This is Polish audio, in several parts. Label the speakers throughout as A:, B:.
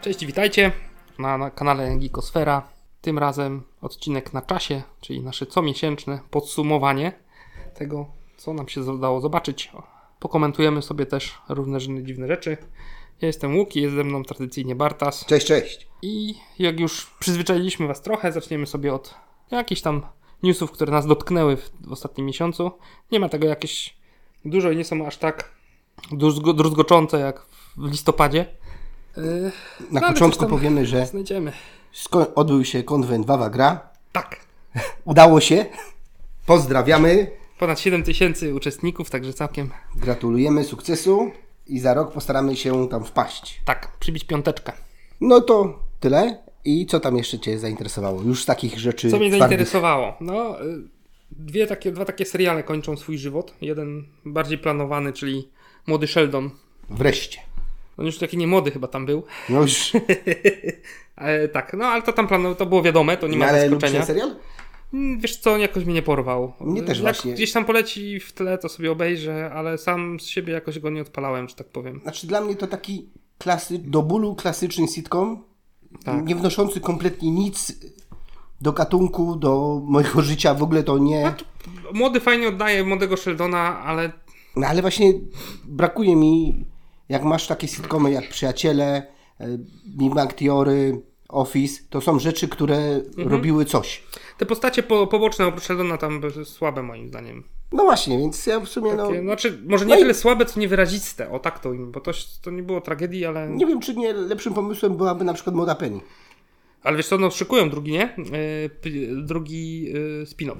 A: Cześć, witajcie na, na kanale Geekosfera. Tym razem odcinek na czasie, czyli nasze comiesięczne podsumowanie tego, co nam się udało zobaczyć. Pokomentujemy sobie też różne inne dziwne rzeczy. Ja jestem Łuki, jest ze mną tradycyjnie Bartas.
B: Cześć, cześć.
A: I jak już przyzwyczailiśmy Was trochę, zaczniemy sobie od jakichś tam newsów, które nas dotknęły w, w ostatnim miesiącu. Nie ma tego jakieś dużo i nie są aż tak druzgo, druzgoczące jak w listopadzie. Yy,
B: Na
A: ale
B: początku
A: coś tam
B: powiemy, że
A: Znajdziemy.
B: sko- odbył się konwent Wawa Gra.
A: Tak.
B: Udało się. Pozdrawiamy.
A: Ponad 7 tysięcy uczestników, także całkiem.
B: Gratulujemy sukcesu i za rok postaramy się tam wpaść.
A: Tak, przybić piąteczkę.
B: No to tyle. I co tam jeszcze Cię zainteresowało? Już z takich rzeczy
A: Co mnie
B: twardych.
A: zainteresowało? No, y, dwie takie, dwa takie seriale kończą swój żywot. Jeden bardziej planowany, czyli Młody Sheldon.
B: Wreszcie.
A: On już taki nie młody chyba tam był.
B: No już,
A: E, tak, no ale to tam planował, to było wiadome, to nie ma
B: No ale lubisz
A: zaskoczenia.
B: ten serial?
A: Mm, Wiesz co, on jakoś mnie nie porwał.
B: Mnie też
A: Jak
B: właśnie.
A: gdzieś tam poleci w tle, to sobie obejrzę, ale sam z siebie jakoś go nie odpalałem, że tak powiem.
B: Znaczy dla mnie to taki klasy, do bólu klasyczny sitcom,
A: Tak.
B: nie wnoszący kompletnie nic do gatunku, do mojego życia, w ogóle to nie...
A: Młody fajnie oddaje młodego Sheldona, ale
B: No ale właśnie brakuje mi, jak masz takie sitcomy jak Przyjaciele, e, Big Bang Theory, Office, to są rzeczy, które
A: Mhm.
B: robiły coś.
A: te postacie po, poboczne oprócz Sheldona tam były słabe moim zdaniem.
B: No właśnie, więc ja w sumie no,
A: Takie, znaczy, może nie
B: no i-
A: tyle słabe, co niewyraziste, o tak to im, bo to, to nie było tragedii, ale...
B: nie wiem, czy nie lepszym pomysłem byłaby na przykład Moda Penny.
A: Ale wiesz co, no szykują drugi, nie? Yy, p- drugi yy, spin-off.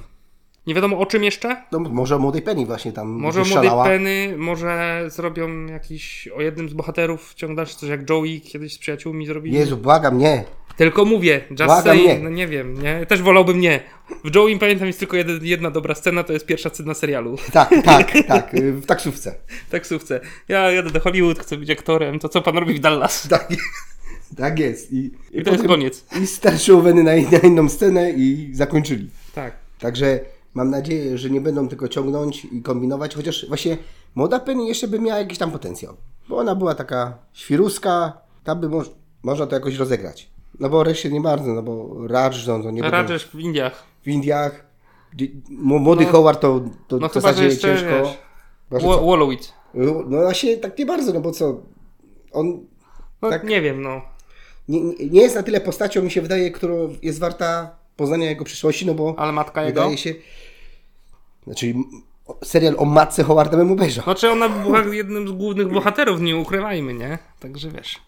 A: Nie wiadomo o czym jeszcze,
B: No może o Młodej Penny właśnie tam
A: Może młodej
B: szalała.
A: Penny, może zrobią jakiś o jednym z bohaterów ciąg dalszy, coś jak Joey kiedyś z przyjaciółmi zrobili.
B: Jezu, błagam, nie.
A: Tylko mówię, just
B: Błagam,
A: saying,
B: nie.
A: no nie wiem, nie? Też wolałbym nie. W Joey pamiętam jest tylko jeden, jedna dobra scena, to jest pierwsza scena serialu
B: Tak, tak, tak, y, w taksówce.
A: w taksówce. Ja jadę do Hollywood, chcę być aktorem, to co pan robi w Dallas?
B: Tak, tak jest. I,
A: I to jest koniec.
B: i starszy Oweny na, na inną scenę i zakończyli.
A: Tak.
B: Także mam nadzieję, że nie będą tego ciągnąć i kombinować, chociaż właśnie młoda Penny jeszcze by miała jakiś tam potencjał, bo ona była taka świruska, tam by moż, można to jakoś rozegrać. No bo reszcie nie bardzo, no bo Rajdżon to nie będą
A: Raczej w Indiach.
B: w Indiach, Dzie- m- młody
A: No.
B: Howard to, to
A: No
B: w
A: chyba, że
B: zasadzie
A: jeszcze,
B: ciężko.
A: wiesz,
B: Chyba, że
A: Wa-
B: co?
A: Wallowit.
B: No właśnie tak nie bardzo, no bo co, on
A: No
B: Tak.
A: nie wiem, no.
B: nie, nie- nie jest na tyle postacią, mi się wydaje, która jest warta poznania jego przyszłości, no bo...
A: Ale matka jego?
B: Wydaje się. Znaczy, m- o- serial o matce Howarda bym obejrzał.
A: Znaczy ona była jednym z głównych bohaterów, nie ukrywajmy, nie? Także wiesz.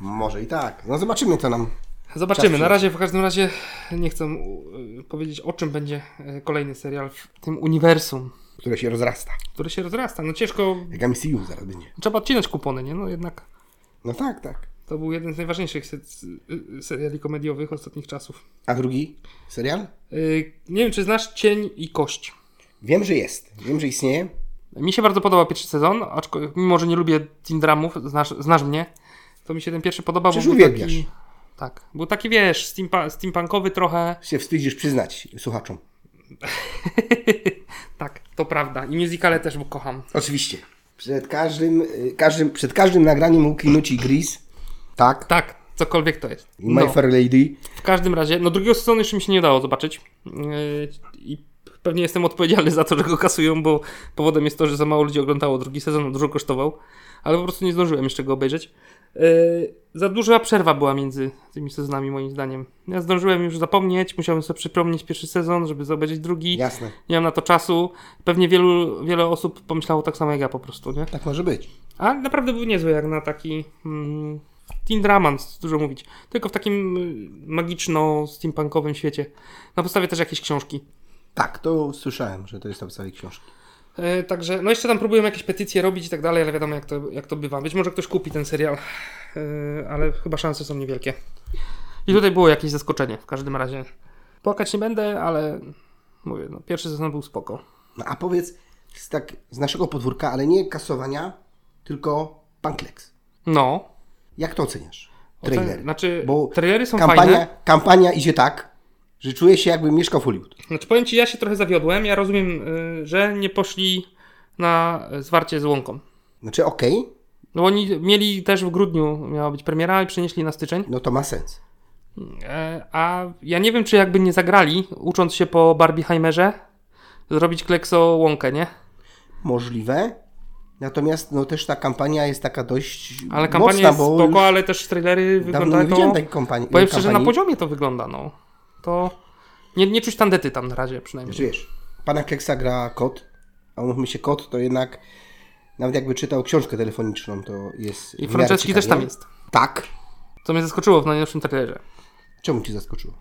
B: Może i tak. No zobaczymy, co nam.
A: Zobaczymy.
B: Czas
A: Na razie, w każdym razie nie chcę u- powiedzieć o czym będzie e, kolejny serial w tym uniwersum,
B: które się rozrasta.
A: który się rozrasta. No ciężko,
B: Jak MCU zaraz będzie.
A: trzeba odcinać kupony, nie? No jednak
B: No tak, tak.
A: to był jeden z najważniejszych se- y- y- seriali komediowych ostatnich czasów.
B: A drugi serial?
A: Y, Nie wiem, czy znasz Cień i Kość.
B: Wiem, że jest. Wiem, że istnieje.
A: Mi się bardzo podoba pierwszy sezon, aczkolwiek mimo, że nie lubię teen dramów, znasz, znasz mnie, to mi się ten pierwszy podobał,
B: Przecież
A: był
B: uwielbiasz.
A: taki... Tak, był taki, wiesz, steampa- steampunkowy trochę,
B: Się wstydzisz przyznać słuchaczom.
A: tak, to prawda. I musicale też, bo kocham.
B: Oczywiście. Przed każdym, y, każdym, przed każdym nagraniem łuki nuci Gris. Tak.
A: Tak, cokolwiek to jest. No.
B: My Fair Lady.
A: W każdym razie, no drugiego sezonu jeszcze mi się nie udało zobaczyć. Yy, I pewnie jestem odpowiedzialny za to, że go kasują, bo powodem jest to, że za mało ludzi oglądało drugi sezon, on dużo kosztował, ale po prostu nie zdążyłem jeszcze go obejrzeć. Yy, za duża przerwa była między tymi sezonami, moim zdaniem. Ja zdążyłem już zapomnieć, musiałem sobie przypomnieć pierwszy sezon, żeby zobaczyć drugi.
B: Jasne.
A: Nie mam na to czasu. Pewnie wielu, wiele osób pomyślało tak samo jak ja po prostu, nie?
B: Tak może być.
A: A naprawdę był niezły jak na taki mm, teen draman, dużo mówić. Tylko w takim mm, magiczno-steampunkowym świecie. Na podstawie też jakiejś książki.
B: Tak, to słyszałem, że to jest tam całej książki.
A: E, także, no jeszcze tam próbują jakieś petycje robić i tak dalej, ale wiadomo jak to, jak to bywa. Być może ktoś kupi ten serial, e, ale chyba szanse są niewielkie. I tutaj było jakieś zaskoczenie w każdym razie. Płakać nie będę, ale mówię, no, pierwszy sezon był spoko.
B: No a powiedz, z, tak, z naszego podwórka, ale nie kasowania, tylko Pankleks.
A: No,
B: Jak to oceniasz?
A: Ocen-
B: Trailer.
A: znaczy, trailery są
B: kampania,
A: fajne.
B: Kampania idzie tak, Że czuję się jakbym mieszkał w Hollywood.
A: Znaczy powiem ci, ja się trochę zawiodłem. Ja rozumiem, y, że nie poszli na y, zwarcie z łąką.
B: Znaczy okej,
A: No bo oni mieli też w grudniu, miała być premiera i przenieśli na styczeń.
B: no to ma sens.
A: E, A ja nie wiem, czy jakby nie zagrali, ucząc się po Barbieheimerze, zrobić klekso łąkę, nie?
B: Możliwe. Natomiast no też ta kampania jest taka dość
A: Ale kampania
B: mocna, bo
A: jest spoko,
B: już
A: ale też trailery
B: dawno nie
A: wyglądają
B: widziałem
A: to...
B: takiej kampanii.
A: Powiem szczerze, na
B: kampanii.
A: poziomie to wygląda, no. To nie, nie czuć tandety tam na razie przynajmniej.
B: Znaczy wiesz, pana Kleksa gra kot, a umówmy się, kot to jednak, nawet jakby czytał książkę telefoniczną, to jest w
A: I
B: miarę
A: Franceski też
B: ciekawie.
A: tam jest.
B: Tak.
A: Co mnie zaskoczyło w najnowszym trailerze.
B: Czemu ci zaskoczyło?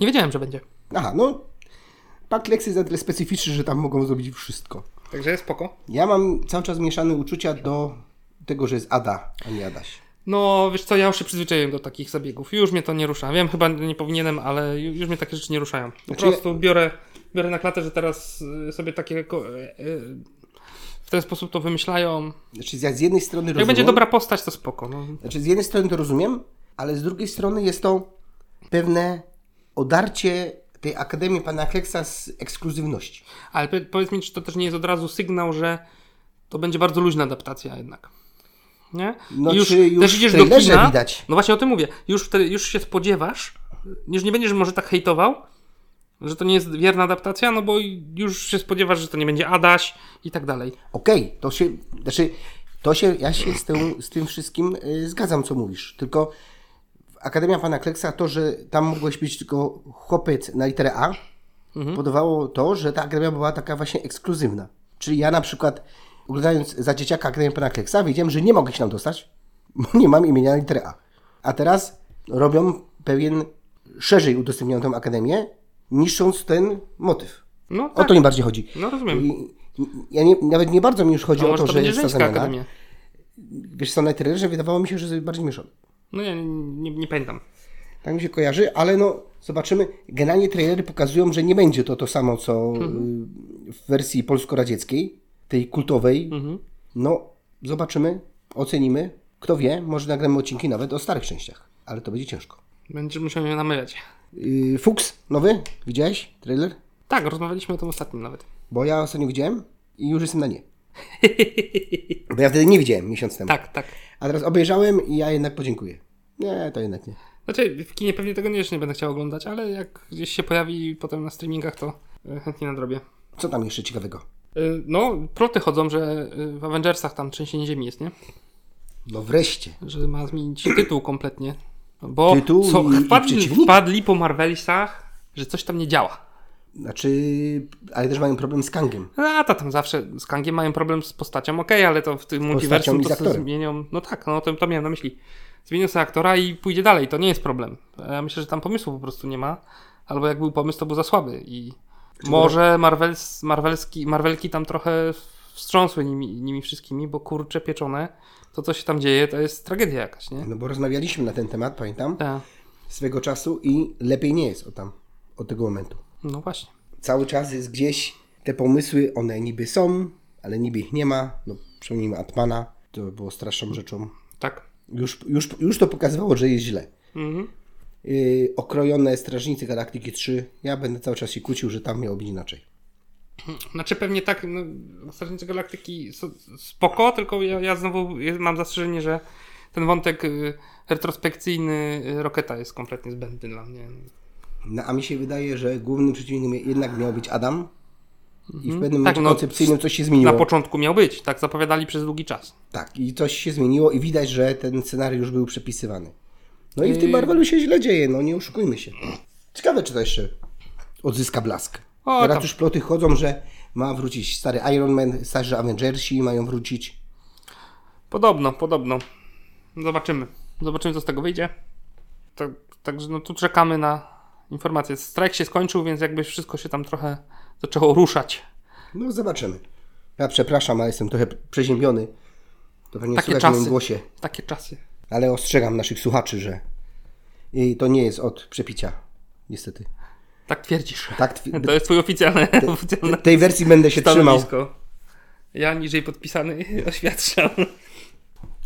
A: Nie wiedziałem, że będzie.
B: Aha, no, pan Kleks jest na tyle specyficzny, że tam mogą zrobić wszystko.
A: Także jest spoko.
B: Ja mam cały czas mieszane uczucia do tego, że jest Ada, a nie Adaś.
A: No, wiesz co, ja już się przyzwyczaiłem do takich zabiegów. Już mnie to nie rusza. Wiem, chyba nie powinienem, ale ju- już mnie takie rzeczy nie ruszają. Po
B: Znaczy-
A: prostu biorę, biorę na klatę, że teraz y, sobie takie ko- y, y, w ten sposób to wymyślają.
B: Znaczy, ja z jednej strony
A: Jak
B: rozumiem...
A: będzie dobra postać, to spoko. No.
B: Znaczy, z jednej strony to rozumiem, ale z drugiej strony jest to pewne odarcie tej Akademii Pana Kleksa z ekskluzywności.
A: Ale pe- powiedz mi, czy to też nie jest od razu sygnał, że to będzie bardzo luźna adaptacja jednak. Nie?
B: No,
A: I
B: czy już w trailerze widać?
A: No właśnie o tym mówię. Już, wtedy, już się spodziewasz, już nie będziesz może tak hejtował, że to nie jest wierna adaptacja, no bo już się spodziewasz, że to nie będzie Adaś i tak dalej.
B: Okej, to się, znaczy, to się, ja się z tym, z tym wszystkim y, zgadzam, co mówisz, tylko Akademia Pana Kleksa, to, że tam mogłeś być tylko chłopiec na literę A, podawało to, że ta Akademia była taka właśnie ekskluzywna. Czyli ja na przykład, oglądając za dzieciaka Akademię Pana Kleksa, wiedziałem, że nie mogę się tam dostać, bo nie mam imienia na literę A. A teraz robią pewien szerzej udostępnioną tą Akademię, niszcząc ten motyw.
A: No
B: O
A: tak,
B: to mi bardziej chodzi.
A: no rozumiem.
B: I- i- Ja nie, nawet nie bardzo mi już chodzi
A: A
B: o
A: No, może
B: to,
A: to
B: że
A: będzie
B: jest ta
A: żeńska
B: zamiana.
A: akademia.
B: Wiesz co, na trailerze wydawało mi się, że jest bardziej mieszany.
A: No ja nie, nie, nie pamiętam.
B: Tak mi się kojarzy, ale no zobaczymy. Generalnie trailery pokazują, że nie będzie to to samo, co
A: Mhm.
B: y, w wersji polsko-radzieckiej, tej kultowej.
A: Mhm.
B: No, zobaczymy, ocenimy. Kto wie, może nagramy odcinki nawet o starych częściach, ale to będzie ciężko.
A: Będziemy musieli ją namawiać.
B: Yy, Fuchs, nowy, widziałeś trailer?
A: Tak, rozmawialiśmy o tym ostatnim nawet.
B: Bo ja ostatnio widziałem i już jestem na nie. Bo ja wtedy nie widziałem miesiąc temu.
A: Tak, tak.
B: A teraz obejrzałem i ja jednak podziękuję. Nie, to jednak nie.
A: Znaczy, w kinie pewnie tego nie, jeszcze nie będę chciał oglądać, ale jak gdzieś się pojawi potem na streamingach, to e, chętnie nadrobię.
B: Co tam jeszcze ciekawego?
A: Y, No, ploty chodzą, że y, w Avengersach tam trzęsienie ziemi jest, nie?
B: No wreszcie.
A: Że ma zmienić tytuł kompletnie. Bo
B: Tytuł
A: co,
B: i- i
A: wpadli,
B: przeciwnik.
A: wpadli po Marvelisach, że coś tam nie działa.
B: Znaczy, ale też mają problem z Kangiem.
A: No, A ta tam zawsze z Kangiem mają problem z postacią, okej, ale to w tym
B: postacią
A: multiversum
B: i z
A: to sobie
B: aktorem.
A: zmienią. No tak, no to, to miałem na myśli. Zmienią sobie aktora i pójdzie dalej, to nie jest problem. Ja myślę, że tam pomysłu po prostu nie ma. Albo jak był pomysł, to był za słaby. I może Marvels, Marvelski, Marvelki tam trochę wstrząsły nimi, nimi wszystkimi, bo kurcze pieczone, to co się tam dzieje, to jest tragedia jakaś, nie?
B: No bo rozmawialiśmy na ten temat, pamiętam,
A: Tak,
B: swego czasu i lepiej nie jest od tam, od tego momentu.
A: no właśnie.
B: Cały czas jest gdzieś te pomysły, one niby są, ale niby ich nie ma. No przypomnijmy Atmana, to było straszną rzeczą.
A: Tak.
B: Już, już, już to pokazywało, że jest źle.
A: Mhm.
B: Yy, okrojone Strażnicy Galaktyki 3. Ja będę cały czas się kłócił, że tam miało być inaczej.
A: Znaczy pewnie tak, no, Strażnicy Galaktyki są spoko, tylko ja, ja znowu je- mam zastrzeżenie, że ten wątek y, retrospekcyjny y, Roketa jest kompletnie zbędny dla mnie.
B: No, a mi się wydaje, że głównym przeciwnikiem jednak miał być Adam. I w pewnym
A: Tak,
B: momencie
A: no,
B: koncepcyjnym coś się
A: Na
B: zmieniło.
A: początku miał być, tak zapowiadali przez długi czas.
B: tak, i coś się zmieniło i widać, że ten scenariusz był przepisywany. No i w tym
A: Yy.
B: Marvelu się źle dzieje, no nie oszukujmy się. Ciekawe, czy to jeszcze odzyska blask.
A: O,
B: Teraz
A: tam.
B: już ploty chodzą, że ma wrócić stary Iron Man, starzy Avengersi mają wrócić.
A: Podobno, podobno. Zobaczymy. Zobaczymy, co z tego wyjdzie. Tak- Także no tu czekamy na informacje. Strajk się skończył, więc jakby wszystko się tam trochę zaczęło ruszać.
B: No zobaczymy. Ja przepraszam, ale jestem trochę przeziębiony. To pewnie
A: Takie
B: słychać w
A: czasy.
B: moim głosie.
A: Takie czasy.
B: Ale ostrzegam naszych słuchaczy, że i to nie jest od przepicia, niestety.
A: Tak twierdzisz.
B: Tak, twi-
A: To jest twój oficjalny, oficjalny
B: tej wersji będę się trzymał.
A: stanowisko. Ja niżej podpisany oświadczam.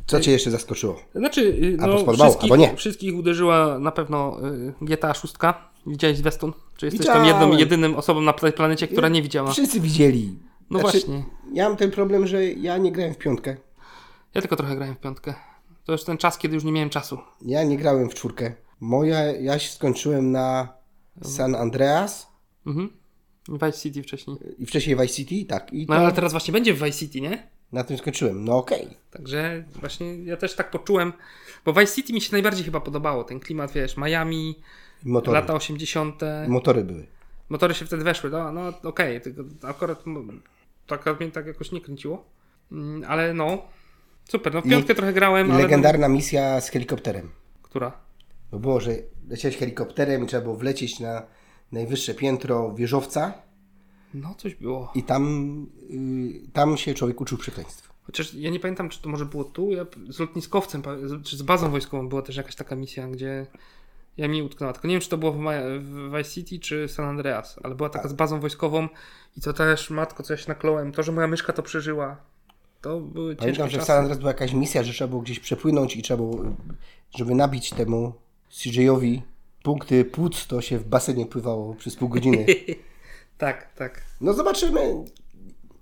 B: Co cię jeszcze zaskoczyło?
A: Znaczy, y,
B: Albo
A: no,
B: spodobało,
A: wszystkich,
B: albo nie.
A: wszystkich uderzyła na pewno y, GTA 6. Widziałeś zwiastun? Czy jesteś tam
B: Widziałem.
A: jedną, jedynym osobą na pla- planecie, która nie widziała?
B: Wszyscy widzieli.
A: No
B: znaczy-
A: właśnie.
B: Ja mam ten problem, że ja nie grałem w piątkę.
A: Ja tylko trochę grałem w piątkę. To już ten czas, kiedy już nie miałem czasu.
B: Ja nie grałem w czwórkę. Moja, ja się skończyłem na San Andreas
A: Mhm. Vice City wcześniej.
B: i wcześniej Vice City, tak. I
A: No
B: to-
A: ale teraz właśnie będzie w Vice City, nie?
B: na tym skończyłem. No okej.
A: Także właśnie ja też tak poczułem, bo Vice City mi się najbardziej chyba podobało. Ten klimat, wiesz, Miami,
B: Motory.
A: lata 80.
B: Motory były.
A: Motory się wtedy weszły, no, no okej, tylko akurat m- tak mnie tak jakoś nie kręciło. Mm, Ale no, super, no w
B: I-
A: piątkę trochę grałem,
B: I
A: ale...
B: legendarna misja z helikopterem.
A: No, która?
B: No było, że leciałeś helikopterem i trzeba było wlecieć na najwyższe piętro wieżowca
A: No coś było.
B: i tam, y, tam się człowiek uczył przekleństw.
A: Chociaż ja nie pamiętam, czy to może było tu, ja p- z lotniskowcem, pa- z- czy z bazą wojskową była też jakaś taka misja, gdzie ja mi utknęła. Tylko nie wiem, czy to było w, Ma- w Vice City, czy w San Andreas, ale była taka z bazą wojskową i to też, matko, co ja się nakląłem, to, że moja myszka to przeżyła, to były ciężkie
B: Pamiętam, że w
A: czasy.
B: San Andreas była jakaś misja, że trzeba było gdzieś przepłynąć i trzeba było, żeby nabić temu CJ-owi punkty płuc, to się w basenie pływało przez pół godziny.
A: Tak, tak.
B: No zobaczymy.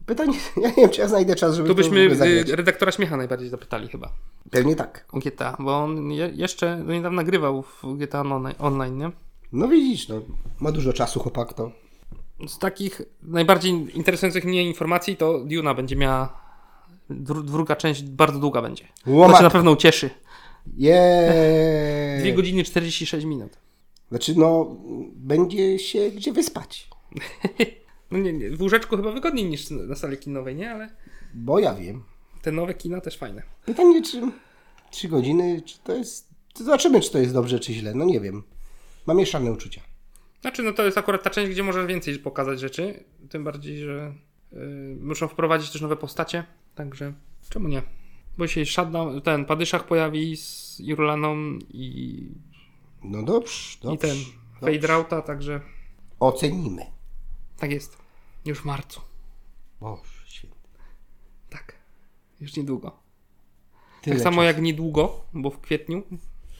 B: Pytanie, ja nie wiem, czy ja znajdę czas, żeby
A: Tu byśmy
B: w ogóle
A: y,
B: zagrać.
A: redaktora śmiecha najbardziej zapytali chyba.
B: Pewnie tak.
A: O GTA, bo on je, jeszcze do niedawna grywał w GTA onli- Online, nie?
B: No widzisz, no, ma dużo czasu chłopak to.
A: Z takich najbardziej interesujących mnie informacji to Duna będzie miała. Dru, druga część bardzo długa będzie.
B: Łomat.
A: To się na pewno ucieszy.
B: Jeee.
A: 2 godziny 46 minut.
B: Znaczy, no, będzie się gdzie wyspać.
A: No nie, nie, w łóżeczku chyba wygodniej niż na sali kinowej, nie? Ale
B: Bo ja wiem.
A: te nowe kina też fajne.
B: Pytanie, czy 3 godziny, czy to jest. To zobaczymy, czy to jest dobrze, czy źle. No nie wiem. Mam mieszane uczucia.
A: Znaczy, no to jest akurat ta część, gdzie można więcej pokazać rzeczy. Tym bardziej, że y, muszą wprowadzić też nowe postacie. Także czemu nie? Bo się Shutdown, ten Padyszach pojawi z Irulaną i,
B: No dobrze, dobrze.
A: i ten
B: dobrze.
A: Faderauta, także
B: Ocenimy.
A: tak jest. Już w marcu.
B: Boże święty.
A: Tak. Już niedługo.
B: Tyle
A: tak samo
B: czasu.
A: jak niedługo, bo w kwietniu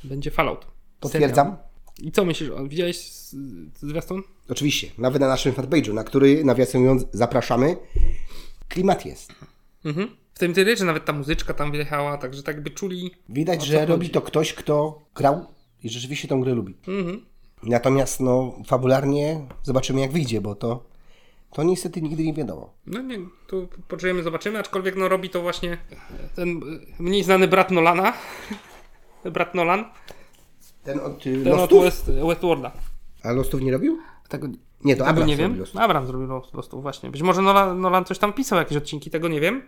A: będzie Fallout.
B: Potwierdzam.
A: I co myślisz? o- Widziałeś z- zwiastun?
B: Oczywiście, nawet na naszym fanpage'u, na który, nawiasem mówiąc, zapraszamy. Klimat jest.
A: Mhm. W tym tyle, że nawet ta muzyczka tam wjechała, także tak by czuli.
B: Widać,
A: O co
B: że
A: chodzi?
B: robi to ktoś, kto grał i rzeczywiście tą grę lubi.
A: Mhm.
B: Natomiast, no, fabularnie zobaczymy, jak wyjdzie, bo to, to niestety nigdy nie wiadomo.
A: No nie, tu poczujemy, zobaczymy, aczkolwiek no robi to właśnie ten y, mniej znany brat Nolana. brat Nolan. No
B: Ten od y,
A: Ten od
B: Lostów?
A: West, Westworlda.
B: A Lostów nie robił?
A: Tego,
B: Nie, to
A: tego
B: Abrams
A: nie
B: robił
A: wiem.
B: Lostów.
A: Abram zrobił po prostu właśnie. Być może Nolan, Nolan coś tam pisał, jakieś odcinki, tego nie wiem.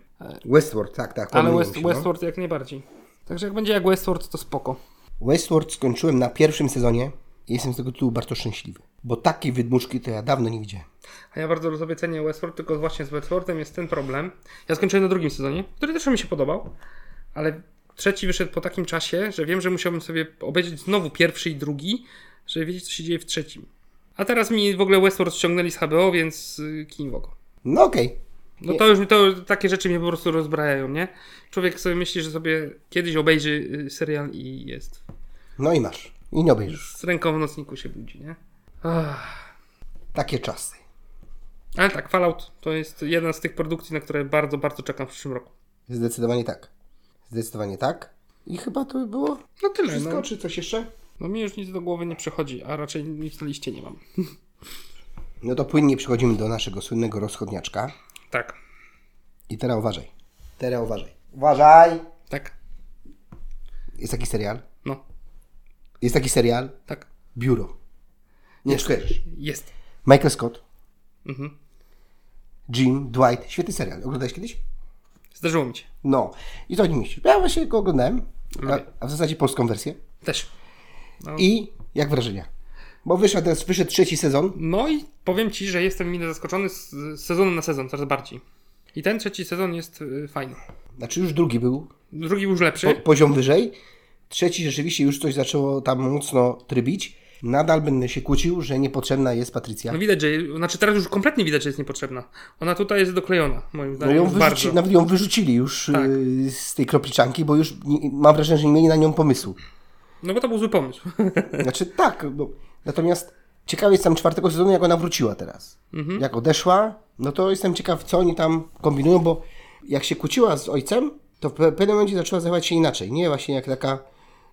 B: Westworld, tak, tak.
A: Ale
B: pomyliłem
A: West,
B: się, no.
A: Westworld jak najbardziej. Także jak będzie jak Westworld, to spoko.
B: Westworld skończyłem na pierwszym sezonie i jestem z tego tytułu bardzo szczęśliwy. Bo takiej wydmuszki to ja dawno nie widziałem.
A: A ja bardzo sobie cenię Westworld, tylko właśnie z Westworldem jest ten problem. Ja skończyłem na drugim sezonie, który też mi się podobał, ale trzeci wyszedł po takim czasie, że wiem, że musiałbym sobie obejrzeć znowu pierwszy i drugi, żeby wiedzieć, co się dzieje w trzecim. A teraz mi w ogóle Westworld ściągnęli z HBO, więc y, kiń w oko.
B: No okej.
A: No to już mi to, takie rzeczy mnie po prostu rozbrajają, nie? Człowiek sobie myśli, że sobie kiedyś obejrzy y, serial i jest.
B: No i masz. I nie obejrzysz.
A: Z ręką w nocniku się budzi, nie? Ach.
B: Takie czasy.
A: Ale tak, Fallout to jest jedna z tych produkcji, na które bardzo, bardzo czekam w przyszłym roku.
B: Zdecydowanie tak. Zdecydowanie tak. I chyba to by było
A: No tyle,
B: wszystko,
A: no.
B: czy coś jeszcze?
A: No mi już nic do głowy nie przychodzi, a raczej nic na liście nie mam.
B: No to płynnie przechodzimy do naszego słynnego rozchodniaczka.
A: Tak,
B: I teraz uważaj. Teraz uważaj. Uważaj!
A: tak,
B: Jest taki serial.
A: no,
B: Jest taki serial.
A: tak,
B: Biuro. Nie skojarzysz.
A: jest.
B: Michael Scott.
A: Mhm.
B: Jim, Dwight. Świetny serial. Oglądałeś kiedyś?
A: Zdarzyło mi się.
B: No. I co o nim myślisz? Ja właśnie go oglądałem. A,
A: Lubię.
B: a w zasadzie polską wersję.
A: Też. No.
B: I jak wrażenia? Bo wyszedł, teraz wyszedł trzeci sezon.
A: No i powiem Ci, że jestem mile zaskoczony z z sezonu na sezon, coraz bardziej. I ten trzeci sezon jest y, fajny.
B: Znaczy już drugi był
A: Drugi już
B: po,
A: lepszy.
B: poziom wyżej. Trzeci rzeczywiście już coś zaczęło tam mocno trybić. Nadal będę się kłócił, że niepotrzebna jest Patrycja.
A: No widać, że, znaczy teraz już kompletnie widać, że jest niepotrzebna. Ona tutaj jest doklejona, moim
B: No
A: zdaniem,
B: ją
A: bardzo.
B: wyrzuci, nawet ją wyrzucili już
A: Tak.
B: y, z tej kropliczanki, bo już nie, mam wrażenie, że nie mieli na nią pomysłu.
A: No bo to był zły pomysł.
B: Znaczy tak, no, natomiast Ciekawy jestem czwartego sezonu, jak ona wróciła teraz. Jak odeszła, no to jestem ciekaw, co oni tam kombinują, bo jak się kłóciła z ojcem, to w pe- pewnym momencie zaczęła zachować się inaczej. Nie właśnie jak taka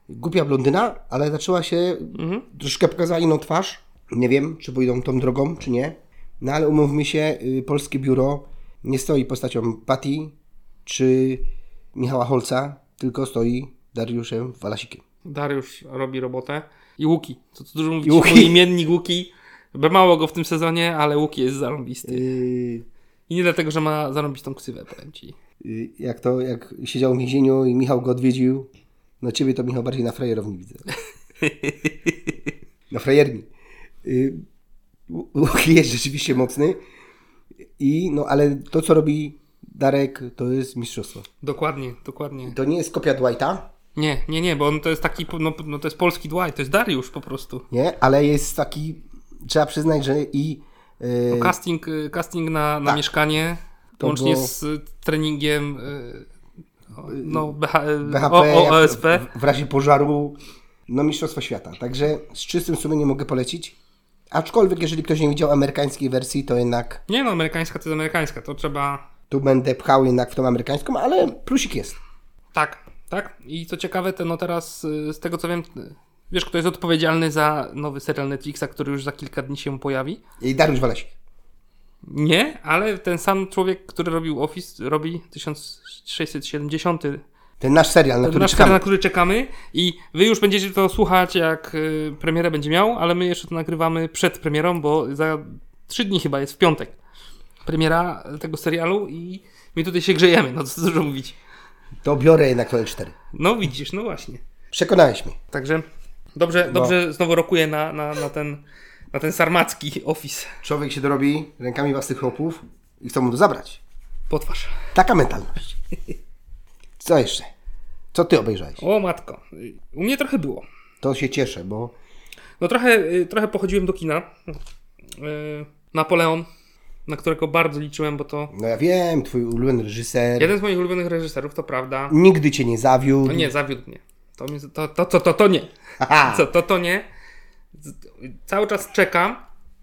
B: głupia blondyna, ale zaczęła się, troszkę pokazała inną twarz. Nie wiem, czy pójdą tą drogą, czy nie. No ale umówmy się, y, polskie biuro nie stoi postacią Patti czy Michała Holca, tylko stoi Dariuszem Walasikiem.
A: Dariusz robi robotę. I Łuki. Co tu dużo mówić,
B: I Łuki.
A: mój imiennik Łuki. By mało go w tym sezonie, ale Łuki jest zarąbisty.
B: Y,
A: I nie dlatego, że ma zarąbistą ksywę, powiem ci.
B: y, jak to, jak siedział w więzieniu i Michał go odwiedził, no ciebie to Michał bardziej na frajerowni widzę. na frajerni. Y, Łu- Łuki jest rzeczywiście mocny i no ale to co robi Darek to jest mistrzostwo.
A: Dokładnie, dokładnie.
B: To nie jest kopia Dwighta,
A: Nie, nie, nie, bo on to jest taki, no, no to jest polski Dwight, to jest Dariusz po prostu.
B: nie, ale jest taki, trzeba przyznać, że i y,
A: Casting, y, casting na, na
B: Tak.
A: mieszkanie,
B: To
A: łącznie
B: było-
A: z y, treningiem y, o, no, BH,
B: BHP
A: o,
B: jak
A: OSP.
B: w, w razie pożaru, no Mistrzostwo Świata. Także z czystym sumieniem mogę polecić. Aczkolwiek, jeżeli ktoś nie widział amerykańskiej wersji, to jednak
A: Nie no, amerykańska to jest amerykańska, to trzeba...
B: tu będę pchał jednak w tą amerykańską, ale plusik jest.
A: Tak, tak. I co ciekawe, to no teraz y, z tego co wiem, y, wiesz kto jest odpowiedzialny za nowy serial Netflixa, który już za kilka dni się pojawi?
B: I Dariusz Walesik.
A: Nie, ale ten sam człowiek, który robił Office, robi 1670
B: Ten nasz serial, na
A: To
B: który
A: nasz kanał,
B: czekamy.
A: na który czekamy i wy już będziecie to słuchać, jak y, premierę będzie miał, ale my jeszcze to nagrywamy przed premierą, bo za trzy dni chyba jest w piątek premiera tego serialu i my tutaj się grzejemy, no co dużo mówić.
B: To biorę jednak to 4
A: No widzisz, no właśnie.
B: Przekonałeś mnie.
A: Także
B: No.
A: dobrze, dobrze znowu rokuję na, na, na, ten, na ten sarmacki office.
B: Człowiek się dorobi rękami własnych chłopów i chcą mu to zabrać.
A: Potwarz.
B: Taka mentalność. Co jeszcze? Co ty obejrzałeś?
A: O matko, y, u mnie trochę było.
B: To się cieszę, bo
A: No trochę, y, trochę pochodziłem do kina. Y, Napoleon, na którego bardzo liczyłem, bo to
B: no ja wiem, twój ulubiony reżyser
A: Jeden z moich ulubionych reżyserów, to prawda.
B: nigdy cię nie zawiódł.
A: No nie, zawiódł mnie. To, mi- to, to, to, to, to nie.
B: Aha.
A: Co, to, to nie. Z- Cały czas czekam,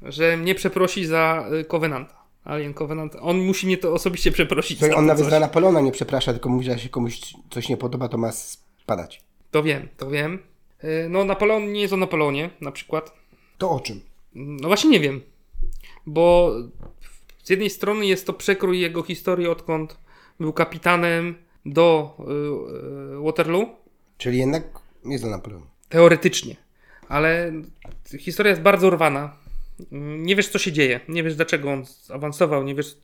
A: że mnie przeprosi za y, Covenanta. Alien Covenant. On musi mnie to osobiście przeprosić.
B: Słuchaj,
A: za
B: on
A: to,
B: nawet
A: coś.
B: za Napoleona nie przeprasza, tylko mówi, że jak się komuś coś nie podoba, to ma spadać.
A: To wiem, to wiem. Y, No, Napoleon nie jest o Napoleonie, na przykład.
B: To o czym?
A: No właśnie nie wiem, bo z jednej strony jest to przekrój jego historii, odkąd był kapitanem do y, y, Waterloo.
B: Czyli jednak nie za Napoleon.
A: Teoretycznie. Ale historia jest bardzo urwana. Mm, Nie wiesz, co się dzieje. Nie wiesz, dlaczego on awansował. Nie wiesz,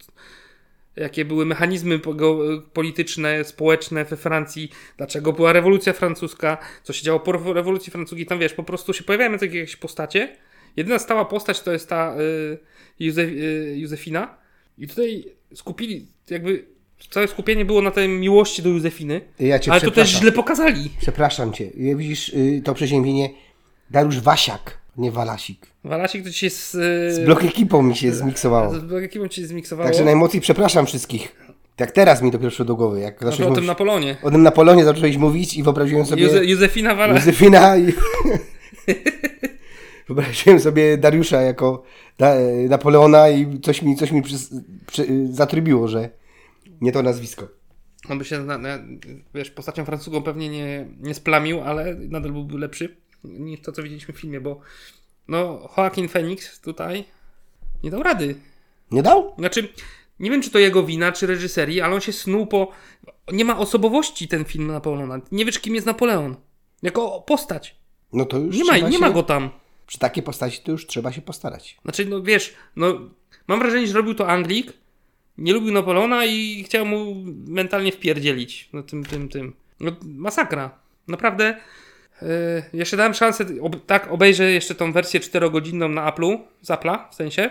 A: jakie były mechanizmy po- go- polityczne, społeczne we Francji. Dlaczego była rewolucja francuska. Co się działo po rewo- rewolucji francuskiej. Tam wiesz, po prostu się pojawiają takie jakieś postacie. Jedyna stała postać to jest ta y, Józef, y, Józefina. I tutaj skupili, jakby całe skupienie było na tej miłości do Józefiny.
B: Ja cię
A: Ale to
B: przepraszam.
A: też źle pokazali.
B: Przepraszam cię. Ja Widzisz y, to przeziębienie Dariusz Wasiak, nie Walasik.
A: Walasik to ci jest... y, Z
B: Z blok ekipą mi się zmiksowało.
A: Z jakim ci zmiksowało?
B: Także najmocniej przepraszam wszystkich. Tak teraz mi to przyszło do głowy, jak
A: Znaczy
B: zacząłeś
A: o
B: mówić,
A: tym Napoleonie.
B: o tym Napoleonie zacząłeś mówić i wyobraziłem sobie
A: Józe, Józefina Wala.
B: Józefina i... Wyobraziłem sobie Dariusza jako da, Napoleona i coś mi, coś mi przy, przy, zatrybiło, że nie to nazwisko.
A: On No by się, na, na, wiesz, postacią francuską pewnie nie, nie splamił, ale nadal byłby lepszy niż to, co widzieliśmy w filmie, bo no, Joaquin Phoenix tutaj nie dał rady.
B: Nie dał?
A: Znaczy, nie wiem, czy to jego wina, czy reżyserii, ale on się snuł po... Nie ma osobowości ten film Napoleona. Nie wiesz, kim jest Napoleon. Jako postać.
B: No to już
A: Nie ma,
B: trzeba
A: nie
B: się,
A: ma go tam.
B: Przy takiej postaci to już trzeba się postarać.
A: Znaczy, no wiesz, no mam wrażenie, że robił to Anglik, nie lubił Napoleona i chciał mu mentalnie wpierdzielić. No tym, tym, tym. No, masakra. Naprawdę. Yy, jeszcze dałem szansę, ob, tak, obejrzę jeszcze tą wersję 4-godzinną na Apple'u, z Apple'a w sensie,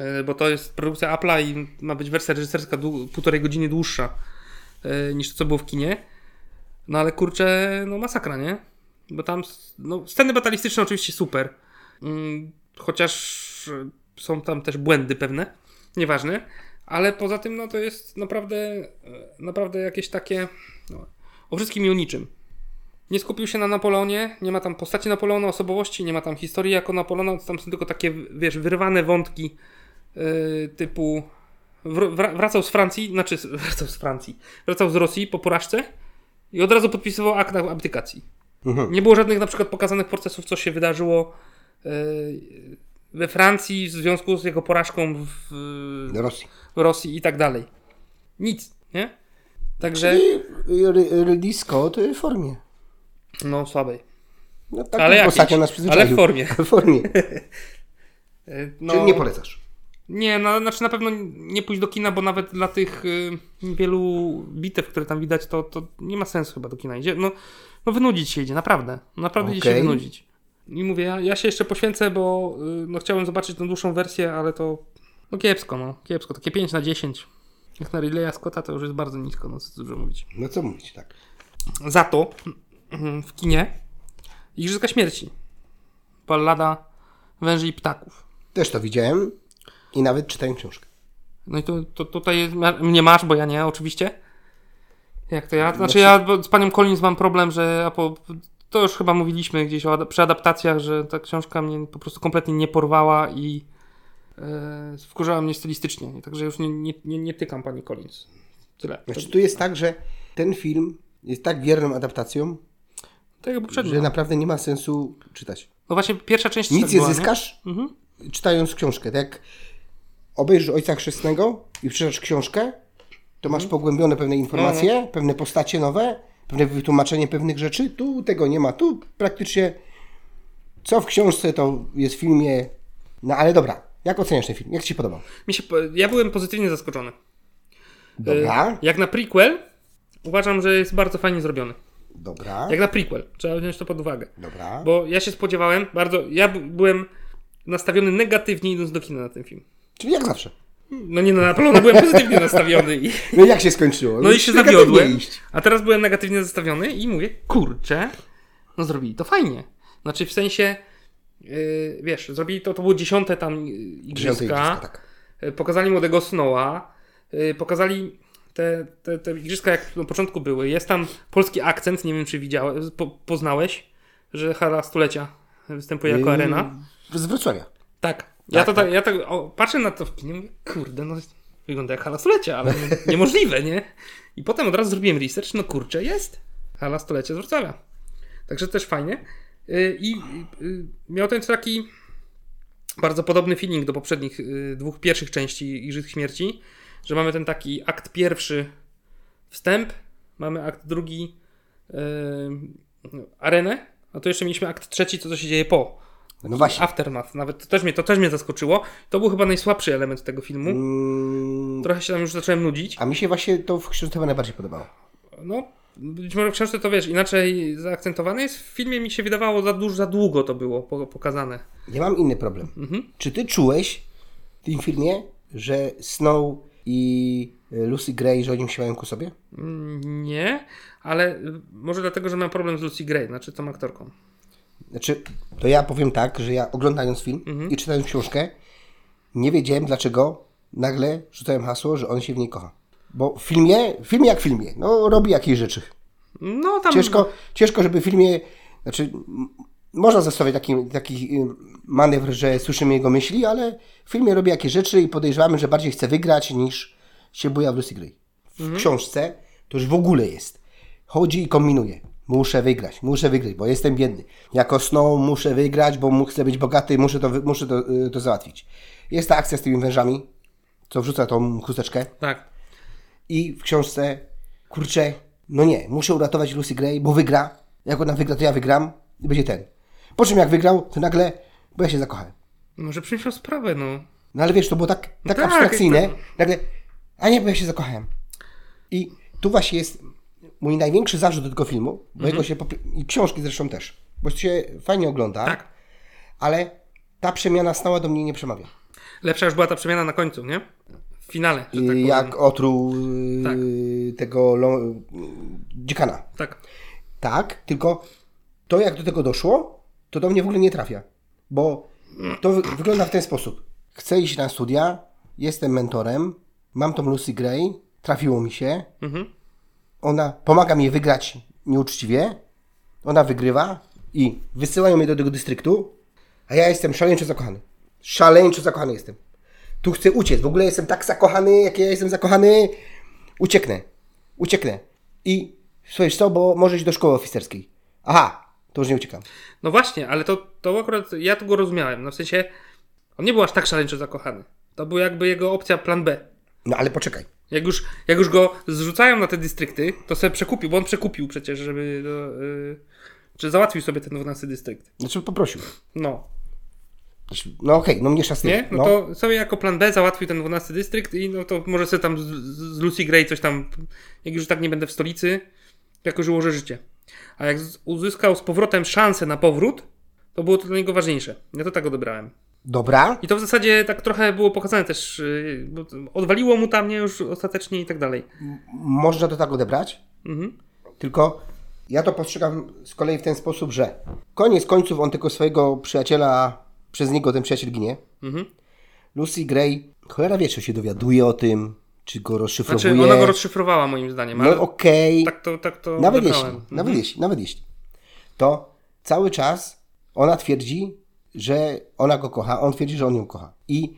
A: yy, bo to jest produkcja Apple'a i ma być wersja reżyserska dłu- półtorej godziny dłuższa yy, niż to, co było w kinie. No ale kurczę, no masakra, nie? Bo tam, s- no sceny batalistyczne oczywiście super. Mm, chociaż e, są tam też błędy pewne, nieważne, ale poza tym no to jest naprawdę, e, naprawdę jakieś takie, no, o wszystkim i o niczym. Nie skupił się na Napoleonie, nie ma tam postaci Napoleona, osobowości, nie ma tam historii jako Napoleona, tam są tylko takie, wiesz, wyrwane wątki yy, typu wr- wra- wracał z Francji, znaczy z- wracał z Francji, wracał z Rosji po porażce i od razu podpisywał akt abdykacji.
B: Mhm.
A: Nie było żadnych na przykład pokazanych procesów, co się wydarzyło yy, we Francji w związku z jego porażką w,
B: Do Rosji.
A: w Rosji i tak dalej. Nic, nie? Także,
B: Czyli Ry- Ridley Scott w formie.
A: no słabej.
B: No tak
A: Ale jakiejś,
B: postacią nas przyzwyczaił.
A: ale w formie.
B: W formie.
A: Yy, No,
B: Czyli nie polecasz.
A: Nie, no, znaczy na pewno nie pójść do kina, bo nawet dla tych y, wielu bitew, które tam widać, to, to nie ma sensu chyba do kina idzie. No, no wynudzić się idzie, naprawdę. Naprawdę idzie się
B: Okej.
A: wynudzić. I mówię, ja, ja się jeszcze poświęcę, bo y, no, chciałem zobaczyć tą dłuższą wersję, ale to no kiepsko, no kiepsko. Takie 5 na 10. Jak na Ridleya Scotta to już jest bardzo nisko, no co tu dużo mówić.
B: No co mówić, tak.
A: Za to mm, w kinie Igrzyska Śmierci. Ballada Węży i Ptaków.
B: Też to widziałem i nawet czytałem książkę.
A: No i to, to tutaj jest, ma- mnie masz, bo ja nie, oczywiście. Jak to ja? Znaczy ja bo z panią Collins mam problem, że a po, to już chyba mówiliśmy gdzieś o, ada- przy adaptacjach, że ta książka mnie po prostu kompletnie nie porwała i e, wkurzała mnie stylistycznie. Także już nie, nie, nie, nie tykam pani Collins. Tyle. To,
B: Znaczy tu jest tak, że ten film jest tak wierną adaptacją,
A: tak jak poprzednio.
B: że naprawdę nie ma sensu czytać.
A: No właśnie pierwsza część
B: Nic
A: tak
B: nie
A: była,
B: zyskasz
A: Mhm.
B: czytając książkę. Tak jak obejrzysz Ojca Chrzestnego i przeczytasz książkę, to
A: Mhm.
B: masz pogłębione pewne informacje, pewne postacie nowe, pewne wytłumaczenie pewnych rzeczy. Tu tego nie ma. Tu praktycznie co w książce, to jest w filmie. No ale dobra, jak oceniasz ten film? Jak Ci się podobał?
A: Mi się, po- ja byłem pozytywnie zaskoczony. E,
B: Dobra,
A: Jak na prequel uważam, że jest bardzo fajnie zrobiony.
B: dobra,
A: Jak na prequel. Trzeba wziąć to pod uwagę.
B: dobra.
A: Bo ja się spodziewałem bardzo. Ja b- byłem nastawiony negatywnie idąc do kina na ten film.
B: Czyli jak zawsze.
A: No nie na Napoleona, byłem pozytywnie nastawiony. I,
B: No i jak się skończyło?
A: no i się
B: Negatywnie
A: zawiodłem.
B: iść.
A: A teraz byłem negatywnie nastawiony i mówię, kurczę, no zrobili to fajnie. Znaczy w sensie, yy, wiesz, zrobili to, to było dziesiąte tam yy,
B: Dziesiąte
A: igrzyska.
B: igrzyska, tak.
A: Yy, Pokazali młodego Snowa. Yy, pokazali te, te, te igrzyska, jak na początku były. Jest tam polski akcent, nie wiem czy widziałeś, po, poznałeś, że Hala Stulecia występuje jako
B: Yy,
A: arena.
B: Z Wrocławia.
A: Tak. ja to
B: tak,
A: tak, ja tak o, patrzę na to w kinie, mówię, kurde, no wygląda jak hala stulecia, ale no, niemożliwe, nie? I potem od razu zrobiłem research, no kurczę, jest. Hala stulecia z Wrocławia. Także też fajnie. Y, I y, miał ten taki bardzo podobny feeling do poprzednich y, dwóch pierwszych części Igrzysk Śmierci, że mamy ten taki akt pierwszy wstęp, mamy akt drugi y, arenę, a tu jeszcze mieliśmy akt trzeci, co to się dzieje po.
B: No właśnie.
A: Aftermath, nawet to też, mnie, to też mnie zaskoczyło. To był chyba najsłabszy element tego filmu.
B: Mm,
A: Trochę się tam już zacząłem nudzić.
B: A mi się właśnie to w książce chyba najbardziej podobało.
A: No, być może w książce to wiesz, inaczej zaakcentowane jest. W filmie mi się wydawało za dużo, za długo to było po- pokazane.
B: Ja mam inny problem.
A: Mhm.
B: Czy ty czułeś w tym filmie, że Snow i e, Lucy Gray, że oni siłają ku sobie?
A: Mm, Nie, ale y, może dlatego, że mam problem z Lucy Gray, znaczy tą aktorką.
B: Znaczy, to ja powiem tak, że ja oglądając film i czytając książkę, nie wiedziałem dlaczego nagle rzucałem hasło, że on się w niej kocha. Bo w filmie, w filmie jak w filmie, no robi jakieś rzeczy.
A: No tam.
B: Ciężko, ciężko żeby w filmie, znaczy m- można zastosować taki, taki y, manewr, że słyszymy jego myśli, ale w filmie robi jakieś rzeczy i podejrzewamy, że bardziej chce wygrać niż się buja w Lucy Gray. W książce to już w ogóle jest. Chodzi i kombinuje. Muszę wygrać, muszę wygrać, bo jestem biedny. Jako Snow muszę wygrać, bo mu- chcę być bogaty, muszę to, wy- muszę to, y, to załatwić. Jest ta akcja z tymi wężami, co wrzuca tą chusteczkę.
A: Tak.
B: I w książce, kurczę, no nie, muszę uratować Lucy Gray, bo wygra. Jak ona wygra, to ja wygram i będzie ten. Po czym jak wygrał, to nagle, bo ja się zakochałem.
A: Może przyniosł sprawę, no.
B: No ale wiesz, to było tak, tak,
A: tak,
B: abstrakcyjne.
A: tak.
B: Nagle, a nie, bo ja się zakochałem. I tu właśnie jest mój największy zarzut do tego filmu, bo
A: Mhm.
B: jego się, popie- i książki zresztą też, bo się fajnie ogląda,
A: Tak.
B: ale ta przemiana stała do mnie nie przemawia.
A: Lepsza już była ta przemiana na końcu, nie? W finale, że tak
B: I
A: powiem.
B: jak otruł y,
A: Tak.
B: tego lo- y, dziekana.
A: Tak.
B: Tak, tylko to jak do tego doszło, to do mnie w ogóle nie trafia. Bo to wy- wygląda w ten sposób. Chcę iść na studia, jestem mentorem, mam tą Lucy Gray, trafiło mi się,
A: Mhm.
B: ona pomaga mi wygrać nieuczciwie, ona wygrywa i wysyłają mnie do tego dystryktu, a ja jestem szaleńczo zakochany. Szaleńczo zakochany jestem. Tu chcę uciec. W ogóle jestem tak zakochany, jak ja jestem zakochany. Ucieknę. Ucieknę. I słuchaj, co, bo może iść do szkoły oficerskiej. Aha, to już nie uciekam.
A: No właśnie, ale to, to akurat ja to go rozumiałem. No w sensie, on nie był aż tak szaleńczo zakochany. To był jakby jego opcja plan B.
B: No ale poczekaj.
A: Jak już, jak już go zrzucają na te dystrykty, to sobie przekupił, bo on przekupił przecież, żeby. No, y, czy załatwił sobie ten 12 dystrykt.
B: Znaczy poprosił.
A: No,
B: No okej, no mnie szasnie.
A: nie? No, to sobie jako plan B załatwił ten 12 dystrykt i no to może sobie tam z, z Lucy Gray coś tam, jak już tak nie będę w stolicy, to jakoś ułożę życie. A jak z- uzyskał z powrotem szansę na powrót, to było to dla niego ważniejsze. Ja to tak odebrałem.
B: Dobra.
A: I to w zasadzie tak trochę było pokazane też, yy, bo to- odwaliło mu tam nie już ostatecznie i tak dalej.
B: Można to tak odebrać.
A: Mhm.
B: Tylko ja to postrzegam z kolei w ten sposób, że koniec końców on tylko swojego przyjaciela, przez niego ten przyjaciel ginie.
A: Mhm.
B: Lucy Gray, cholera wie, czy się dowiaduje o tym, czy go rozszyfrowuje.
A: Znaczy, ona go rozszyfrowała moim zdaniem, ale
B: No okej,
A: tak to, tak to
B: nawet jeśli,
A: odebrałem. Mhm.
B: nawet jeśli, nawet jeśli. To cały czas ona twierdzi, że ona go kocha, on twierdzi, że on ją kocha. I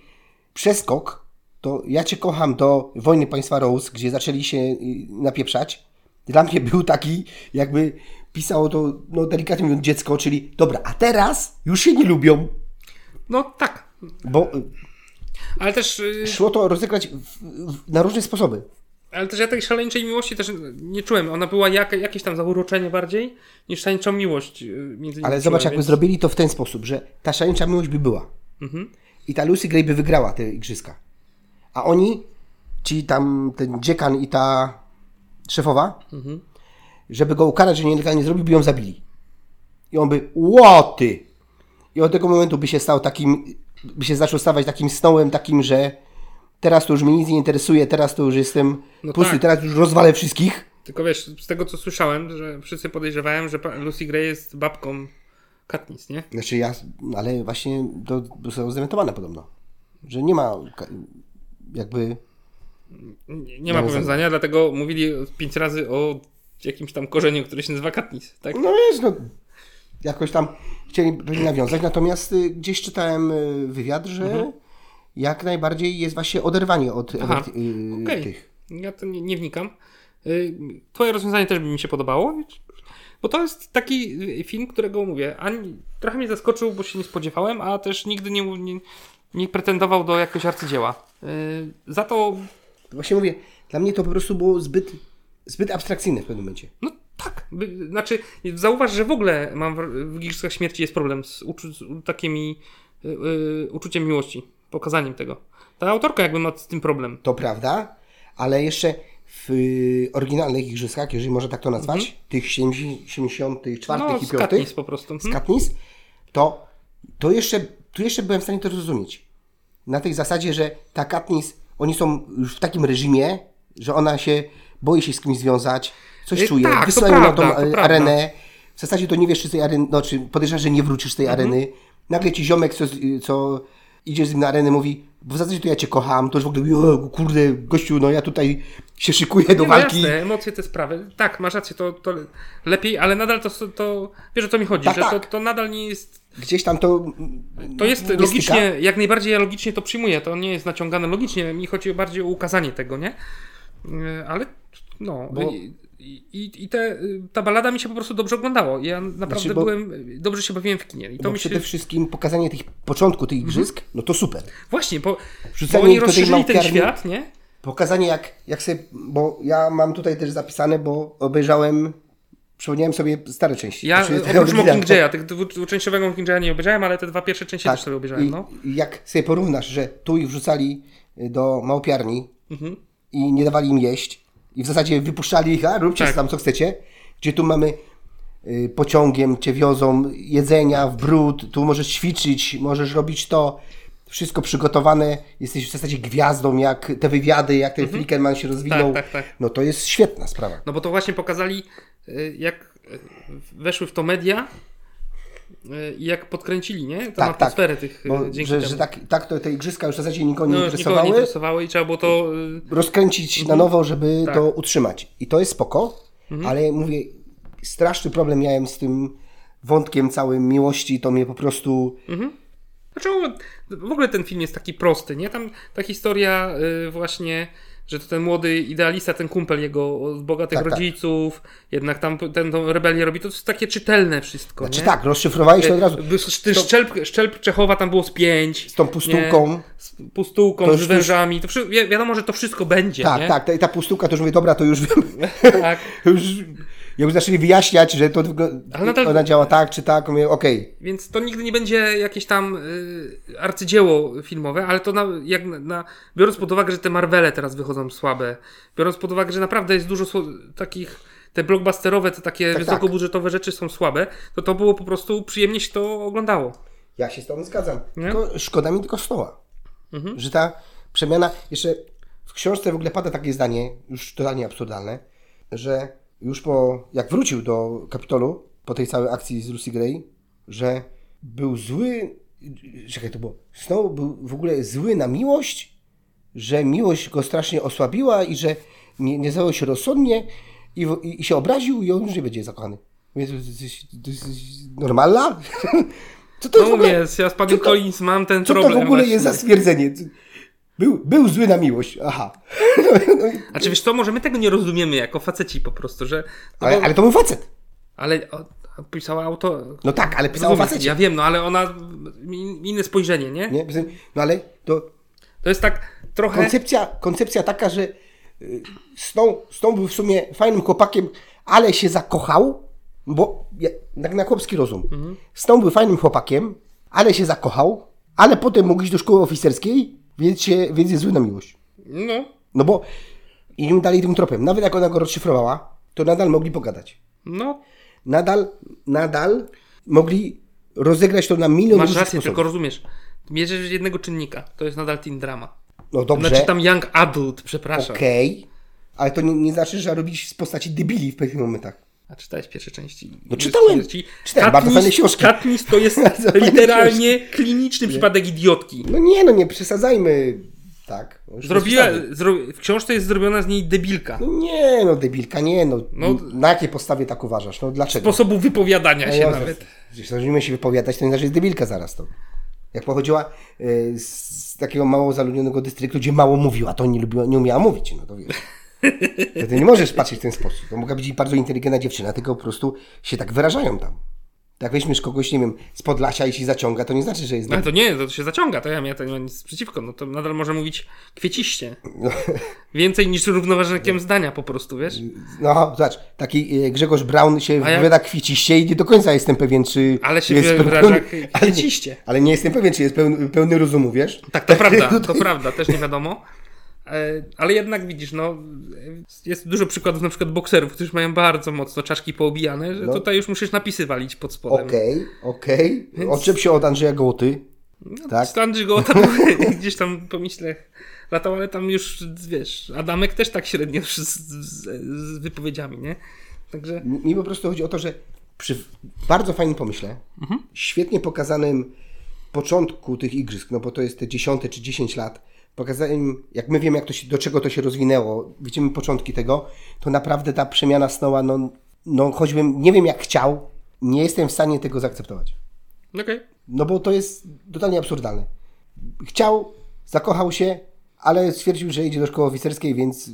B: przeskok, to ja cię kocham do Wojny Państwa Rose, gdzie zaczęli się y, napieprzać, dla mnie był taki, jakby pisało to, no delikatnie mówiąc, dziecko, czyli dobra, a teraz już się nie lubią,
A: No tak,
B: bo y,
A: ale też, yy,
B: szło to rozegrać w, w, na różne sposoby.
A: ale też ja tej szaleńczej miłości też nie czułem. Ona była jak, jakieś tam zauroczenie bardziej niż szaleńczą miłość yy, między nimi.
B: Ale
A: czułem,
B: zobacz, jakby
A: więc-
B: zrobili to w ten sposób, że ta szaleńcza miłość by była.
A: Mhm.
B: I ta Lucy Gray by wygrała te igrzyska. A oni, ci tam ten dziekan i ta szefowa,
A: Mhm.
B: żeby go ukarać, że nielegalnie zrobił, by ją zabili. I on by, łoty! I od tego momentu by się stał takim, by się zaczął stawać takim snołem, takim, że teraz to już mnie nic nie interesuje, teraz to już jestem
A: No
B: pusty,
A: tak.
B: teraz już rozwalę wszystkich.
A: Tylko wiesz, z tego co słyszałem, że wszyscy podejrzewałem, że pa- Lucy Gray jest babką Katniss, nie?
B: Znaczy ja, ale właśnie to zostało zdementowane podobno, że nie ma ka- jakby,
A: Nie, nie ma
B: No,
A: powiązania, dlatego mówili pięć razy o jakimś tam korzeniu, który się nazywa Katniss, tak?
B: no wiesz, no jakoś tam chcieli byli nawiązać, natomiast y, gdzieś czytałem y, wywiad, że jak najbardziej jest właśnie oderwanie od
A: Mhm. Aha,
B: Ever- y,
A: Okej.
B: tych.
A: Ja to nie, nie wnikam. Y, Twoje rozwiązanie też by mi się podobało, bo to jest taki y, film, którego mówię, ani, trochę mnie zaskoczył, bo się nie spodziewałem, a też nigdy nie, nie, nie pretendował do jakiegoś arcydzieła. Y, Za to,
B: Właśnie mówię, dla mnie to po prostu było zbyt, zbyt abstrakcyjne w pewnym momencie.
A: no tak, by, znaczy zauważ, że w ogóle mam w, w Igrzyskach Śmierci jest problem z, uczu, z takimi y, y, uczuciem miłości, pokazaniem tego. Ta autorka jakby ma z tym problem.
B: To prawda, ale jeszcze w y, oryginalnych igrzyskach, jeżeli można tak to nazwać, tych 74
A: Mhm. No,
B: i
A: z
B: 5,
A: Katniss po prostu.
B: z
A: Hmm?
B: Katniss, to, to jeszcze, tu jeszcze byłem w stanie to zrozumieć. Na tej zasadzie, że ta Katniss, oni są już w takim reżimie, że ona się boi się z kimś związać, coś
A: Y,
B: czuje,
A: tak, to
B: wysyłają ją na tą
A: prawda, to
B: e,
A: prawda.
B: arenę. W zasadzie to nie wiesz, czy z tej areny, no, czy podejrzewasz, że nie wrócisz z tej
A: Mhm.
B: areny. Nagle ci ziomek, co, z- co idzie z nim na arenę, mówi, bo w zasadzie to ja cię kocham, to już w ogóle, o, kurde, gościu, no ja tutaj się szykuję do
A: Nie, no
B: walki.
A: Jasne, emocje te sprawy. Tak, masz rację, to, to lepiej, ale nadal to, to wiesz o co mi chodzi,
B: Tak,
A: że
B: tak. No,
A: To, to nadal nie jest.
B: Gdzieś tam to...
A: To jest
B: nie
A: logicznie,
B: styka.
A: jak najbardziej ja logicznie to przyjmuję. To nie jest naciągane logicznie. Mi chodzi bardziej o ukazanie tego, nie? Yy, Ale no.
B: Bo-
A: I, i, i te, y, ta balada mi się po prostu dobrze oglądało. Ja naprawdę
B: Znaczy, bo-
A: byłem. Dobrze się bawiłem w kinie. I to
B: Bo
A: mi się. Mhm.
B: przede wszystkim pokazanie tych początku tych igrzysk, no to super.
A: Właśnie, bo, bo
B: Wrzucenie
A: oni
B: ich do tej
A: rozszerzyli ten
B: małpiarni.
A: świat, nie?
B: Pokazanie jak, jak sobie, bo ja mam tutaj też zapisane, bo obejrzałem, przypomniałem sobie stare części.
A: Ja
B: Znaczy, te
A: oprócz
B: oryginalne.
A: Mockingjaya, tych dwu- dwuczęściowego Mockingjaya nie obejrzałem, ale te dwa pierwsze części
B: Tak.
A: też sobie obejrzałem,
B: I,
A: no.
B: i Jak sobie porównasz, że tu ich wrzucali e, do małpiarni
A: Mhm.
B: i nie dawali im jeść i w zasadzie wypuszczali ich, a róbcie
A: Tak.
B: tam co chcecie, gdzie tu mamy y, pociągiem cię wiozą, jedzenia w brud, tu możesz ćwiczyć, możesz robić to, wszystko przygotowane, jesteś w zasadzie gwiazdą, jak te wywiady, jak ten Flickerman się rozwinął,
A: Mhm. tak, tak.
B: no to jest świetna sprawa.
A: No bo to właśnie pokazali, y, jak y, weszły w to media y, i jak podkręcili, nie? Tą
B: Tak, tak.
A: atmosferę tych y,
B: Bo,
A: dzięki
B: że
A: temu.
B: że tak, tak to te igrzyska już w zasadzie nikogo
A: no,
B: nie
A: już nikogo
B: interesowały.
A: nie interesowały i trzeba było to... y,
B: rozkręcić na nowo, żeby
A: Mhm. Tak. Mhm.
B: to utrzymać. I to jest spoko, ale mówię, straszny problem miałem z tym wątkiem całym miłości, to mnie po prostu...
A: Dlaczego znaczy, no, w ogóle ten film jest taki prosty, nie? Tam ta historia y, właśnie, że to ten młody idealista, ten kumpel jego od bogatych
B: Tak, tak.
A: rodziców, jednak tam p- ten tą rebelię robi, to jest takie czytelne wszystko,
B: Znaczy
A: nie?
B: tak, rozszyfrowałeś to od razu.
A: By- s- Ten szczelb, szczelb Czechowa tam było z pięć.
B: Z tą pustułką.
A: Z pustułką,
B: To
A: z
B: już-
A: wężami. To wszy- wi- wiadomo, że to wszystko będzie,
B: Tak,
A: nie?
B: tak, ta, ta pustułka, to już mówię, dobra, to już wiem.
A: tak.
B: już, jak już zaczęli wyjaśniać, że to wygl-
A: Ale nadal-
B: ona działa tak czy tak, mówię, okej.
A: Więc to nigdy nie będzie jakieś tam y, arcydzieło filmowe, ale to na, jak na, na, biorąc pod uwagę, że te Marvele teraz wychodzą słabe, biorąc pod uwagę, że naprawdę jest dużo sło- takich, te blockbusterowe, te takie
B: Tak,
A: wysokobudżetowe rzeczy są słabe, to to było po prostu przyjemnie się to oglądało.
B: Ja się z tobą zgadzam.
A: Nie?
B: Tylko szkoda mi tylko stoła.
A: Mhm.
B: Że ta przemiana. Jeszcze w książce w ogóle pada takie zdanie, już totalnie absurdalne, że już po. Jak wrócił do Kapitolu po tej całej akcji z Lucy Gray, że był zły. Czekaj, to było. Snow był w ogóle zły na miłość, że miłość go strasznie osłabiła i że nie, nie zachował się rozsądnie i, w- i, i się obraził i on już nie będzie zakochany. Mówię, To jest, to jest, to jest normalna? Co to
A: No
B: jest w ogóle?
A: mówię, ja z Paddy
B: co to-
A: Collins mam ten
B: Co to
A: problem.
B: w ogóle jest za
A: właśnie.
B: stwierdzenie? Był, był zły na miłość, aha.
A: No A czy Znaczy, wiesz co, może my tego nie rozumiemy jako faceci po prostu, że... No
B: Ale,
A: bo,
B: ale to był facet.
A: ale o, pisała auto...
B: No tak, ale pisał o
A: Rozumiem,
B: facecie.
A: Ja wiem, no ale ona... in- Inne spojrzenie, nie?
B: Nie? No ale to
A: To jest tak trochę...
B: koncepcja, koncepcja taka, że y, Snow, Snow był w sumie fajnym chłopakiem, ale się zakochał, bo ja- tak na chłopski rozum.
A: Mhm.
B: Snow był fajnym chłopakiem, ale się zakochał, ale potem mógł iść do szkoły oficerskiej, więc, się, więc jest zły na miłość.
A: No,
B: No bo im dalej tym tropem. Nawet jak ona go rozszyfrowała, to nadal mogli pogadać.
A: no,
B: nadal, nadal mogli rozegrać to na milion
A: masz
B: różnych
A: rację,
B: sposobów.
A: tylko rozumiesz. Mierzysz jednego czynnika, to jest nadal teen drama.
B: No dobrze,
A: Znaczy tam young adult, przepraszam.
B: okej, ale to nie, nie znaczy, że robisz z postaci debili w pewnych momentach.
A: A czytałeś pierwsze części?
B: No czytałem, czytałem, bardzo fajne książki.
A: Katniss to jest
B: Bardzo fajne
A: literalnie kliniczny przypadek idiotki.
B: No nie, no nie przesadzajmy, tak. no już
A: Zrobiła,
B: przesadzamy.
A: zro, w książce jest zrobiona z niej debilka.
B: No nie, no debilka, nie, no,
A: No-
B: na jakiej podstawie tak uważasz, no dlaczego?
A: Sposobu wypowiadania
B: No
A: się
B: Jezus,
A: nawet.
B: Jeśli zaczniemy się wypowiadać, to nie znaczy, że jest debilka zaraz to. Jak pochodziła y, z, z takiego mało zaludnionego dystryktu, gdzie mało mówiła, to nie, lubiła, nie umiała mówić, no to wiesz. To Ty nie możesz patrzeć w ten sposób. To mogła być bardzo inteligentna dziewczyna, tylko po prostu się tak wyrażają tam. Jak weźmiesz kogoś, nie wiem, z Podlasia i się zaciąga, to nie znaczy, że jest...
A: No ale to nie, to się zaciąga, to ja, ja to nie mam nic przeciwko, no to nadal może mówić kwieciście. Więcej niż równoważnikiem zdania po prostu, wiesz?
B: No, zobacz, taki e, Grzegorz Braun się
A: jak-
B: wypowiada kwiciście i nie do końca jestem pewien, czy...
A: Ale się
B: jest
A: wyraża
B: ale,
A: kwiciście.
B: ale nie jestem pewien, czy jest pełny, pełny rozumu, wiesz? No
A: Tak, to prawda,
B: tutaj-
A: to prawda, też nie wiadomo. E, Ale jednak widzisz, no, e, jest dużo przykładów na przykład bokserów, którzy mają bardzo mocno czaszki poobijane, że
B: No.
A: tutaj już musisz napisy walić pod spodem.
B: Okej, okej. Odczep się od Andrzeja Gołoty.
A: Tak.
B: Tak.
A: Stan go tam gdzieś tam po myślach latał, ale tam już, wiesz, Adamek też tak średnio z, z, z wypowiedziami, nie? Także
B: Mi mi po prostu chodzi o to, że przy bardzo fajnym pomyśle, świetnie pokazanym początku tych igrzysk, no bo to jest te 10 czy 10 lat, pokazanym, jak my wiemy, jak to się, do czego to się rozwinęło, widzimy początki tego, to naprawdę ta przemiana Snowa, no, no choćbym, nie wiem jak chciał, nie jestem w stanie tego zaakceptować.
A: okej.
B: No bo to jest totalnie absurdalne. Chciał, zakochał się, ale stwierdził, że idzie do szkoły oficerskiej, więc,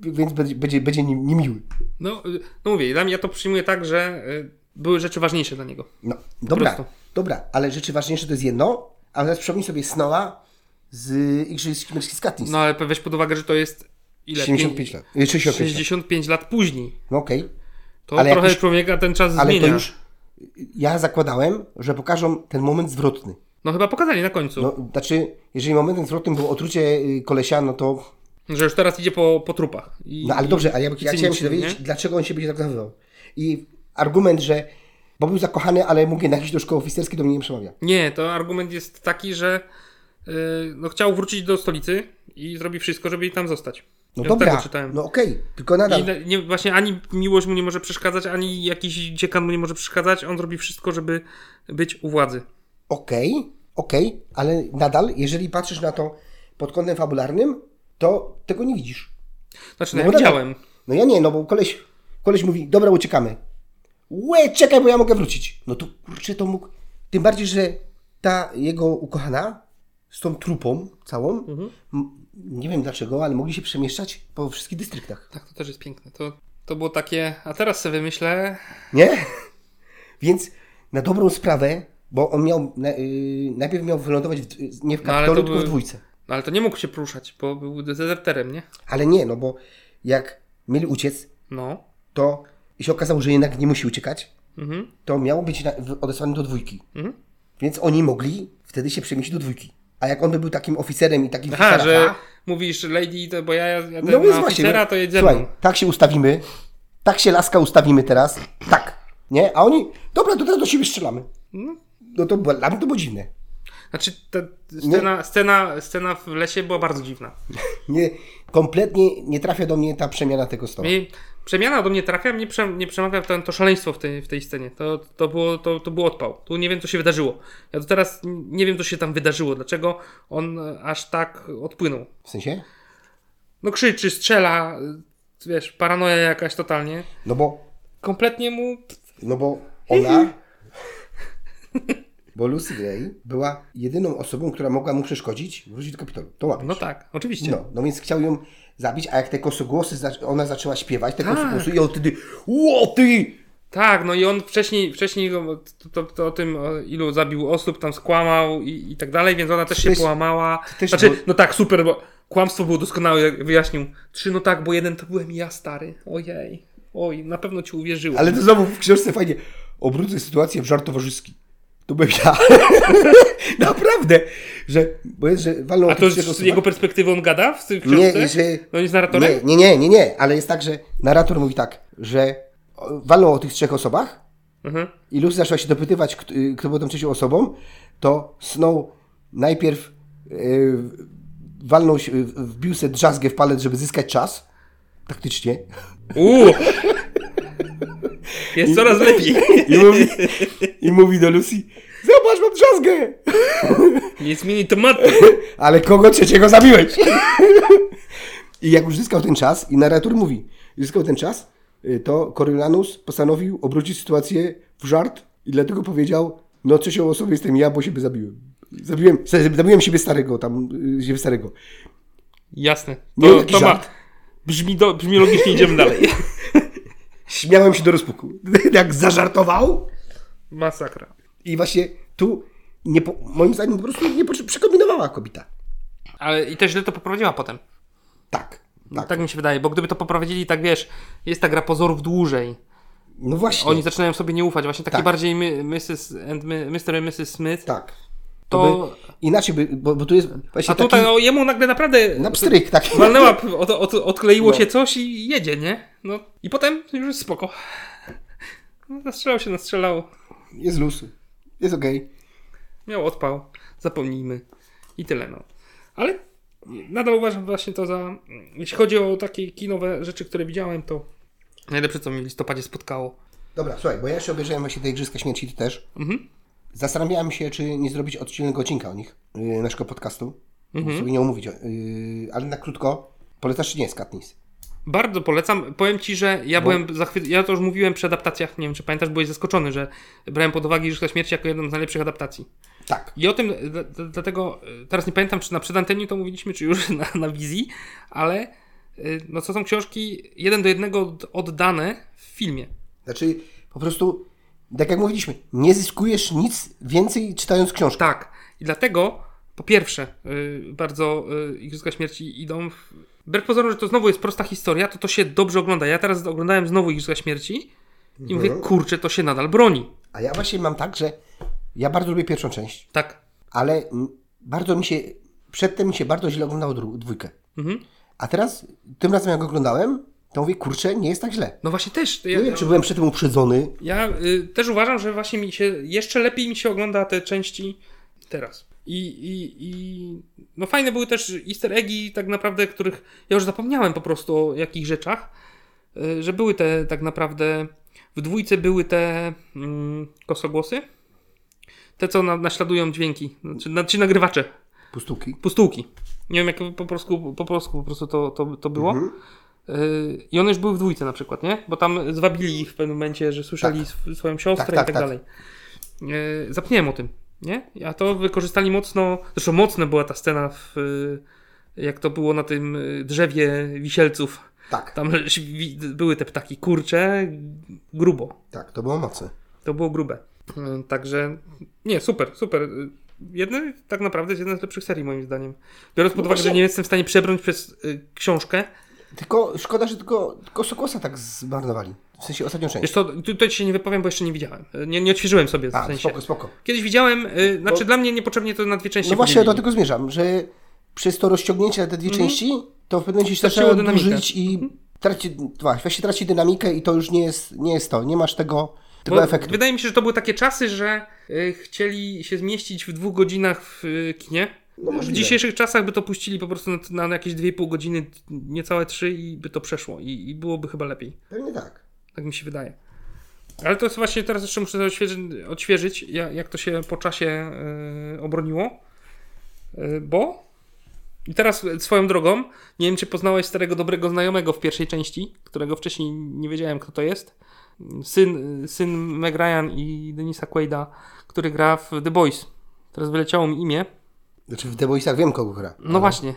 B: więc będzie, będzie, będzie nim- niemiły.
A: No, y, no mówię, dla mnie ja to przyjmuję tak, że y, były rzeczy ważniejsze dla niego.
B: No, dobra,
A: prostu.
B: dobra, ale rzeczy ważniejsze to jest jedno, a teraz przypomnij sobie Snowa z Igrzysk Męskich z Katniss.
A: No ale weź pod uwagę, że to jest ile?
B: 75 lat. E, 65 lat.
A: 65 lat później.
B: No okej,
A: To
B: Ale jak
A: trochę
B: już-
A: człowieka ten czas
B: ale
A: zmienia.
B: to już ja zakładałem, że pokażą ten moment zwrotny.
A: No chyba pokazali na końcu,
B: No, znaczy, jeżeli momentem zwrotnym było otrucie y, kolesia, no to...
A: że już teraz idzie po, po trupach. I,
B: No ale dobrze, ale ja, ja chciałem się
A: cynicznie,
B: dowiedzieć,
A: nie?
B: dlaczego on się będzie tak zachowywał. I argument, że bo był zakochany, ale mógł jednak iść do szkoły oficerskiej, do mnie nie przemawia.
A: Nie, to argument jest taki, że y, no, chciał wrócić do stolicy i zrobi wszystko, żeby jej tam zostać.
B: No
A: ja
B: dobra,
A: Tego czytałem.
B: no okej, tylko nadal...
A: I na- nie, właśnie ani miłość mu nie może przeszkadzać, ani jakiś dziekan mu nie może przeszkadzać. On zrobi wszystko, żeby być u władzy.
B: Okej, okej, ale nadal, jeżeli patrzysz na to pod kątem fabularnym, to tego nie widzisz.
A: Znaczy,
B: No
A: no,
B: bo
A: ja widziałem.
B: No ja nie, no bo koleś, koleś mówi, dobra, uciekamy. łe, czekaj, bo ja mogę wrócić. No to kurczę, to mógł... Tym bardziej, że ta jego ukochana z tą trupą całą,
A: Mhm.
B: m- nie wiem dlaczego, ale mogli się przemieszczać po wszystkich dystryktach.
A: Tak, to też jest piękne. To, to było takie, a teraz sobie myślę,
B: Nie? Więc na dobrą sprawę, bo on miał, na, yy, najpierw miał wylądować w, nie w
A: No, ale
B: kapitolu,
A: to
B: tylko
A: były-
B: w dwójce.
A: no ale to nie mógł się poruszać, bo był dezerterem, nie?
B: Ale nie, no bo jak mieli uciec,
A: No.
B: to i się okazało, że jednak nie musi uciekać,
A: Mhm.
B: to miało być na, w- odesłane do dwójki.
A: Mhm.
B: Więc oni mogli wtedy się przemieścić do dwójki. A jak on by był takim oficerem i takim
A: Aha,
B: oficerem,
A: że
B: a,
A: mówisz lady, to bo ja, ja ten
B: no więc
A: na
B: właśnie,
A: oficera,
B: no,
A: to jedzie.
B: słuchaj, tak się ustawimy, tak się laska ustawimy teraz, tak, nie? A oni, dobra, to teraz do siebie strzelamy.
A: No.
B: No to było- dla mnie to było dziwne.
A: Znaczy, ta scena, scena, scena w lesie była bardzo dziwna.
B: Nie, kompletnie nie trafia do mnie ta przemiana tego stołu.
A: Mnie, przemiana do mnie trafia, mnie prze, nie przemawia ten, to szaleństwo w tej, w tej scenie. To, to, było, to, to był odpał. Tu nie wiem, co się wydarzyło. Ja to teraz n- nie wiem, co się tam wydarzyło. Dlaczego on e, aż tak odpłynął.
B: W sensie?
A: No krzyczy, strzela, y, wiesz, paranoja jakaś totalnie.
B: No bo
A: Kompletnie mu...
B: No bo
A: Mhm.
B: ona. Bo Lucy Gray była jedyną osobą, która mogła mu przeszkodzić wrócić do kapitolu. To łapiesz.
A: No tak, oczywiście.
B: No, no więc chciał ją zabić, a jak te kosogłosy, zac- ona zaczęła śpiewać te
A: Tak.
B: kosogłosy i on wtedy Ło ty!
A: Tak, no i on wcześniej, wcześniej go- to, to, to o tym, o ilu zabił osób, tam skłamał i, i tak dalej, więc ona też się
B: Też-
A: połamała.
B: też
A: znaczy,
B: było-
A: no tak, super, bo kłamstwo było doskonałe, jak wyjaśnił. Trzy, no tak, bo jeden to byłem ja, stary. Ojej. Oj, na pewno ci uwierzyłem.
B: Ale to znowu w książce fajnie. Obrócę sytuację w żart towarzyski. To byłem ja. Naprawdę. Że, bo jest, że walną
A: A to
B: tylko
A: z
B: osoba-
A: jego perspektywy on gada w tej książce?
B: Nie, że...
A: No i z narratorem?
B: Nie, nie, nie, nie, nie, ale jest tak, że narrator mówi tak, że o, walą o tych trzech osobach,
A: Mhm.
B: i Lucy zaczęła się dopytywać, kto, y, kto był tą trzecią osobą, to Snow najpierw y, walnął, się- y, wbił sobie drzazgę w palec, żeby zyskać czas, taktycznie,
A: Uuu. Jest coraz lepiej.
B: i mówi, i mówi do Lucy, zobacz, mam drzazgę,
A: Nie zmieni tematu.
B: ale kogo trzeciego zabiłeś? I jak już zyskał ten czas, i narrator mówi, zyskał ten czas, y, to Coriolanus postanowił obrócić sytuację w żart i dlatego powiedział, no trzecią osobą jestem ja, bo siebie zabiłem. Zabiłem, zabiłem siebie starego, tam, y, siebie starego.
A: Jasne.
B: Nie
A: To,
B: taki
A: to ma...
B: żart.
A: Brzmi, do, brzmi logicznie, idziemy dalej.
B: Śmiałem się do rozpuku. Jak zażartował.
A: Masakra.
B: I właśnie tu, nie po, moim zdaniem, po prostu nie po, przekombinowała kobieta.
A: Ale i też źle to poprowadziła potem.
B: Tak,
A: Tak.
B: tak.
A: mi się wydaje, bo gdyby to poprowadzili, tak wiesz, jest ta gra pozorów dłużej.
B: No właśnie.
A: Oni zaczynają sobie nie ufać, właśnie takie
B: Tak.
A: bardziej my, Mrs. and my, Mr. and Mrs. Smith.
B: Tak.
A: To-
B: To by, inaczej by, bo, bo tu jest właśnie
A: A tutaj
B: taki
A: no, jemu nagle naprawdę
B: na pstryk taki.
A: walnęła, p- od, od, odkleiło
B: No.
A: się coś i jedzie, nie? No i potem już jest spoko. No, Nastrzelał się, nastrzelał,
B: Jest luz. Jest okej.
A: miał odpał, zapomnijmy i tyle no. Ale nadal uważam właśnie to za, jeśli chodzi o takie kinowe rzeczy, które widziałem, to najlepsze co mi w listopadzie spotkało.
B: Dobra, słuchaj, bo ja jeszcze obejrzałem właśnie te Igrzyska Śmierci, ty też.
A: Mhm.
B: Zastanawiałem się, czy nie zrobić odciennego odcinka o nich, yy, naszego podcastu. Mhm. Sobie nie omówić, o- yy, ale na krótko. Polecasz czy nie, Katniss?
A: Bardzo polecam. Powiem ci, że ja byłem zachwycony. Ja to już mówiłem przy adaptacjach. Nie wiem, czy pamiętasz, byłeś zaskoczony, że brałem pod uwagę Igrzyska Śmierci jako jedną z najlepszych adaptacji.
B: Tak.
A: I o tym, e, d- d- dlatego y, teraz nie pamiętam, czy na przedanteniu to mówiliśmy, czy już na, na wizji, ale y, no co są książki jeden do jednego od- oddane w filmie.
B: Znaczy, po prostu, tak jak mówiliśmy, nie zyskujesz nic więcej czytając książkę.
A: Tak. I dlatego, po pierwsze, y, bardzo y, Igrzyska Śmierci idą. W... Wbrew pozorom, że to znowu jest prosta historia, to to się dobrze ogląda. Ja teraz oglądałem znowu Igrzyska Śmierci i mówię,
B: Mhm.
A: kurczę, to się nadal broni.
B: A ja właśnie mam tak, że ja bardzo lubię pierwszą część,
A: Tak.
B: ale mm, bardzo mi się, przedtem mi się bardzo źle oglądało dru- dwójkę.
A: Mhm.
B: A teraz, tym razem jak oglądałem, to mówię, kurczę, nie jest tak źle.
A: No właśnie też. Ja,
B: Nie wiem, czy byłem przed tym uprzedzony.
A: ja y, też uważam, że właśnie mi się jeszcze lepiej mi się ogląda te części teraz. I, i, i no fajne były też easter eggi tak naprawdę, których ja już zapomniałem po prostu o jakich rzeczach, y, że były te tak naprawdę w dwójce były te mm, kosogłosy, te co na, naśladują dźwięki, znaczy, znaczy nagrywacze,
B: Pustuki. Mhm.
A: pustułki. Nie wiem jak po polsku po, polsku po prostu to, to, to było. Yy, I one już były w dwójce na przykład, nie? Bo tam zwabili ich w pewnym momencie, że słyszeli
B: Tak.
A: sw- swoją siostrę
B: Tak, tak,
A: i tak,
B: tak.
A: dalej. Yy, zapomniałem o tym, nie? A to wykorzystali mocno, zresztą mocna była ta scena w, yy, jak to było na tym yy, drzewie wisielców.
B: Tak,
A: Tam wi- były te ptaki, kurcze, grubo.
B: tak, to było mocne.
A: To było grube. Y, Także nie, super, super. Y, Jedny, tak naprawdę jest jeden z lepszych serii moim zdaniem. Biorąc pod uwagę,
B: No właśnie-
A: że nie jestem w stanie przebrnąć przez y, książkę.
B: Tylko szkoda, że tylko, tylko Sokosa tak zmarnowali. W sensie ostatnią część.
A: Wiesz co, tu- tutaj się nie wypowiem, bo jeszcze nie widziałem. Y, Nie, nie odświeżyłem sobie w
B: A,
A: sensie.
B: spoko, spoko.
A: Kiedyś widziałem, y, znaczy dla mnie niepotrzebnie to na dwie części
B: No właśnie, do
A: podzielili.
B: tego zmierzam, że przez to rozciągnięcie na te dwie części, to w pewnym momencie się
A: Traciło
B: zaczęło
A: dynamikę. Mhm.
B: dłużyć i traci, właśnie, właśnie traci dynamikę i to już nie jest, nie jest to. Nie masz tego, tego
A: Bo
B: efektu.
A: Wydaje mi się, że to były takie czasy, że y, chcieli się zmieścić w dwóch godzinach w y, kinie.
B: No
A: w
B: możliwe.
A: dzisiejszych czasach by to puścili po prostu na, na jakieś 2,5 godziny, niecałe 3 i by to przeszło. I, i byłoby chyba lepiej.
B: Pewnie tak.
A: Tak mi się wydaje. Ale to jest właśnie teraz jeszcze muszę to odświeżyć, odświeżyć ja- jak to się po czasie y, obroniło. Y, bo i teraz swoją drogą, nie wiem czy poznałeś starego dobrego znajomego w pierwszej części, którego wcześniej nie wiedziałem kto to jest. Syn, syn Meg Ryan i Denisa Quaida, który gra w The Boys. Teraz wyleciało mi imię.
B: Znaczy w The Boysach wiem kogo gra.
A: No właśnie,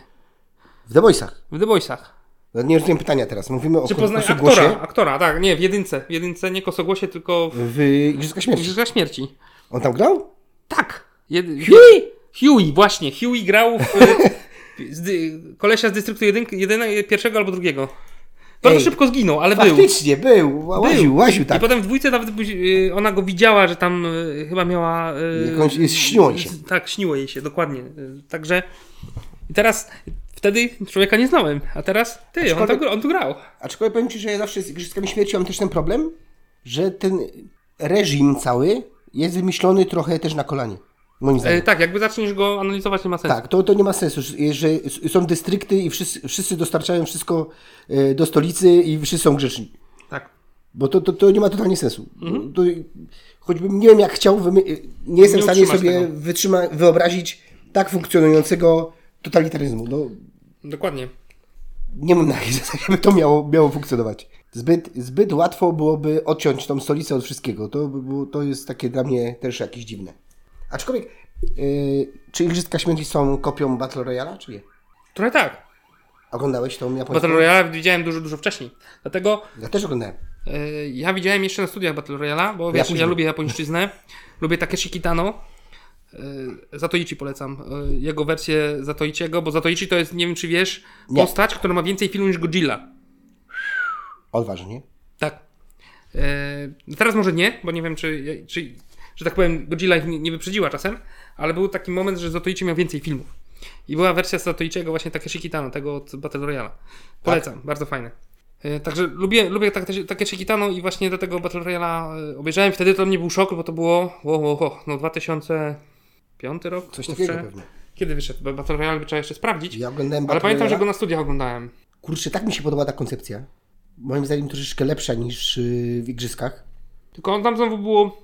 B: W The Boysach.
A: w The Boysach.
B: No nie rozumiem pytania teraz. Mówimy o,
A: Czy
B: o
A: poznałeś aktora?
B: Sokłosie
A: Aktora, tak, nie, w jedynce. W jedynce nie Kosogłosie, tylko w
B: w Igrzyskach Śmierci.
A: Igrzyskach Śmierci.
B: On tam grał?
A: Tak. Jed... Huey? Huey, właśnie. Huey grał w, y, z, dy- kolesia z Dystryktu 1, pierwszego albo drugiego. Bardzo
B: Ej,
A: szybko zginął, ale był.
B: Faktycznie, był. Ła- Łaził, łaził
A: I
B: tak.
A: potem w dwójce nawet buzi- y, ona go widziała, że tam y, chyba miała... y,
B: Jakąś- y, śniło jej się.
A: z- Tak, śniło jej się, dokładnie. Y, Także... I teraz... Wtedy człowieka nie znałem, a teraz ty, on,
B: Aczkolwiek-
A: to, on tu grał.
B: Aczkolwiek powiem Ci, że ja zawsze z Igrzyskami Śmierci mam też ten problem, że ten reżim cały jest wymyślony trochę też na kolanie. Moim zdaniem.
A: E, tak, jakby zaczniesz go analizować, nie ma sensu.
B: Tak, to, to nie ma sensu, że- że są dystrykty i wszyscy, wszyscy dostarczają wszystko e, do stolicy i wszyscy są grzeczni.
A: tak.
B: Bo to, to, to nie ma totalnie sensu. To, choćbym nie wiem jak chciał, wymy- nie
A: Mhm. Nie
B: jestem w stanie
A: utrzymasz
B: sobie
A: tego.
B: wytrzyma- wyobrazić tak funkcjonującego totalitaryzmu. No,
A: Dokładnie.
B: nie mam na jakiej zasadzie by to miało, miało funkcjonować. Zbyt, zbyt łatwo byłoby odciąć tą stolicę od wszystkiego. To, by było, to jest takie dla mnie też jakieś dziwne. Aczkolwiek, yy, czy Igrzyska Śmierci są kopią Battle Royale'a, czy nie?
A: Trochę tak.
B: Oglądałeś tą japońską?
A: Battle Royale widziałem dużo, dużo wcześniej. Dlatego
B: Ja też oglądałem.
A: E, Ja widziałem jeszcze na studiach Battle Royale'a, bo wiesz, ja
B: później.
A: lubię japońszczyznę, lubię Takeshi Kitano. E, Zatoichi polecam, e, jego wersję Zatoichiego, bo Zatoichi to jest, nie wiem czy wiesz,
B: Nie.
A: postać, która ma więcej filmów niż Godzilla.
B: Odważnie.
A: Tak. E, Teraz może nie, bo nie wiem czy, czy że tak powiem, Godzilla ich nie nie wyprzedziła czasem, ale był taki moment, że Zatoichi miał więcej filmów. I była wersja z Zatoichiego właśnie Takeshi Kitano, tego od Battle Royale'a. Polecam,
B: Tak.
A: bardzo fajne. E, Także lubię, lubię tak- tak- Takeshi Kitano i właśnie do tego Battle Royale'a e, obejrzałem. Wtedy to mnie był szok, bo to było wo, wo, wo, no 2005 rok?
B: Coś
A: kurczę.
B: takiego pewnie.
A: Kiedy wyszedł? Bo Battle Royale by trzeba jeszcze sprawdzić.
B: Ja oglądałem
A: ale
B: Battle
A: pamiętam, że
B: Royale'a.
A: go na studiach oglądałem.
B: Kurczę, tak mi się podoba ta koncepcja. Moim zdaniem troszeczkę lepsza niż yy, w Igrzyskach.
A: Tylko on tam znowu było,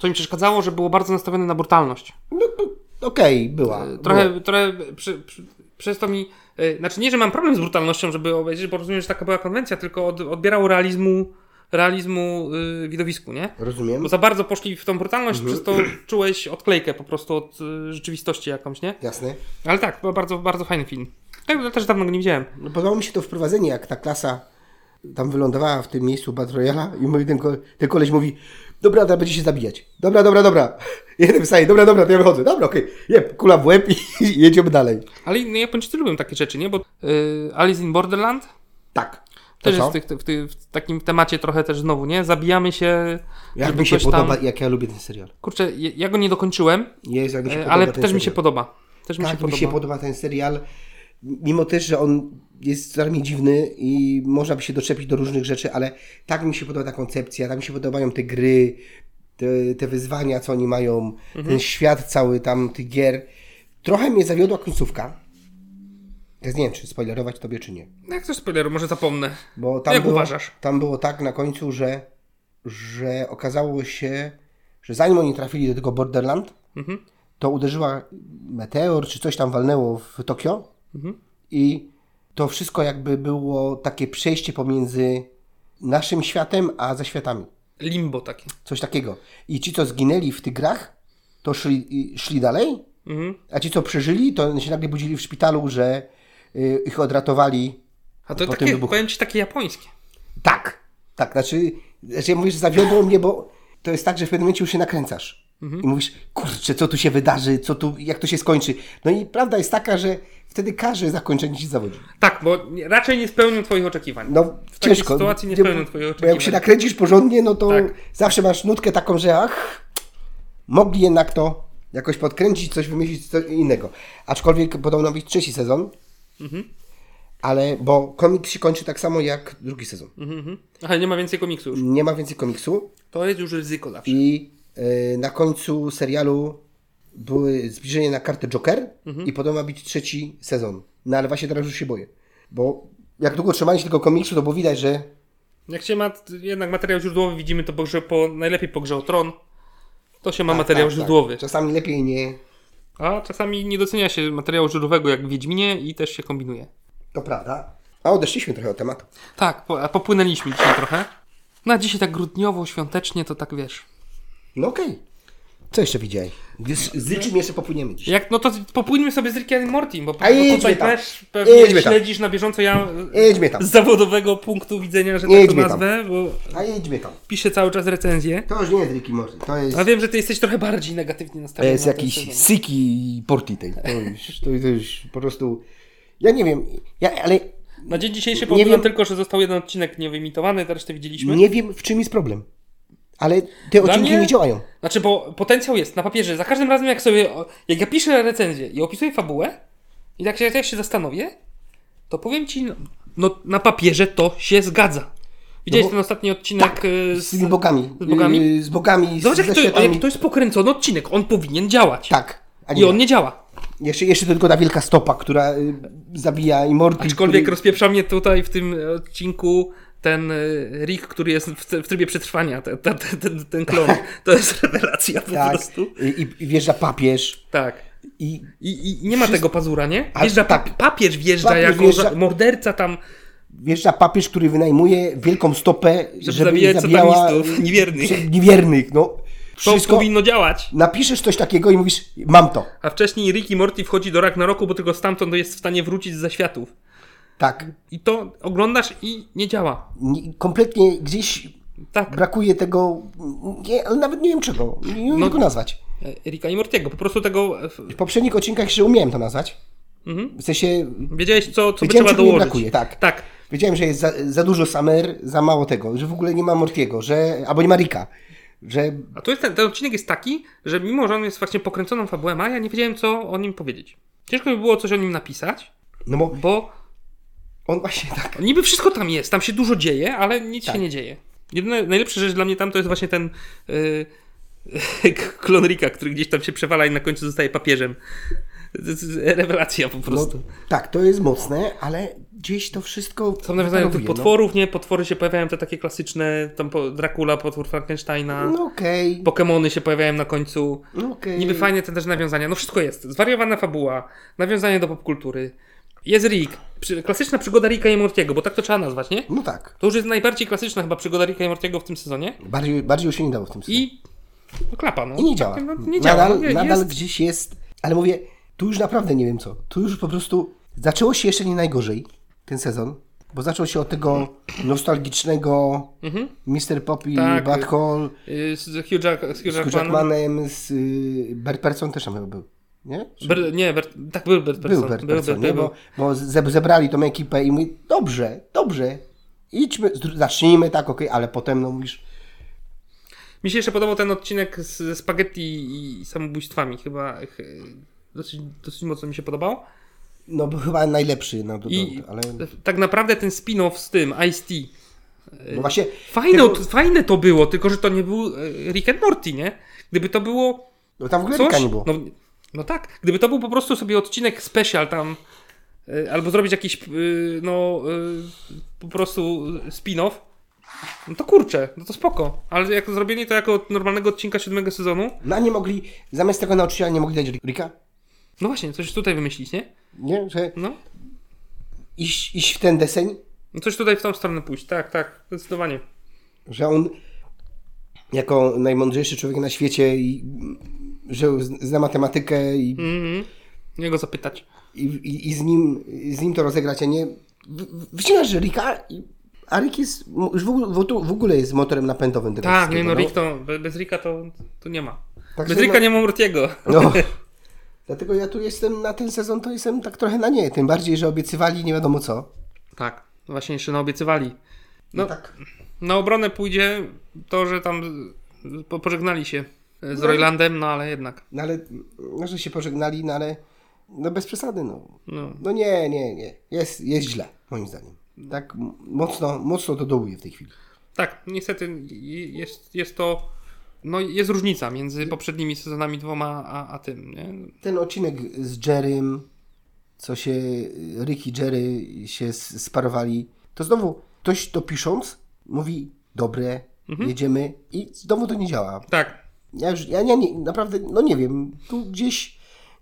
A: co mi przeszkadzało, że było bardzo nastawione na brutalność.
B: No, no, okej, była. Była.
A: E, Trochę, trochę przy, przy, przez to mi. y, Znaczy, nie, że mam problem z brutalnością, żeby obejrzeć, bo rozumiem, że taka była konwencja, tylko od, odbierał realizmu, realizmu y, widowisku, nie?
B: Rozumiem.
A: Bo za bardzo poszli w tą brutalność, przez to czułeś odklejkę po prostu od y, rzeczywistości jakąś, nie?
B: Jasne.
A: Ale tak, był bardzo, bardzo fajny film. Tak, ja też dawno go nie widziałem.
B: No, podobało mi się to wprowadzenie, jak ta klasa tam wylądowała w tym miejscu Battle Royale'a i mówi ten, ko- ten koleś mówi dobra, dobra, będzie się zabijać. Dobra, dobra, dobra. Jeden wstaje, dobra, dobra, to ja wychodzę. Dobra, okej. Jeb, kula w łeb i, i jedziemy dalej.
A: Ale no, Japończycy lubią takie rzeczy, nie? Bo y, Alice in Borderland
B: Tak. To
A: też
B: co?
A: jest w, tych, w, tych, w takim temacie trochę też znowu, nie? Zabijamy się.
B: Jak
A: żeby
B: mi się
A: ktoś tam-
B: podoba, jak ja lubię ten serial.
A: Kurczę, ja ja go nie dokończyłem,
B: Jest, jak mi się
A: E,
B: podoba
A: ale
B: ten
A: też mi
B: serial.
A: się podoba. Też mi się
B: tak mi
A: podoba.
B: się podoba ten serial, mimo też, że on jest dla mnie dziwny i można by się doczepić do różnych rzeczy, ale tak mi się podoba ta koncepcja, tak mi się podobają te gry, te, te wyzwania, co oni mają,
A: Mhm.
B: ten świat cały tam tych gier. Trochę mnie zawiodła końcówka. Teraz nie wiem, czy spoilerować tobie, czy nie.
A: No Jak coś spoileru, może zapomnę.
B: Bo tam
A: Jak
B: było,
A: uważasz?
B: Tam było tak na końcu, że, że okazało się, że zanim oni trafili do tego Borderland,
A: Mhm. Mhm.
B: to uderzyła meteor, czy coś tam walnęło w Tokio i to wszystko jakby było takie przejście pomiędzy naszym światem a zaświatami.
A: Limbo takie.
B: Coś takiego. I ci, co zginęli w tych grach, to szli, i- szli dalej,
A: Mhm.
B: a ci, co przeżyli, to się nagle budzili w szpitalu, że y, ich odratowali.
A: A to
B: Po tym
A: takie,
B: wybuchu.
A: powiem ci, takie japońskie.
B: Tak, tak, znaczy, znaczy ja mówię, że zawiodło mnie, bo to jest tak, że w pewnym momencie już się nakręcasz. I mówisz, kurczę, co tu się wydarzy, co tu, jak to się skończy. No i prawda jest taka, że wtedy każe zakończenie się zawodzi.
A: Tak, bo nie- raczej nie spełnią twoich oczekiwań.
B: No,
A: w takiej
B: ciężko.
A: sytuacji nie
B: bo-
A: spełnią twoich
B: Bo jak się
A: oczekiwań.
B: nakręcisz porządnie, no to
A: Tak.
B: zawsze masz nutkę taką, że ach, mogli jednak to jakoś podkręcić, coś wymyślić, coś innego. Aczkolwiek podobno być trzeci sezon,
A: Mhm.
B: ale bo komiks się kończy tak samo jak drugi sezon.
A: Mhm. Ale nie ma więcej komiksu już.
B: Nie ma więcej komiksu
A: To jest już ryzyko zawsze.
B: i y, na końcu serialu były zbliżenie na kartę Joker i podobno ma być trzeci sezon. No ale właśnie teraz już się boję, bo jak długo trzymali się tego komiksu, to było widać, że
A: Jak się ma t- jednak materiał źródłowy, widzimy to pogrze, po, najlepiej po grze o tron. To się ma materiał
B: tak, tak.
A: źródłowy.
B: Czasami lepiej nie.
A: A czasami nie docenia się materiału źródłowego jak w Wiedźminie i też się kombinuje.
B: To prawda. A odeszliśmy trochę od tematu.
A: Tak, po, a popłynęliśmy dzisiaj trochę. Na dzisiaj tak grudniowo, świątecznie, to tak wiesz.
B: No okej. Co jeszcze widziałeś? Z, z czym jeszcze popłyniemy dzisiaj?
A: Jak, no to popłyńmy sobie z Rickiem i Mortim, bo, bo
B: A idźmy
A: tutaj
B: tam.
A: też pewnie
B: Idźmy tam.
A: śledzisz na bieżąco ja
B: Jedźmy tam.
A: z zawodowego punktu widzenia, że tak to
B: Idźmy tam.
A: nazwę, bo
B: A jedźmy tam.
A: piszę cały czas recenzję.
B: To już nie jest Ricky Morty. To jest,
A: A wiem, że ty jesteś trochę bardziej negatywnie
B: to
A: nastawiony.
B: jest
A: na ten
B: jakiś
A: sezon.
B: Syki i Portitej. To już, to, to już po prostu... Ja nie wiem, ja, ale
A: Na dzień dzisiejszy
B: Nie
A: powiem
B: wiem-
A: tylko, że został jeden odcinek niewymitowany, te resztę widzieliśmy.
B: nie wiem w czym jest problem. Ale te
A: Dla
B: odcinki
A: mnie-
B: nie działają.
A: Znaczy, bo potencjał jest na papierze. Za każdym razem, jak sobie. o- Jak ja piszę recenzję i opisuję fabułę, i tak się, jak ja się zastanowię, to powiem ci, no, no na papierze to się zgadza. Widziałeś
B: No bo-
A: ten ostatni odcinek y,
B: Z
A: z.
B: tymi bogami.
A: z bogami?
B: Yy, Z bogami,
A: Zobacz,
B: z
A: jak to, o,
B: zaświatami.
A: jaki to jest pokręcony odcinek. On powinien działać.
B: Tak. A
A: I on nie działa.
B: Jeszcze, jeszcze tylko ta wielka stopa, która y, zabija i Morty.
A: Aczkolwiek
B: który-
A: rozpieprza mnie tutaj w tym e, odcinku ten y, Rick, który jest w, w trybie przetrwania, ten, ten, ten, ten klon. To jest rewelacja po
B: tak,
A: prostu.
B: I, I wjeżdża papież.
A: Tak.
B: I
A: I, I nie ma tego pazura, nie?
B: A,
A: Wjeżdża
B: tak.
A: pap- papież wjeżdża
B: Papież
A: jako
B: wjeżdża-
A: za- morderca tam,
B: wjeżdża papież, który wynajmuje wielką stopę, żeby,
A: zabijać
B: zabijała
A: satanistów, niewiernych.
B: przy- niewiernych, no.
A: to
B: Wszystko
A: powinno działać.
B: napiszesz coś takiego i mówisz, mam to.
A: A wcześniej Ricky Morty wchodzi do Ragnaroku, bo tylko stamtąd jest w stanie wrócić ze światów.
B: Tak.
A: I to oglądasz i nie działa.
B: Nie- Kompletnie gdzieś
A: Tak,
B: brakuje tego, nie, ale nawet nie wiem czego, nie wiem
A: No.
B: jak go nazwać.
A: e, Ricka i Mortiego, po prostu tego... e,
B: W poprzednich odcinkach jeszcze umiałem to nazwać.
A: Mhm.
B: W sensie,
A: Wiedziałeś, co, co by
B: Wiedziałem,
A: trzeba
B: czego mi
A: dołożyć.
B: brakuje, tak.
A: Tak,
B: wiedziałem, że jest za, za dużo Samer, za mało tego, że w ogóle nie ma Mortiego, że, albo nie ma Rika, że
A: A tu jest ten, ten odcinek jest taki, że mimo, że on jest właśnie pokręconą fabułą, a ja nie wiedziałem, co o nim powiedzieć. Ciężko mi było coś o nim napisać,
B: no bo
A: bo
B: on właśnie tak,
A: niby wszystko tam jest, tam się dużo dzieje, ale nic
B: Tak.
A: się nie dzieje. Jedyna najlepsza rzecz dla mnie tam to jest właśnie ten yy, klon Rika, który gdzieś tam się przewala i na końcu zostaje papieżem. To jest rewelacja po
B: no,
A: prostu.
B: tak, to jest mocne, ale gdzieś to wszystko...
A: Są nawiązania do tych
B: paruje, no.
A: potworów, nie? Potwory się pojawiają, te takie klasyczne, tam po- Dracula, potwór Frankensteina,
B: No okej.
A: Pokemony się pojawiają na końcu.
B: No okej.
A: Niby fajnie te też nawiązania. No wszystko jest. Zwariowana fabuła, nawiązanie do popkultury. Jest Rick. Przy, klasyczna przygoda Ricka i Mortiego, bo tak to trzeba nazwać, nie?
B: No tak.
A: To już jest najbardziej klasyczna chyba przygoda Ricka i Mortiego w tym sezonie.
B: Bardziej, bardziej już się nie dało w tym sensie.
A: I no, klapa, no.
B: I nie działa.
A: No, nie działa.
B: Nadal,
A: no, je-
B: nadal
A: jest.
B: gdzieś jest. Ale mówię, tu już naprawdę nie wiem co. Tu już po prostu zaczęło się jeszcze nie najgorzej ten sezon, bo zaczął się od tego nostalgicznego Mr. Poppy,
A: Mhm. Tak.
B: Bad Hall
A: Y, Z z Hugh, Jack, z Hugh
B: z
A: Jackmanem.
B: Jackmanem, z y, Bert Person też tam chyba był. Nie? Czy-
A: Ber, nie, Bert, tak był Bert Person.
B: Był Bert Person, nie? Bo, bo ze, zebrali tą ekipę i mówi, dobrze, dobrze, idźmy, zdr- zacznijmy tak, okej, ale potem no mówisz,
A: Mi się jeszcze podobał ten odcinek z ze spaghetti i samobójstwami. Chyba ch- dosyć, dosyć mocno mi się podobał.
B: no bo chyba najlepszy, no, do, do,
A: I
B: ale...
A: tak naprawdę ten spin-off z tym, Ice-T.
B: No właśnie,
A: Fajne,
B: Tylko-
A: fajne to było, tylko że to nie był e, Rick and Morty, nie? Gdyby to było
B: no tam w ogóle
A: coś...
B: Rika nie było.
A: No, no tak, gdyby to był po prostu sobie odcinek special tam, e, albo zrobić jakiś, e, no, e, po prostu spin-off, no to kurczę, no to spoko. Ale jak zrobienie to jako normalnego odcinka siódmego sezonu,
B: No a nie mogli, zamiast tego nauczyciela nie mogli dać Rika?
A: no właśnie, coś tutaj wymyślić, nie?
B: Nie? Że
A: No,
B: iść, iść w ten deseń,
A: No coś tutaj w tą stronę pójść, tak, tak, zdecydowanie.
B: że on jako najmądrzejszy człowiek na świecie i mm, że z- zna matematykę i,
A: Mhm. Nie go zapytać.
B: i, i, i z, nim, z nim to rozegrać, a nie wy- wy- wycinasz Rika, i- a Rick jest m- już w ogóle, w otu- w ogóle jest motorem napędowym tego
A: Tak, nie
B: wszystkiego,
A: no, Rick to, be- bez Rika to, to nie ma.
B: Także
A: bez Rika
B: no-
A: nie ma Mortiego.
B: No. Dlatego ja tu jestem na ten sezon, to jestem tak trochę na nie, tym bardziej, że obiecywali nie wiadomo co.
A: Tak, właśnie jeszcze naobiecywali. No,
B: tak.
A: Na obronę pójdzie to, że tam z- po- pożegnali się z Roylandem, no ale jednak.
B: No ale, no, że się pożegnali, no ale, no bez przesady, no.
A: No.
B: No nie, nie, nie. Jest, jest źle, moim zdaniem. Tak m- mocno, mocno to dołuje w tej chwili.
A: Tak, niestety i- jest, jest to. No jest różnica między poprzednimi sezonami dwoma, a, a tym, nie?
B: Ten odcinek z Jerrym, co się Rick i Jerry się s- sparowali, to znowu ktoś to pisząc mówi, dobre, jedziemy i znowu to nie działa.
A: Tak,
B: Ja już, ja, ja nie, naprawdę, no nie wiem, tu gdzieś,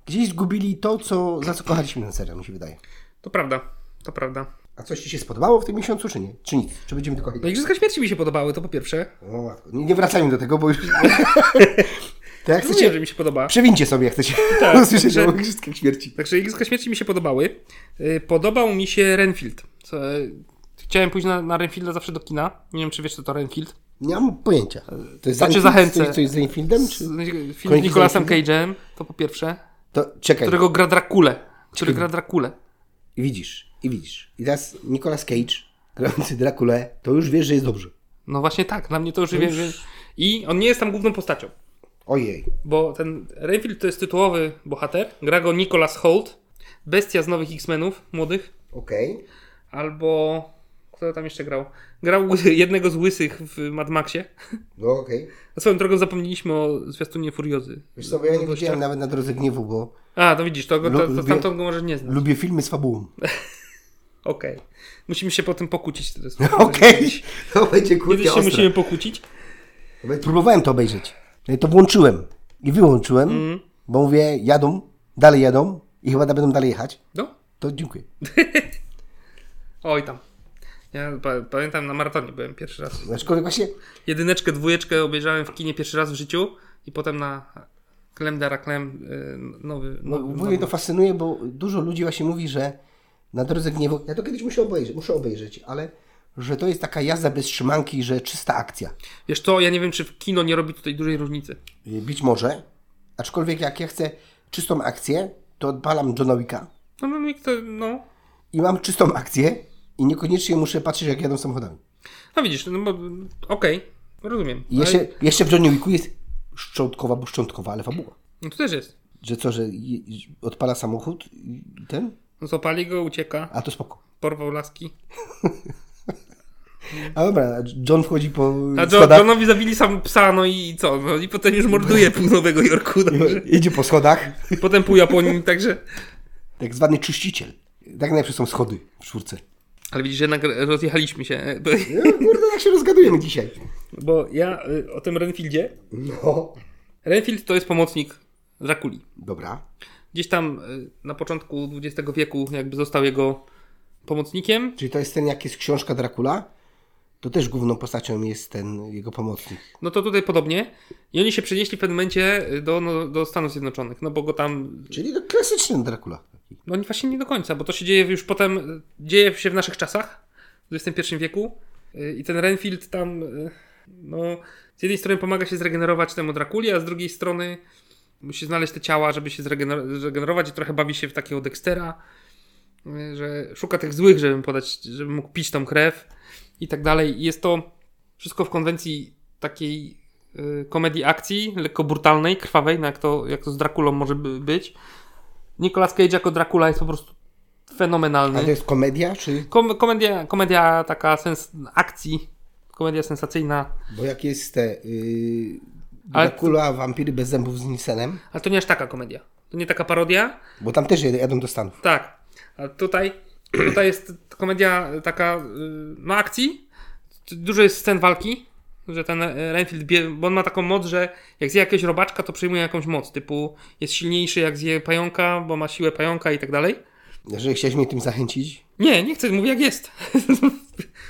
B: gdzieś zgubili to, co, za co kochaliśmy ten serial, mi się wydaje.
A: to prawda, to prawda.
B: A coś Ci się spodobało w tym miesiącu, czy nie? Czy nic? Czy będziemy tylko
A: No Igrzyska Śmierci mi się podobały, to po pierwsze.
B: O, matko. Nie, nie wracajmy do tego, bo już... to
A: Chcecie,
B: jak chcecie,
A: że mi się podoba.
B: przewincie sobie, jak chcecie
A: Tak,
B: usłyszeć
A: że-
B: o Igrzyskach Śmierci.
A: Także Igrzyska Śmierci mi się podobały. Y, Podobał mi się Renfield. Co, y, Chciałem pójść na, na Renfielda zawsze do kina. Nie wiem, czy wiesz, co to Renfield.
B: Nie mam pojęcia. To jest
A: Znaczy,
B: Renfield?
A: zachęcę.
B: Coś, coś z Renfieldem? Czy...
A: Z- Film z
B: Kroniki
A: Nicolasem
B: Renfielda?
A: Cage'em, to po pierwsze.
B: To czekaj,
A: Którego gra Drakule. Który gra Drakule.
B: i widzisz, i widzisz. I teraz Nicolas Cage, grający Drakulę, to już wiesz, że jest dobrze.
A: No właśnie tak, dla mnie to już wiem. że- I on nie jest tam główną postacią.
B: Ojej.
A: Bo ten Renfield to jest tytułowy bohater. Gra go Nicholas Holt. Bestia z nowych X-Menów, młodych.
B: Okej.
A: Albo... Kto tam jeszcze grał? Grał jednego z łysych w Mad Maxie.
B: No okej.
A: A swoją drogą zapomnieliśmy o zwiastunie Furiozy.
B: Wiesz co, bo ja nie
A: Gościa.
B: widziałem nawet na drodze gniewu, bo
A: A, to widzisz, to, go, to, to
B: Lubię-
A: tamtą go może nie znasz.
B: lubię filmy z fabułą.
A: Okej. Musimy się po tym pokłócić teraz.
B: Okej, to będzie kurde
A: Kiedyś się
B: ostre.
A: musimy pokłócić.
B: Nawet Próbowałem to obejrzeć. No i to włączyłem i wyłączyłem, bo mówię, jadą, dalej jadą i chyba będą dalej jechać.
A: No,
B: To dziękuję.
A: Oj tam. Ja pa- pamiętam na maratonie byłem pierwszy raz.
B: Aczkolwiek właśnie,
A: Jedyneczkę, dwójeczkę obejrzałem w kinie pierwszy raz w życiu i potem na Klem Dara Klem y, nowy.
B: no,
A: nowy,
B: mówię, to fascynuje, bo dużo ludzi właśnie mówi, że na drodze gniewu, ja to kiedyś muszę obejrzeć, muszę obejrzeć, ale że to jest taka jazda bez trzymanki, że czysta akcja.
A: Wiesz co, ja nie wiem czy w kino nie robi tutaj dużej różnicy.
B: Y, Być może, aczkolwiek jak ja chcę czystą akcję, to odpalam Johna Wicka
A: No, no, nikt to, no.
B: i mam czystą akcję i niekoniecznie muszę patrzeć, jak jadą samochodami.
A: no widzisz, no bo okej, rozumiem.
B: I jeszcze, jeszcze w Johnny Wicku jest szczątkowa, bo szczątkowa, ale fabuła.
A: No to też jest.
B: Że co, że je- że odpala samochód i i ten?
A: No Zopali go, ucieka,
B: A to spoko.
A: porwał laski.
B: A dobra, a John wchodzi po
A: A Jo-
B: schodach,
A: Johnowi zabili sam psa, no i co? No i potem już morduje pół Nowego Jorku. Także.
B: idzie po schodach,
A: Potem pół Japonii, także...
B: tak zwany czyściciel. Tak najpierw są schody w czwórce.
A: Ale widzisz, jednak rozjechaliśmy się. bo-
B: No, kurde, jak się rozgadujemy dzisiaj.
A: Bo ja y, o tym Renfieldzie.
B: No.
A: Renfield to jest pomocnik Drakuli.
B: Dobra.
A: Gdzieś tam y, na początku XX wieku jakby został jego pomocnikiem.
B: Czyli to jest ten, jak jest książka Dracula, to też główną postacią jest ten jego pomocnik.
A: No to tutaj podobnie. I oni się przenieśli w pewnym momencie y, do, no, do Stanów Zjednoczonych, no bo go tam...
B: Czyli to klasyczny Dracula.
A: No oni właśnie nie do końca, bo to się dzieje już potem, y, dzieje się w naszych czasach, w XXI wieku. Y, I ten Renfield tam, y, no, z jednej strony pomaga się zregenerować temu Drakuli, a z drugiej strony musi znaleźć te ciała, żeby się zregener- zregenerować i trochę bawi się w takiego Dextera, y, że szuka tych złych, żeby podać, żeby mógł pić tą krew i tak dalej. I Jest to wszystko w konwencji takiej y, komedii akcji, lekko brutalnej, krwawej, no jak to, jak to z Drakulą może by być. Nicolas Cage jako Dracula jest po prostu fenomenalny.
B: A to jest komedia, czy...
A: Kom- komedia, komedia taka sens akcji, komedia sensacyjna,
B: Bo jak jest te... Yy,
A: Ale-
B: Dracula, wampiry bez zębów z Nielsenem,
A: ale to nie aż taka komedia. To nie taka parodia,
B: bo tam też jed- jadą do Stanów.
A: Tak. A tutaj, tutaj jest komedia taka, y, no akcji, dużo jest scen walki, że ten e, Renfield, bie, bo on ma taką moc, że jak zje jakiegoś robaczka, to przyjmuje jakąś moc, typu jest silniejszy jak zje pająka, bo ma siłę pająka i tak dalej.
B: Jeżeli chciałeś mnie tym zachęcić,
A: Nie, nie chcę, mówię jak jest.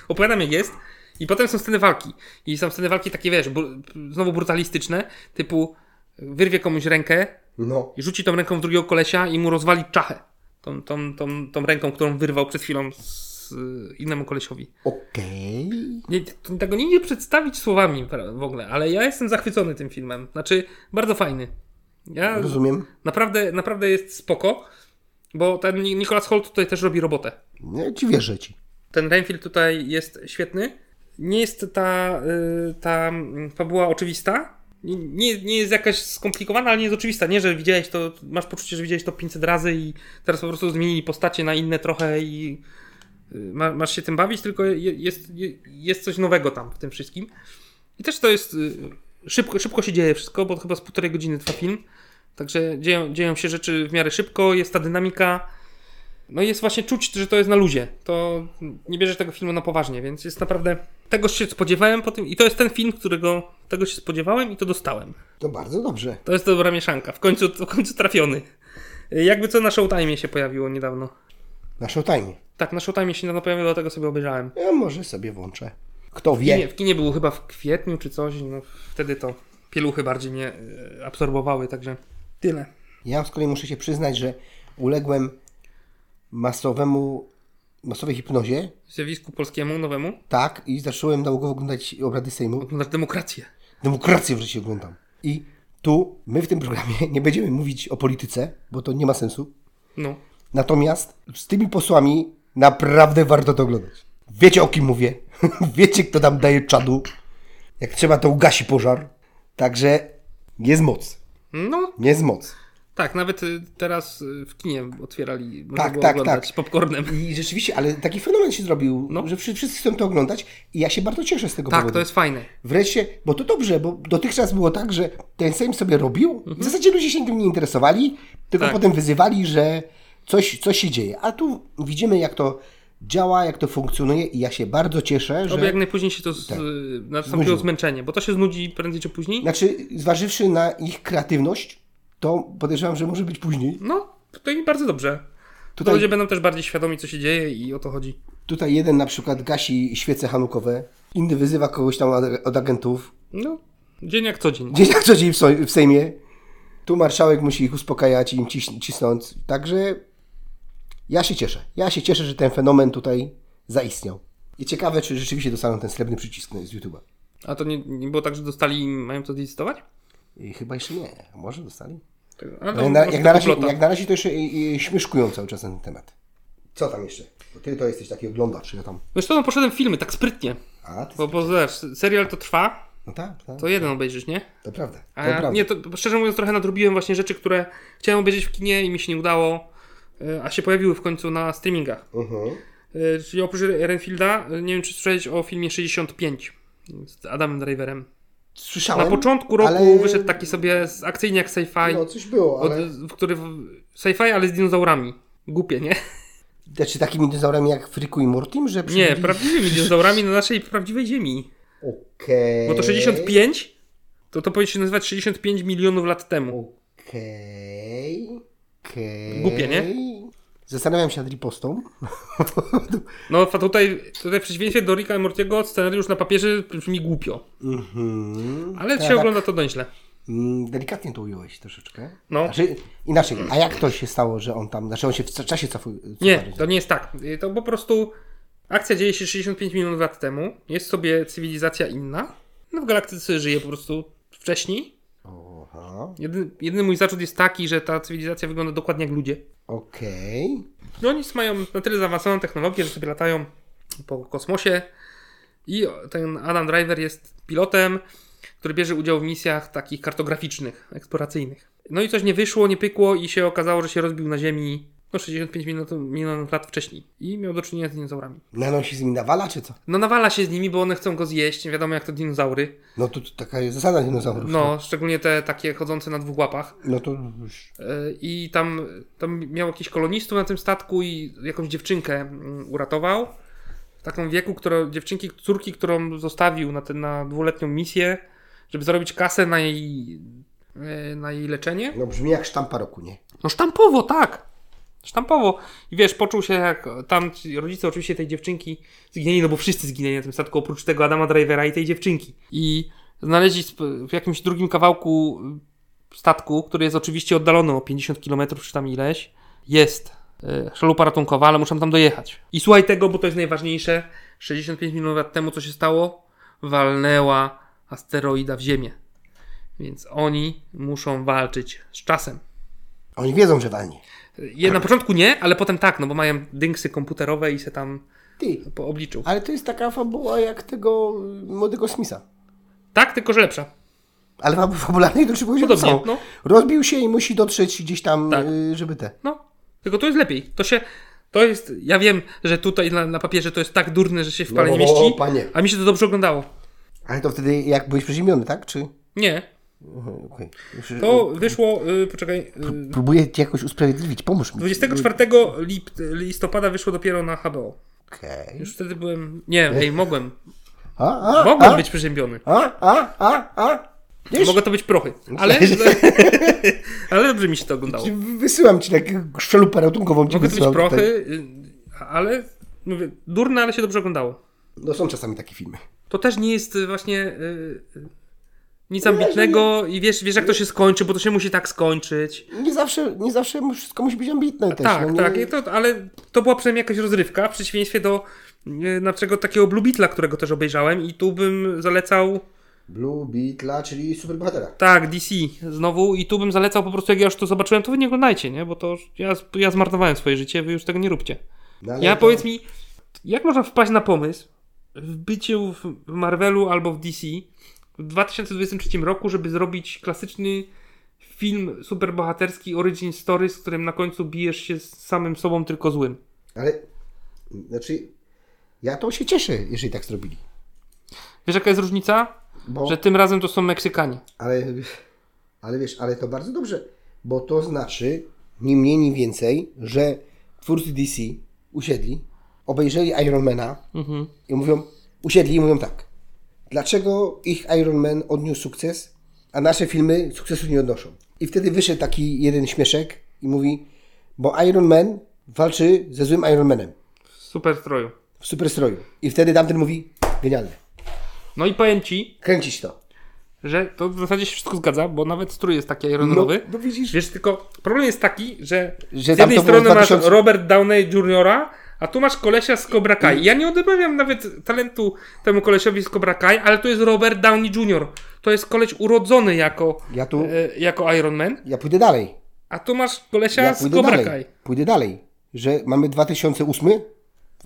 A: Opowiadam jak jest. I potem są sceny walki. I są sceny walki takie, wiesz, bru- znowu brutalistyczne, typu wyrwie komuś rękę
B: no.
A: i rzuci tą ręką w drugiego kolesia i mu rozwali czachę. Tą, tą, tą, tą ręką, którą wyrwał przed chwilą z y, innemu kolesiowi.
B: Okej.
A: Nie, t- tego nie, nie przedstawić słowami pra- w ogóle, ale ja jestem zachwycony tym filmem. Znaczy, bardzo fajny. Ja
B: Rozumiem.
A: naprawdę, naprawdę jest spoko, bo ten Ni- Nicholas Holt tutaj też robi robotę.
B: Nie, ci wierzę ci.
A: Ten Renfield tutaj jest świetny. Nie jest ta, y, ta mm, fabuła oczywista. Nie- Nie, nie jest jakaś skomplikowana, ale nie jest oczywista. Nie, że widziałeś to, masz poczucie, że widziałeś to 500 razy i teraz po prostu zmienili postacie na inne trochę i y, ma, masz się tym bawić, tylko je- jest, je- jest coś nowego tam w tym wszystkim. I też to jest. y, Szybko, szybko się dzieje wszystko, bo chyba z półtorej godziny trwa film. Także dzieją, dzieją się rzeczy w miarę szybko, jest ta dynamika. No i jest właśnie czuć, że to jest na luzie. To nie bierzesz tego filmu na poważnie, więc jest naprawdę. Tego się spodziewałem po tym. I to jest ten film, którego tego się spodziewałem i to dostałem.
B: To bardzo dobrze.
A: To jest dobra mieszanka. W końcu, w końcu trafiony. Jakby co na Showtime się pojawiło niedawno.
B: Na Showtime.
A: Tak, na Showtime się niedawno pojawiło, dlatego sobie obejrzałem.
B: Ja może sobie włączę. Kto
A: W kinie,
B: wie.
A: w kinie było chyba w kwietniu czy coś, no wtedy to pieluchy bardziej mnie e, absorbowały, także tyle.
B: Ja z kolei muszę się przyznać, że uległem masowemu, masowej hipnozie.
A: Zjawisku polskiemu, nowemu,
B: Tak, i zacząłem nałogowo oglądać obrady Sejmu.
A: oglądasz demokrację.
B: Demokrację w życiu oglądam. I tu, my w tym programie nie będziemy mówić o polityce, bo to nie ma sensu.
A: No.
B: Natomiast z tymi posłami naprawdę warto to oglądać. Wiecie o kim mówię. Wiecie, kto tam daje czadu. Jak trzeba, to ugasi pożar. Także jest moc.
A: No,
B: Jest moc.
A: tak, nawet y, teraz y, w kinie otwierali, można
B: Tak,
A: było
B: tak,
A: oglądać
B: tak.
A: popcornem.
B: I rzeczywiście, ale taki fenomen się zrobił,
A: No.
B: że wszy- wszyscy chcą to oglądać i ja się bardzo cieszę z tego
A: Tak,
B: powodu.
A: to jest fajne.
B: Wreszcie, bo to dobrze, bo dotychczas było tak, że ten Sejm sobie robił, w zasadzie ludzie się tym nie interesowali, tylko
A: Tak.
B: potem wyzywali, że coś, coś się dzieje. A tu widzimy, jak to działa, jak to funkcjonuje i ja się bardzo cieszę, że... Tak.
A: Oby jak najpóźniej się to z, y, nastąpiło
B: Znudziło.
A: zmęczenie, bo to się znudzi prędzej czy później.
B: Znaczy, zważywszy na ich kreatywność, to podejrzewam, że może być później.
A: No, to i bardzo dobrze. Tutaj...
B: Tutaj-
A: Ludzie będą też bardziej świadomi, co się dzieje i o to chodzi.
B: Tutaj jeden na przykład gasi świece hanukowe, inny wyzywa kogoś tam od- od agentów,
A: No, dzień jak co dzień.
B: Dzień jak co dzień w Soj- w Sejmie. Tu marszałek musi ich uspokajać i im ciś- cisnąć. Także ja się cieszę. Ja się cieszę, że ten fenomen tutaj zaistniał. I ciekawe, czy rzeczywiście dostaną ten srebrny przycisk z YouTube'a.
A: A to nie, nie było tak, że dostali i mają to zlicytować? Tak,
B: I chyba jeszcze nie. A Może dostali?
A: Ale to
B: Ale No na,
A: może
B: jak,
A: to
B: na razie,
A: poplota.
B: jak na razie to jeszcze i, i, śmieszkują cały czas na ten temat. Co tam jeszcze? Bo ty to jesteś taki oglądacz, ja tam...
A: Wiesz co, no poszedłem w filmy, tak sprytnie.
B: A, ty...
A: Bo, bo zobacz, serial to trwa,
B: No tak, tak.
A: to jeden obejrzysz, nie?
B: To prawda. To
A: A
B: prawda.
A: nie, to szczerze mówiąc trochę nadrobiłem właśnie rzeczy, które chciałem obejrzeć w kinie i mi się nie udało, y, a się pojawiły w końcu na streamingach.
B: Mhm.
A: Y, Czyli oprócz Renfielda, y, nie wiem czy słyszałeś o filmie 65 z Adamem Driverem. Na
B: Słyszałem,
A: początku roku
B: ale-
A: wyszedł taki sobie z akcyjnie jak sci-fi,
B: No, coś było,
A: od,
B: ale...
A: w który w- sci-fi, ale z dinozaurami. Głupie, nie?
B: Znaczy takimi dinozaurami jak Fryku i Mortim, że...
A: Nie,
B: przybyli-
A: prawdziwymi dinozaurami na naszej prawdziwej ziemi.
B: Okej.
A: Bo to 65, to to powinno się nazywać 65 milionów lat temu.
B: Okej. Okej.
A: Głupie, nie?
B: Zastanawiam się nad ripostą.
A: No a tutaj, tutaj w przeciwieństwie do Ricka i Mortiego scenariusz na papierze brzmi głupio.
B: Mhm.
A: Ale
B: Tak,
A: się
B: tak.
A: ogląda to donieźle.
B: Mm, Delikatnie to ująłeś troszeczkę.
A: No.
B: Znaczy, inaczej, a jak to się stało, że on tam, znaczy on się w czasie cofuje?
A: Nie, to nie jest tak. Y, To po prostu akcja dzieje się 65 milionów lat temu. Jest sobie cywilizacja inna. No w galaktyce żyje po prostu wcześniej.
B: Oha,
A: Jedyny, jedyny mój zarzut jest taki, że ta cywilizacja wygląda dokładnie jak ludzie.
B: okej.
A: No oni mają na tyle zaawansowaną technologię, że sobie latają po kosmosie i ten Adam Driver jest pilotem, który bierze udział w misjach takich kartograficznych, eksploracyjnych. No i coś nie wyszło, nie pykło i się okazało, że się rozbił na Ziemi no 65 minut, milionów lat wcześniej i miał do czynienia z dinozaurami.
B: No, no on się z nimi nawala, czy co?
A: No nawala się z nimi, bo one chcą go zjeść, nie wiadomo jak to dinozaury.
B: No to, to taka jest zasada dinozaurów.
A: No, szczególnie te takie chodzące na dwóch łapach.
B: No to już...
A: Yy, I tam, tam miał jakiś kolonistów na tym statku i jakąś dziewczynkę mm, uratował. W takim wieku, która, dziewczynki, córki, którą zostawił na, ten, na dwuletnią misję, żeby zarobić kasę na jej, yy, na jej leczenie.
B: No brzmi jak sztampa roku, nie?
A: No sztampowo, tak. sztampowo. I wiesz, poczuł się jak tam ci rodzice oczywiście tej dziewczynki zginęli, no bo wszyscy zginęli na tym statku, oprócz tego Adama Drivera i tej dziewczynki. I znaleźli sp- w jakimś drugim kawałku statku, który jest oczywiście oddalony o 50 km czy tam ileś, jest y, szalupa ratunkowa, ale muszę tam dojechać. I słuchaj tego, bo to jest najważniejsze. 65 milionów lat temu, co się stało? Walnęła asteroida w Ziemię. Więc oni muszą walczyć z czasem.
B: Oni wiedzą, że walnie.
A: Je, na początku nie, ale potem tak, no bo mają dynksy komputerowe i se tam
B: Ty,
A: obliczył.
B: ale to jest taka fabuła jak tego y, młodego Smitha.
A: Tak, tylko że lepsza.
B: Ale fab- fabularnej to czy powiedział
A: Podobnie,
B: są.
A: no.
B: Rozbił się i musi dotrzeć gdzieś tam,
A: Tak.
B: y, żeby te.
A: No, tylko to jest lepiej. To się, to jest, ja wiem, że tutaj na, na papierze to jest tak durne, że się w pale nie
B: No, o,
A: mieści,
B: panie.
A: a mi się to dobrze oglądało.
B: Ale to wtedy jak byłeś przeziemiony, tak? Czy...
A: Nie,
B: Mhm, okej. Już, y,
A: to wyszło, y, poczekaj, y,
B: Próbuję ci jakoś usprawiedliwić, pomóż mi.
A: 24 lip, listopada wyszło dopiero na HBO.
B: Okej.
A: Już wtedy byłem, nie, ej, mogłem,
B: A, a,
A: mogłem
B: a,
A: być przeziębiony.
B: a, a, a, a. Wiesz?
A: Mogą to być prochy, ale, ale dobrze mi się to oglądało.
B: Wysyłam ci taką szczelupę ratunkową. ci
A: Mogą to być
B: wysyłam
A: prochy,
B: tutaj.
A: y, ale mówię, durne, ale się dobrze oglądało.
B: No są czasami takie filmy.
A: To też nie jest y, właśnie y, y,
B: No
A: nic ambitnego i wiesz, wiesz jak to się skończy, bo to się musi tak skończyć.
B: Nie zawsze, nie zawsze mu- wszystko musi być ambitne też.
A: tak,
B: no nie...
A: tak, i to, ale to była przynajmniej jakaś rozrywka w przeciwieństwie do y, na przykład takiego Blue Beetla, którego też obejrzałem i tu bym zalecał,
B: Blue Beatla, czyli superbohatera.
A: tak, DC znowu i tu bym zalecał po prostu jak ja już to zobaczyłem, to wy nie oglądajcie, nie? Bo to już ja, ja zmarnowałem swoje życie, wy już tego nie róbcie.
B: No, ale
A: Ja
B: to-
A: powiedz mi, jak można wpaść na pomysł w byciu w Marvelu albo w DC w 2023 roku, żeby zrobić klasyczny film superbohaterski Origin Story, z którym na końcu bijesz się z samym sobą, tylko złym.
B: Ale, znaczy, ja to się cieszę, jeżeli tak zrobili.
A: Wiesz jaka jest różnica?
B: Bo,
A: Że tym razem to są Meksykanie.
B: ale, ale wiesz, ale to bardzo dobrze, bo to znaczy, ni mniej, ni więcej, że twórcy DC usiedli, obejrzeli Ironmana
A: Mhm.
B: i mówią, usiedli i mówią tak. Dlaczego ich Iron Man odniósł sukces, a nasze filmy sukcesu nie odnoszą? I wtedy wyszedł taki jeden śmieszek i mówi, bo Iron Man walczy ze złym Iron Manem
A: W super stroju.
B: w superstroju. I wtedy tamten mówi, genialne,
A: No i powiem ci,
B: kręcić to.
A: że to w zasadzie się wszystko zgadza, bo nawet strój jest taki ironowy.
B: No, no widzisz.
A: Wiesz, tylko problem jest taki, że,
B: Że
A: z
B: tam
A: jednej
B: to było
A: strony masz
B: 2000.
A: Robert Downey Jr., a tu masz kolesia z Cobra Kai. Ja nie odmawiam nawet talentu temu kolesiowi z Cobra Kai, ale to jest Robert Downey Jr. To jest koleś urodzony jako,
B: Ja tu-
A: e, jako Iron Man,
B: Ja pójdę dalej.
A: a tu masz kolesia
B: Ja
A: z
B: pójdę
A: Cobra
B: dalej.
A: Kai.
B: Pójdę dalej. Że mamy 2008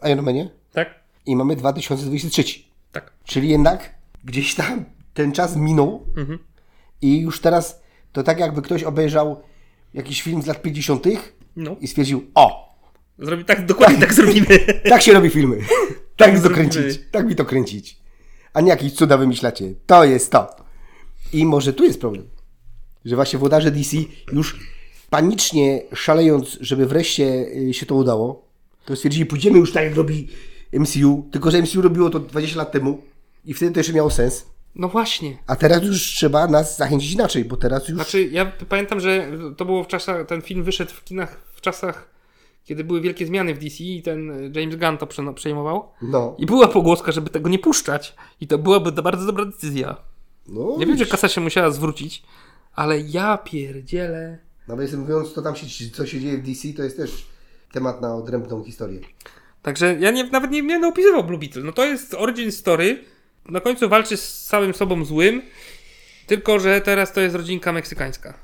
B: w Ironmanie
A: Tak?
B: i mamy 2023.
A: Tak.
B: Czyli jednak gdzieś tam ten czas minął i już teraz to tak jakby ktoś obejrzał jakiś film z lat 50.
A: No.
B: i stwierdził, o,
A: Zrobi tak, dokładnie tak zrobimy.
B: tak się robi filmy. tak mi to
A: zrobimy.
B: kręcić. Tak mi to kręcić. A nie jakieś cuda wymyślacie. To jest to. I może tu jest problem. Że właśnie włodarze DC już panicznie szalejąc, żeby wreszcie y, się to udało, to stwierdzili, pójdziemy już tak jak robi MCU, tylko że MCU robiło to 20 lat temu i wtedy to jeszcze miało sens.
A: No właśnie.
B: A teraz już trzeba nas zachęcić inaczej, bo teraz już.
A: Znaczy, ja p- pamiętam, że to było w czasach, ten film wyszedł w kinach w czasach, kiedy były wielkie zmiany w DC i ten e, James Gunn to przeno- przejmował.
B: No.
A: I była pogłoska, żeby tego nie puszczać. I to byłaby to bardzo dobra decyzja.
B: no
A: Ja wiem, że kasa się musiała zwrócić, ale ja pierdzielę.
B: Nawet mówiąc, to tam się, co się dzieje w DC, to jest też temat na odrębną historię.
A: Także ja nie, nawet nie będę opisywał Blue Beetle. No to jest origin story. Na końcu walczy z samym sobą złym, tylko że teraz to jest rodzinka meksykańska.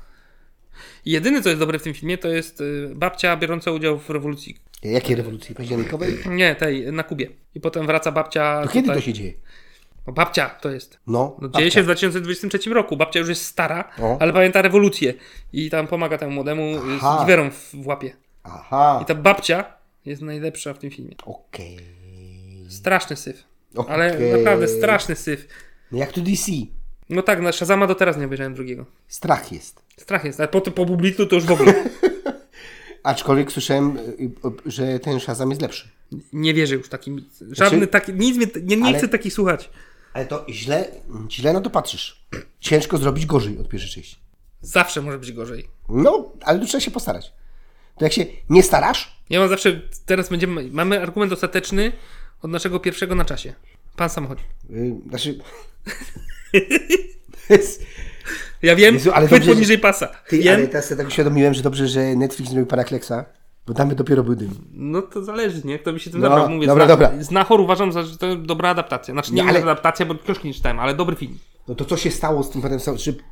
A: I jedyne, co jest dobre w tym filmie, to jest y, babcia biorąca udział w rewolucji.
B: Jakie rewolucje październikowej?
A: Nie, tej, na Kubie. I potem wraca babcia...
B: To kiedy
A: Tak, tutaj.
B: to się dzieje?
A: No, babcia to jest.
B: No.
A: No,
B: babcia.
A: dzieje się w 2023 roku. Babcia już jest stara,
B: O.
A: ale pamięta rewolucję. I tam pomaga temu młodemu y,
B: Aha.
A: z giwerą w, w łapie.
B: Aha.
A: I ta babcia jest najlepsza w tym filmie.
B: Okej.
A: Straszny syf.
B: Okej.
A: Ale naprawdę straszny syf.
B: No jak to DC?
A: No tak, na Shazama do teraz nie obejrzałem drugiego.
B: Strach jest.
A: Strach jest, ale po, tym- po Bublitlu to już w ogóle
B: Aczkolwiek słyszałem, y, y, że ten Shazam jest lepszy.
A: nie wierzę już takim. Żadny taki, nic mnie, nie, nie
B: Znaczy- Ale-
A: chcę takich słuchać.
B: Ale to źle, źle na to patrzysz. Ciężko zrobić gorzej od pierwszej części.
A: Zawsze może być gorzej.
B: No, ale tu trzeba się postarać. to jak się nie starasz,
A: Ja mam zawsze, teraz będziemy, mamy argument ostateczny od naszego pierwszego na czasie. Pan samochód.
B: yy, znaczy... To jest-
A: Ja wiem,
B: Jezu, ale
A: chwyt
B: dobrze, że-
A: poniżej pasa.
B: Ty,
A: wiem.
B: ale teraz sobie tak uświadomiłem, że dobrze, że Netflix zrobił pana Kleksa, bo tam by dopiero był dym.
A: No to zależy, nie? Kto by się tym
B: No,
A: zabrał. Mówię,
B: dobra,
A: zna,
B: dobra.
A: Znachor uważam, za, że to dobra adaptacja. Znaczy nie,
B: Nie, ale-
A: ale... adaptacja, bo książki nie czytałem, ale dobry film.
B: No to co się stało z tym panem samochodem? Czy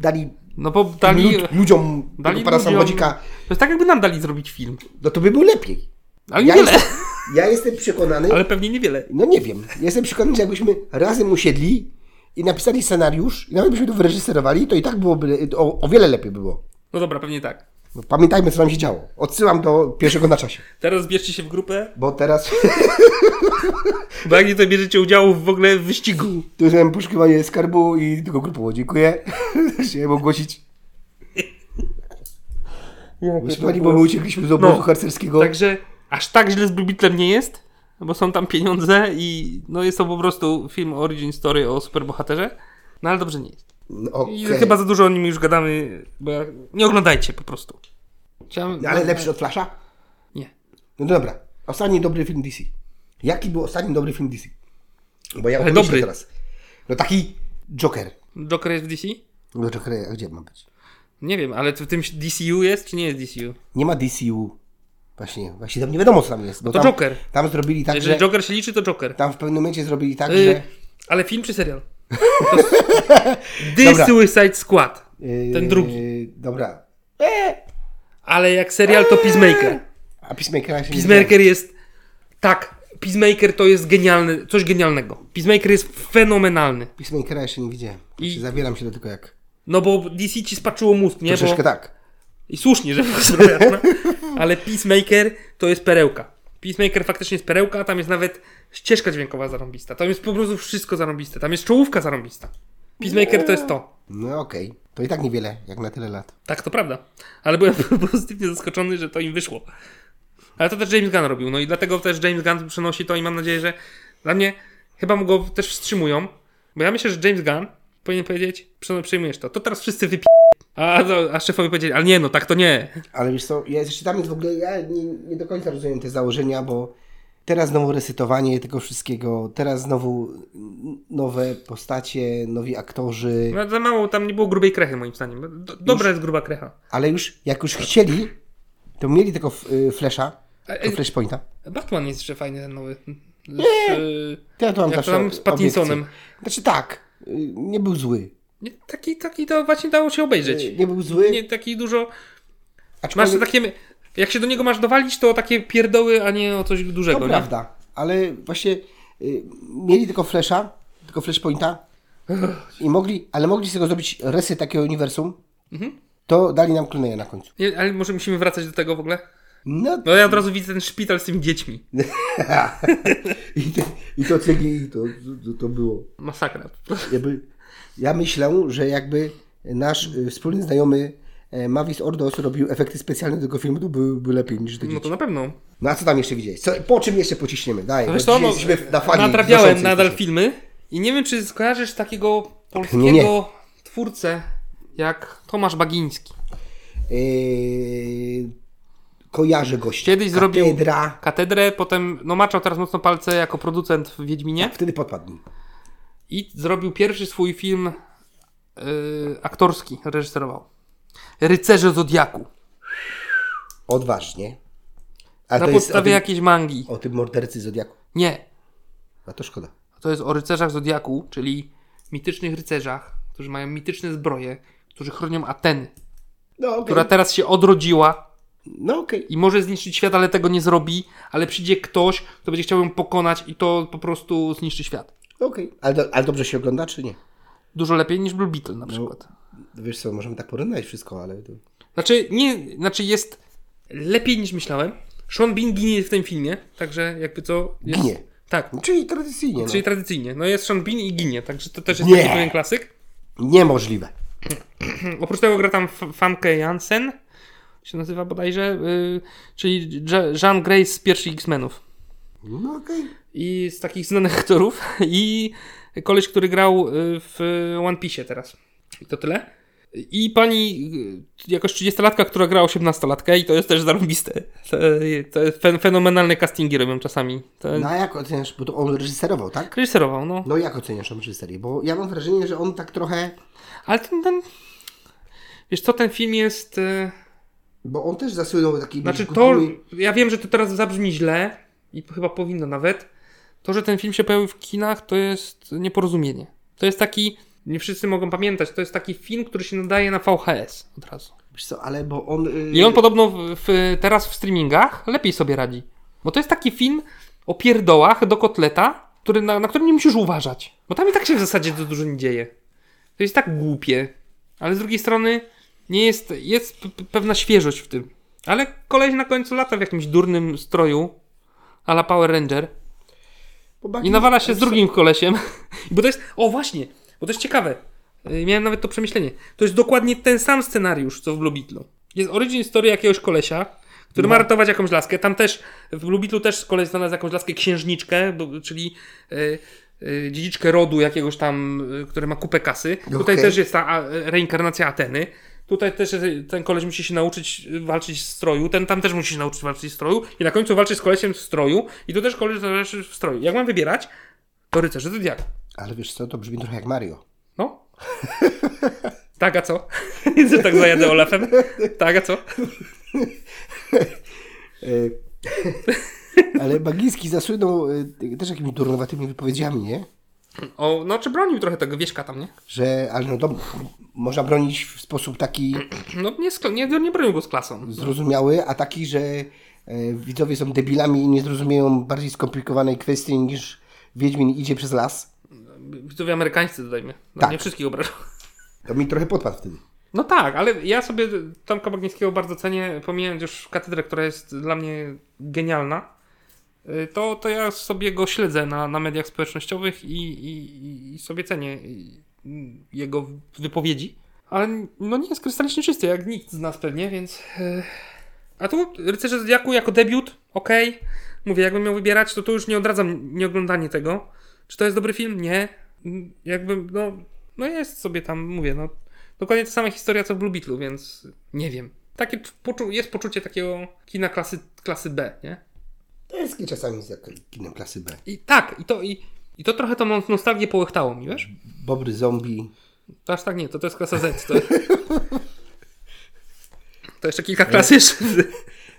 B: dali
A: No bo dali...
B: lud, ludziom
A: dali
B: tego pana
A: ludziom-
B: samochodzika,
A: To jest tak, jakby nam dali zrobić film.
B: no to by był lepiej.
A: Ale
B: Ja
A: niewiele.
B: jestem, ja jestem przekonany,
A: Ale pewnie niewiele.
B: no nie wiem, ja jestem przekonany, że jakbyśmy razem usiedli i napisali scenariusz i nawet byśmy to wyreżyserowali, to i tak byłoby, o, o wiele lepiej by było.
A: No dobra, pewnie tak.
B: No, pamiętajmy, co nam się działo. Odsyłam do pierwszego na czasie,
A: Teraz bierzcie się w grupę,
B: bo teraz
A: bo jak nie to bierzecie udziału w ogóle w wyścigu.
B: tu miałem poszukiwanie skarbu i tylko grupowo dziękuję, że się ogłosić. Proszę pani, bo my uciekliśmy z obozu
A: No.
B: harcerskiego.
A: Także aż tak źle z Blue Beetlem nie jest, bo są tam pieniądze i no jest to po prostu film origin story o superbohaterze. No ale dobrze nie jest.
B: No,
A: I
B: okej.
A: chyba za dużo o nim już gadamy, bo ja- nie oglądajcie po prostu. Chciałem...
B: No, Ale lepszy od Flasha?
A: Nie.
B: No dobra. Ostatni dobry film DC. Jaki był ostatni dobry film DC? Bo ja
A: Ale
B: myślę
A: dobry.
B: teraz. No taki Joker.
A: Joker jest w DC?
B: No Joker, a gdzie ma być?
A: Nie wiem, ale w tym DCU jest, czy nie jest DCU?
B: Nie ma DCU. Właśnie, właśnie tam nie wiadomo co tam jest. Bo
A: No to
B: tam,
A: Joker.
B: Tam zrobili tak,
A: Jeżeli
B: że...
A: Joker się liczy, to Joker.
B: Tam w pewnym momencie zrobili tak,
A: Y,
B: że...
A: ale film czy serial? To s- The
B: Dobra.
A: Suicide Squad.
B: y,
A: Ten drugi.
B: Dobra.
A: Ale jak serial, to Peacemaker.
B: A Peacemakera się nie
A: Peacemaker jest. Tak, Peacemaker to jest genialny, coś genialnego. Peacemaker jest fenomenalny.
B: widziałem. Peacemakera jeszcze nie widziałem.
A: I-
B: Zabieram się do tego jak...
A: No bo DC ci spaczyło mózg, nie?
B: Troszeczkę
A: Bo...
B: tak.
A: I słusznie, że zrobiła, Ale Peacemaker to jest perełka. Peacemaker faktycznie jest perełka, a tam jest nawet ścieżka dźwiękowa zarąbista. Tam jest po prostu wszystko zarąbiste. Tam jest czołówka zarąbista. Peacemaker to jest to.
B: No okej. To i tak niewiele, jak na tyle lat.
A: Tak, to prawda. Ale byłem pozytywnie zaskoczony, że to im wyszło. Ale to też James Gunn robił. No i dlatego też James Gunn przenosi to i mam nadzieję, że dla mnie chyba mu go też wstrzymują. Bo ja myślę, że James Gunn powinien powiedzieć, "Przepraszam, przyjmujesz to. To teraz wszyscy wypi... A, no, a szefowie powiedzieli, ale nie, no tak to nie.
B: Ale wiesz co, ja jeszcze tam jest w ogóle, ja nie, nie do końca rozumiem te założenia, bo teraz znowu resytowanie tego wszystkiego, teraz znowu n- nowe postacie, nowi aktorzy,
A: No, za mało, tam nie było grubej krechy moim zdaniem. Do, dobra jest gruba krecha.
B: ale już, jak już chcieli, to mieli tego f- y, flesza,
A: E,
B: to
A: e,
B: flashpointa.
A: Batman jest jeszcze fajny ten nowy. Z, e,
B: To Ja to mam
A: jak
B: zawsze
A: tam z Pattinsonem.
B: obiekcje. Znaczy tak, y, nie był zły.
A: nie, taki, taki to właśnie dało się obejrzeć.
B: Y, Nie był zły,
A: Nie, taki dużo... Masz
B: aczkolwiek
A: takie. Jak się do niego masz dowalić, to takie pierdoły, a nie o coś
B: to
A: dużego. nie?
B: prawda, ale właśnie y, mieli tylko flesza, tylko flashpointa i mogli, ale mogli z tego zrobić resyt takiego uniwersum,
A: Mhm.
B: to dali nam Clooney'a na końcu.
A: Nie, ale może musimy wracać do tego w ogóle?
B: No
A: No ja od razu widzę ten szpital z tymi dziećmi.
B: i, te, i to CGI to, to, to było.
A: Masakra.
B: Jakby, ja myślę, że jakby nasz y, wspólny znajomy e, Mavis Ordos robił efekty specjalne do tego filmu, to były by lepiej niż te
A: No to
B: dzieci.
A: na pewno.
B: No a co tam jeszcze widzieć? Co, po czym jeszcze pociśniemy? Daj,
A: No
B: bo
A: wiesz co,
B: dzisiaj
A: no,
B: jesteśmy na fali.
A: natrafiałem
B: wznoszącej
A: nadal
B: jesteśmy.
A: filmy i nie wiem, czy skojarzysz takiego polskiego
B: Nie, nie.
A: twórcę jak Tomasz Bagiński.
B: Yy, E, kojarzę gościa.
A: Kiedyś zrobił-
B: Katedra.
A: Katedrę, potem no maczał teraz mocno palce jako producent w Wiedźminie
B: Wtedy podpadł mi.
A: i zrobił pierwszy swój film yy, aktorski, reżyserował. Rycerze Zodiaku.
B: Odważnie. A
A: Na
B: to jest o
A: podstawie
B: tym,
A: jakiejś mangi.
B: o tym mordercy Zodiaku.
A: Nie,
B: A to szkoda.
A: To jest o rycerzach Zodiaku, czyli mitycznych rycerzach, którzy mają mityczne zbroje, którzy chronią Ateny,
B: No okej.
A: która teraz się odrodziła
B: No okej.
A: i może zniszczyć świat, ale tego nie zrobi, ale przyjdzie ktoś, kto będzie chciał ją pokonać i to po prostu zniszczy świat.
B: Okej, ale, do, ale dobrze się ogląda, czy nie?
A: Dużo lepiej niż Blue Beetle
B: No.
A: na przykład.
B: Wiesz co, możemy tak porównać wszystko, ale... To...
A: Znaczy, nie, znaczy jest lepiej niż myślałem. Sean Bean ginie w tym filmie, także jakby co... Jest,
B: Ginie.
A: Tak,
B: Czyli tradycyjnie, no.
A: czyli tradycyjnie. No jest Sean Bean i ginie, także to też jest
B: Nie.
A: taki pewien klasyk.
B: Niemożliwe.
A: Oprócz tego gra tam F- Famke Jansen, się nazywa bodajże, yy, czyli Je- Jean Grey z pierwszych X-Menów.
B: No okej.
A: I z takich znanych aktorów. I koleś, który grał y, w One Piece teraz. I to tyle. I pani y, jakaś 30-latka, która gra 18-latkę i to jest też zarąbiste. To, to jest fen- fenomenalne castingi robią czasami. To
B: No a jak oceniasz, bo to on reżyserował, tak?
A: Reżyserował, no.
B: No jak oceniasz tą reżyserię? Bo ja mam wrażenie, że on tak trochę,
A: Ale ten, ten... Wiesz co, ten film jest... y,
B: bo on też zasłynął taki...
A: Znaczy to...
B: kultury-
A: Ja wiem, że to teraz zabrzmi źle i chyba powinno nawet. To, że ten film się pojawił w kinach, to jest nieporozumienie. To jest taki... Nie wszyscy mogą pamiętać. To jest taki film, który się nadaje na VHS od razu.
B: Wiesz co, ale bo on... y,
A: I on podobno w, w, teraz w streamingach lepiej sobie radzi. Bo to jest taki film o pierdołach do kotleta, który, na, na którym nie musisz uważać. Bo tam i tak się w zasadzie za dużo nie dzieje. To jest tak głupie. Ale z drugiej strony nie jest, jest p- p- pewna świeżość w tym. Ale koleś na końcu lata w jakimś durnym stroju a la Power Ranger
B: bo Bucky-
A: i nawala się z
B: wiesz co,
A: drugim kolesiem. Bo to jest. O właśnie, bo to jest ciekawe. Yy, Miałem nawet to przemyślenie. To jest dokładnie ten sam scenariusz, co w Blue Beetlu. Jest origin story jakiegoś kolesia, który ma ratować jakąś laskę. Tam też, w Blue Beetlu też koleś znalazł jakąś laskę księżniczkę, bo, czyli yy, yy, dziedziczkę rodu jakiegoś tam, yy, który ma kupę kasy. Tutaj
B: Okej.
A: też jest ta a, reinkarnacja Ateny. Tutaj też jest- y, ten koleś musi się nauczyć y, walczyć w stroju, ten tam też musi się nauczyć walczyć w stroju i na końcu walczy z kolesiem w stroju i tu też koleś walczy w stroju. Jak mam wybierać, to rycerze Zodiaku.
B: Ale wiesz co, to brzmi trochę jak Mario.
A: No. tak, a co? Że tak zajadę Olafem. Tak, a co?
B: Y, ale Bagiński zasłynął y, też jakimiś durnowatymi wypowiedziami, nie?
A: O, no czy bronił trochę tego wieśka tam, nie?
B: Że, ale no dobra, można bronić w sposób taki
A: No nie, skla- nie, nie bronił go z klasą.
B: zrozumiały, a taki, że e, widzowie są debilami i nie zrozumieją bardziej skomplikowanej kwestii niż Wiedźmin idzie przez las,
A: Widzowie amerykańscy dodajmy. No,
B: Tak.
A: Nie wszystkich obrażał.
B: to mi trochę podpadł wtedy.
A: No tak, ale ja sobie Tomka Bagnińskiego bardzo cenię, pomijając już katedrę, która jest dla mnie genialna, y, to, to ja sobie go śledzę na, na mediach społecznościowych i, i, i- i sobie cenię i- i jego wypowiedzi. Ale no nie jest krystalicznie czysty, jak nikt z nas pewnie, więc... y, A tu Rycerze Zodiaku jako debiut, okej. Mówię, jakbym miał wybierać, to tu już nie odradzam nieoglądanie tego. Czy to jest dobry film? Nie. Mm, Jakbym, no... No jest sobie tam, mówię, no... Dokładnie ta sama historia co w Blue Beetlu, więc nie wiem. Takie c- poczu- jest poczucie takiego kina klasy, klasy B, nie?
B: To jest czasami z jak- kinem klasy B.
A: I tak, i to, i, i to trochę tą nos- nostalgię połychtało mi, wiesz?
B: Bobry zombie.
A: To aż tak nie, to, to jest klasa Z. To, to jeszcze kilka klas jeszcze.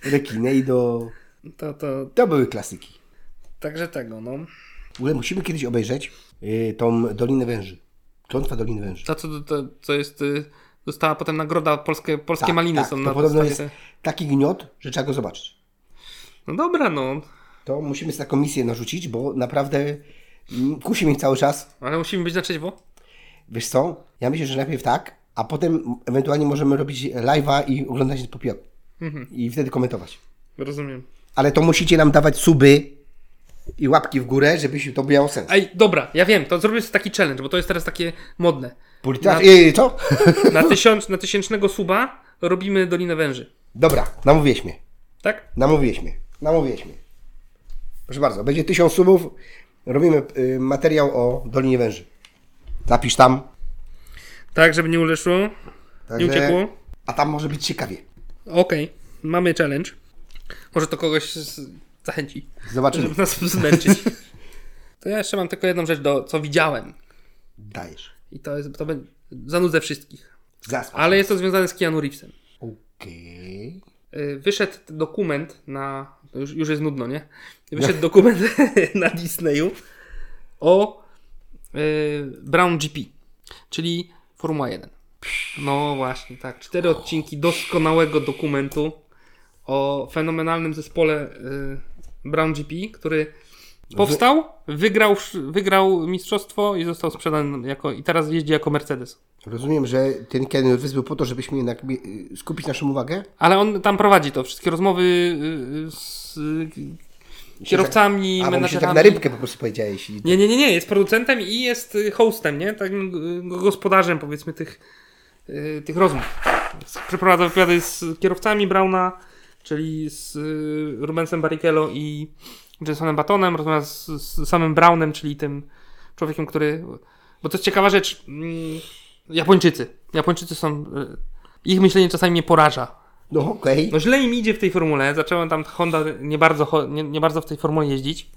B: Rekineido.
A: To, to,
B: To były klasyki.
A: także tego, no.
B: W ogóle musimy kiedyś obejrzeć y, tą Dolinę Węży. Klątwa Doliny Węży.
A: To, co, to, co jest, y, dostała potem nagroda, polskie, polskie maliny są
B: Tak, to
A: na
B: podobno
A: podstawie
B: jest
A: te-
B: taki gniot, że trzeba go zobaczyć.
A: No dobra, no.
B: To musimy sobie taką misję narzucić, bo naprawdę mm, kusi mnie cały czas.
A: Ale musimy być na trzeźwo.
B: Wiesz co? Ja myślę, że najpierw tak, a potem ewentualnie możemy robić live'a i oglądać po pijaku. I wtedy komentować.
A: Mhm, Rozumiem.
B: Ale to musicie nam dawać suby i łapki w górę, żebyśmy to miało sens.
A: Ej, dobra, ja wiem, to zrobię sobie taki challenge, bo to jest teraz takie modne.
B: Polityka... Yy, co?
A: Na, tysiąc, na tysięcznego suba robimy Dolinę Węży.
B: Dobra, namówiłeś mnie.
A: Tak?
B: Namówiłeś mnie. Namówiłeś mnie. Proszę bardzo, będzie tysiąc subów. Robimy y, materiał o Dolinie Węży. Zapisz tam.
A: Tak, żeby nie uleszło.
B: Także-
A: Nie uciekło.
B: A tam może być ciekawie.
A: Okej, mamy challenge. Może to kogoś z... zachęci,
B: Zobaczymy.
A: żeby nas zmęczyć. to ja jeszcze mam tylko jedną rzecz, do, co widziałem.
B: Dajesz.
A: I to jest, to będzie, zanudzę wszystkich.
B: Zaskocz.
A: Ale jest to związane z Keanu Reevesem.
B: Okej.
A: Y, Wyszedł dokument na. to Już, już jest nudno, nie? Wyszedł dokument na Disneyu o y, Brown GP, czyli Formuła 1. No właśnie, tak. Cztery odcinki doskonałego dokumentu o fenomenalnym zespole y, Brown GP, który powstał, wygrał, wygrał mistrzostwo i został sprzedany jako. i teraz jeździ jako Mercedes.
B: Rozumiem, że ten Ken Reeves był po to, żebyśmy jednak mi- y, skupić naszą uwagę.
A: Ale on tam prowadzi to, wszystkie rozmowy y, y, z y, kierowcami,
B: A bo mi się tak
A: menadżerami.
B: na rybkę po prostu powiedziałeś. I...
A: Nie, nie, nie, nie, jest producentem i jest y, hostem, nie? Takim y, gospodarzem powiedzmy tych, y, tych rozmów. Przeprowadza wywiady z kierowcami Brauna, czyli z y, Rubensem Barrichello i Jensonem Batonem, rozmawia z, z samym Brownem, czyli tym człowiekiem, który... Bo to jest ciekawa rzecz. mm, Japończycy. Japończycy są. y, Ich myślenie czasami mnie poraża.
B: No okej.
A: No źle im idzie w tej formule. Zacząłem tam Honda nie bardzo, cho- nie, nie bardzo w tej formule jeździć.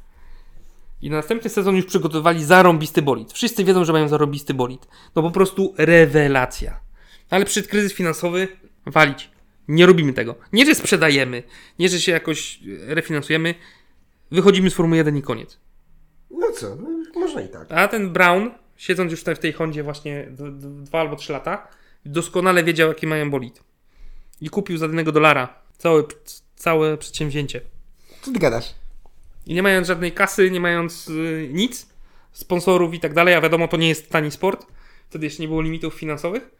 A: I na następny sezon już przygotowali zarąbisty bolid. Wszyscy wiedzą, że mają zarąbisty bolid. No po prostu rewelacja. No Ale przed kryzys finansowy walić. Nie robimy tego. Nie, że sprzedajemy, nie, że się jakoś e, refinansujemy. Wychodzimy z Formuły 1 i koniec.
B: No co, no, można i tak.
A: A ten Brown, siedząc już tam w tej Hondzie właśnie d- d- dwa albo trzy lata, doskonale wiedział, jaki mają bolid. I kupił za jednego dolara całe, całe przedsięwzięcie.
B: Co ty gadasz?
A: I nie mając żadnej kasy, nie mając y, nic, sponsorów i tak dalej, a wiadomo, to nie jest tani sport, wtedy jeszcze nie było limitów finansowych,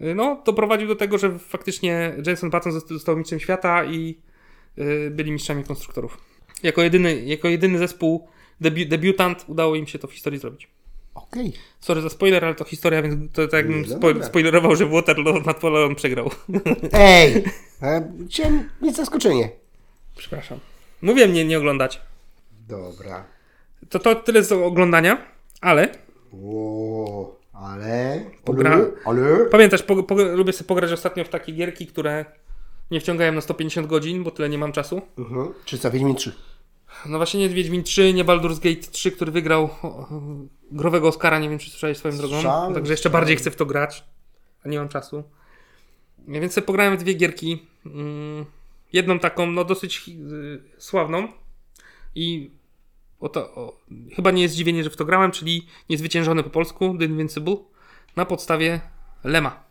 A: y, no, doprowadził do tego, że faktycznie Jenson Button zosta- został mistrzem świata i y, byli mistrzami konstruktorów. Jako jedyny, jako jedyny zespół, debi- debiutant, udało im się to w historii zrobić.
B: Okej.
A: Sorry za spoiler, ale to historia, więc to tak jakbym
B: No
A: spo-
B: dobra.
A: spoilerował, że Waterloo nad Polą przegrał.
B: Ej! E, Chciałem mieć zaskoczenie.
A: Przepraszam. Mówię mnie nie oglądać.
B: Dobra.
A: To to tyle z oglądania, ale
B: Ło, ale...
A: Pogra-
B: Ale... ale...
A: Pamiętasz, po, po, lubię sobie pograć ostatnio w takie gierki, które nie wciągają na 150 godzin, bo tyle nie mam czasu.
B: Mhm. Czy co, Wiedźmin 3?
A: No właśnie nie Wiedźmin 3, nie Baldur's Gate 3, który wygrał o, o, growego Oscara, nie wiem czy słyszałeś swoją drogą.
B: Słyszałem,
A: Także jeszcze bardziej chcę w to grać, a nie mam czasu. Ja Więc sobie pograłem w dwie gierki. Mm, Jedną taką, no dosyć hi- y, sławną i o to, o, chyba nie jest zdziwienie, że w to grałem, czyli niezwyciężony po polsku, The Invincible, na podstawie Lema.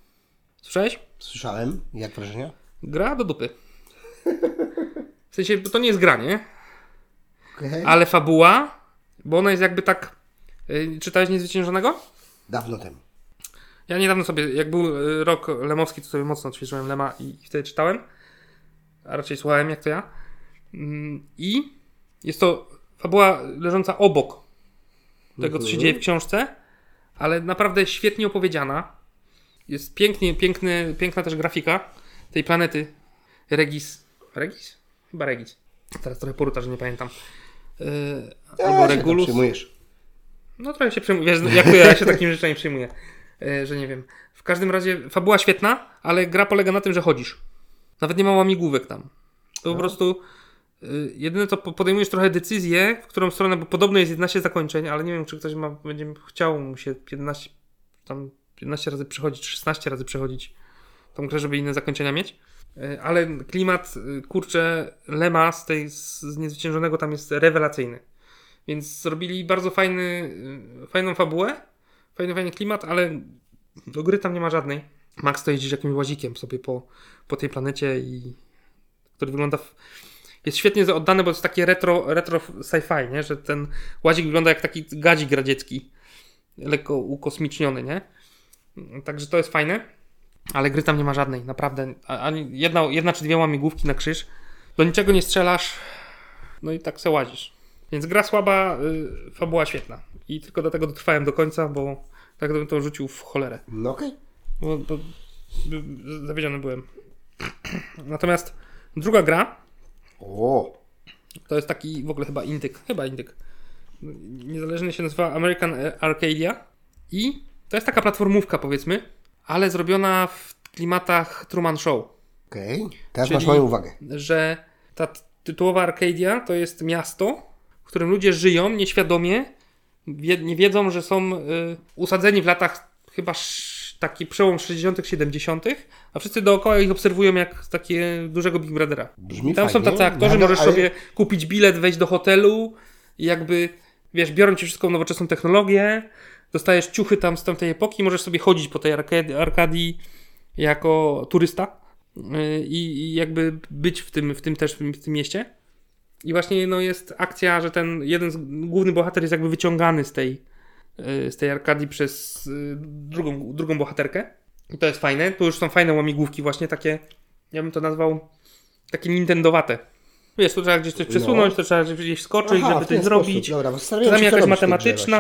A: Słyszałeś?
B: Słyszałem. Jak wrażenia?
A: Gra do dupy. W sensie, bo to nie jest gra, nie?
B: Okej.
A: Ale fabuła, bo ona jest jakby tak... y, Czytałeś Niezwyciężonego?
B: Dawno temu.
A: Ja niedawno sobie, jak był y, rok lemowski, to sobie mocno odświeżyłem Lema i i wtedy czytałem. A raczej słuchałem, jak to ja. Mm, I jest to fabuła leżąca obok tego, co się
B: Mhm.
A: dzieje w książce, ale naprawdę świetnie opowiedziana. Jest pięknie, piękny, piękna też grafika tej planety Regis. Regis? Chyba Regis. Teraz trochę poruta, że nie pamiętam. Yy, albo
B: się tak
A: Regulus.
B: Przyjmujesz.
A: No trochę się przejmuję, wiesz, jak to ja się takimi rzeczami przejmuję, e, że nie wiem. W każdym razie fabuła świetna, ale gra polega na tym, że chodzisz. Nawet nie ma łamigłówek tam. To po prostu y, jedyne to po- podejmujesz trochę decyzję, w którą stronę, bo podobno jest 11 zakończeń, ale nie wiem, czy ktoś ma, będzie chciał mu się 15, tam 15 razy przechodzić, czy 16 razy przechodzić tą grę, żeby inne zakończenia mieć. Y, Ale klimat, y, kurczę, Lema z tej z z niezwyciężonego tam jest rewelacyjny. Więc zrobili bardzo fajny, y, fajną fabułę, fajny, fajny klimat, ale do gry tam nie ma żadnej. Max to jeździ jakimś łazikiem sobie po, po tej planecie i który wygląda w... jest świetnie za- oddany, bo to jest takie retro, retro sci-fi, nie? że ten łazik wygląda jak taki gadzik radziecki, lekko ukosmiczniony, nie? Także to jest fajne, ale gry tam nie ma żadnej, naprawdę. A- Ani jedna, jedna czy dwie łamigłówki na krzyż, do niczego nie strzelasz, no i tak se łazisz. Więc gra słaba, y, fabuła świetna. I tylko dlatego dotrwałem do końca, bo tak bym to rzucił w cholerę.
B: No okej.
A: Bo, bo by- zawiedziony byłem. Natomiast druga gra,
B: O,
A: to jest taki w ogóle chyba indyk, chyba indyk. Niezależnie się nazywa American Arcadia i to jest taka platformówka powiedzmy, ale zrobiona w klimatach Truman Show,
B: okej. Teraz
A: Czyli-
B: masz moją uwagę.
A: że ta t- tytułowa Arcadia to jest miasto, w którym ludzie żyją nieświadomie, wie, nie wiedzą, że są y, usadzeni w latach chyba sz, taki przełom 60 70 a wszyscy dookoła ich obserwują jak takie dużego Big Brothera.
B: Brzmi
A: Tam
B: fajnie.
A: są tacy aktorzy,
B: Nadal-
A: możesz
B: ale-
A: sobie kupić bilet, wejść do hotelu i jakby, wiesz, biorą ci wszystką nowoczesną technologię, dostajesz ciuchy tam z tamtej epoki, możesz sobie chodzić po tej arkadii, arkadii jako turysta yy, i, i jakby być w tym, w tym też, w tym, w tym mieście. I właśnie no, jest akcja, że ten jeden z, główny bohater jest jakby wyciągany z tej, yy, z tej arkadii przez yy, drugą, drugą bohaterkę. I to jest fajne. Tu już są fajne łamigłówki właśnie takie, ja bym to nazwał takie nintendowate. Wiesz, tu trzeba gdzieś coś przesunąć,
B: No.
A: to trzeba gdzieś skoczyć,
B: Aha, w
A: żeby
B: ten
A: coś zrobić.
B: Sposób. Dobra, bo zastanawiałem
A: Czasami
B: się, co
A: jakaś
B: robić w tej grze
A: matematyczna,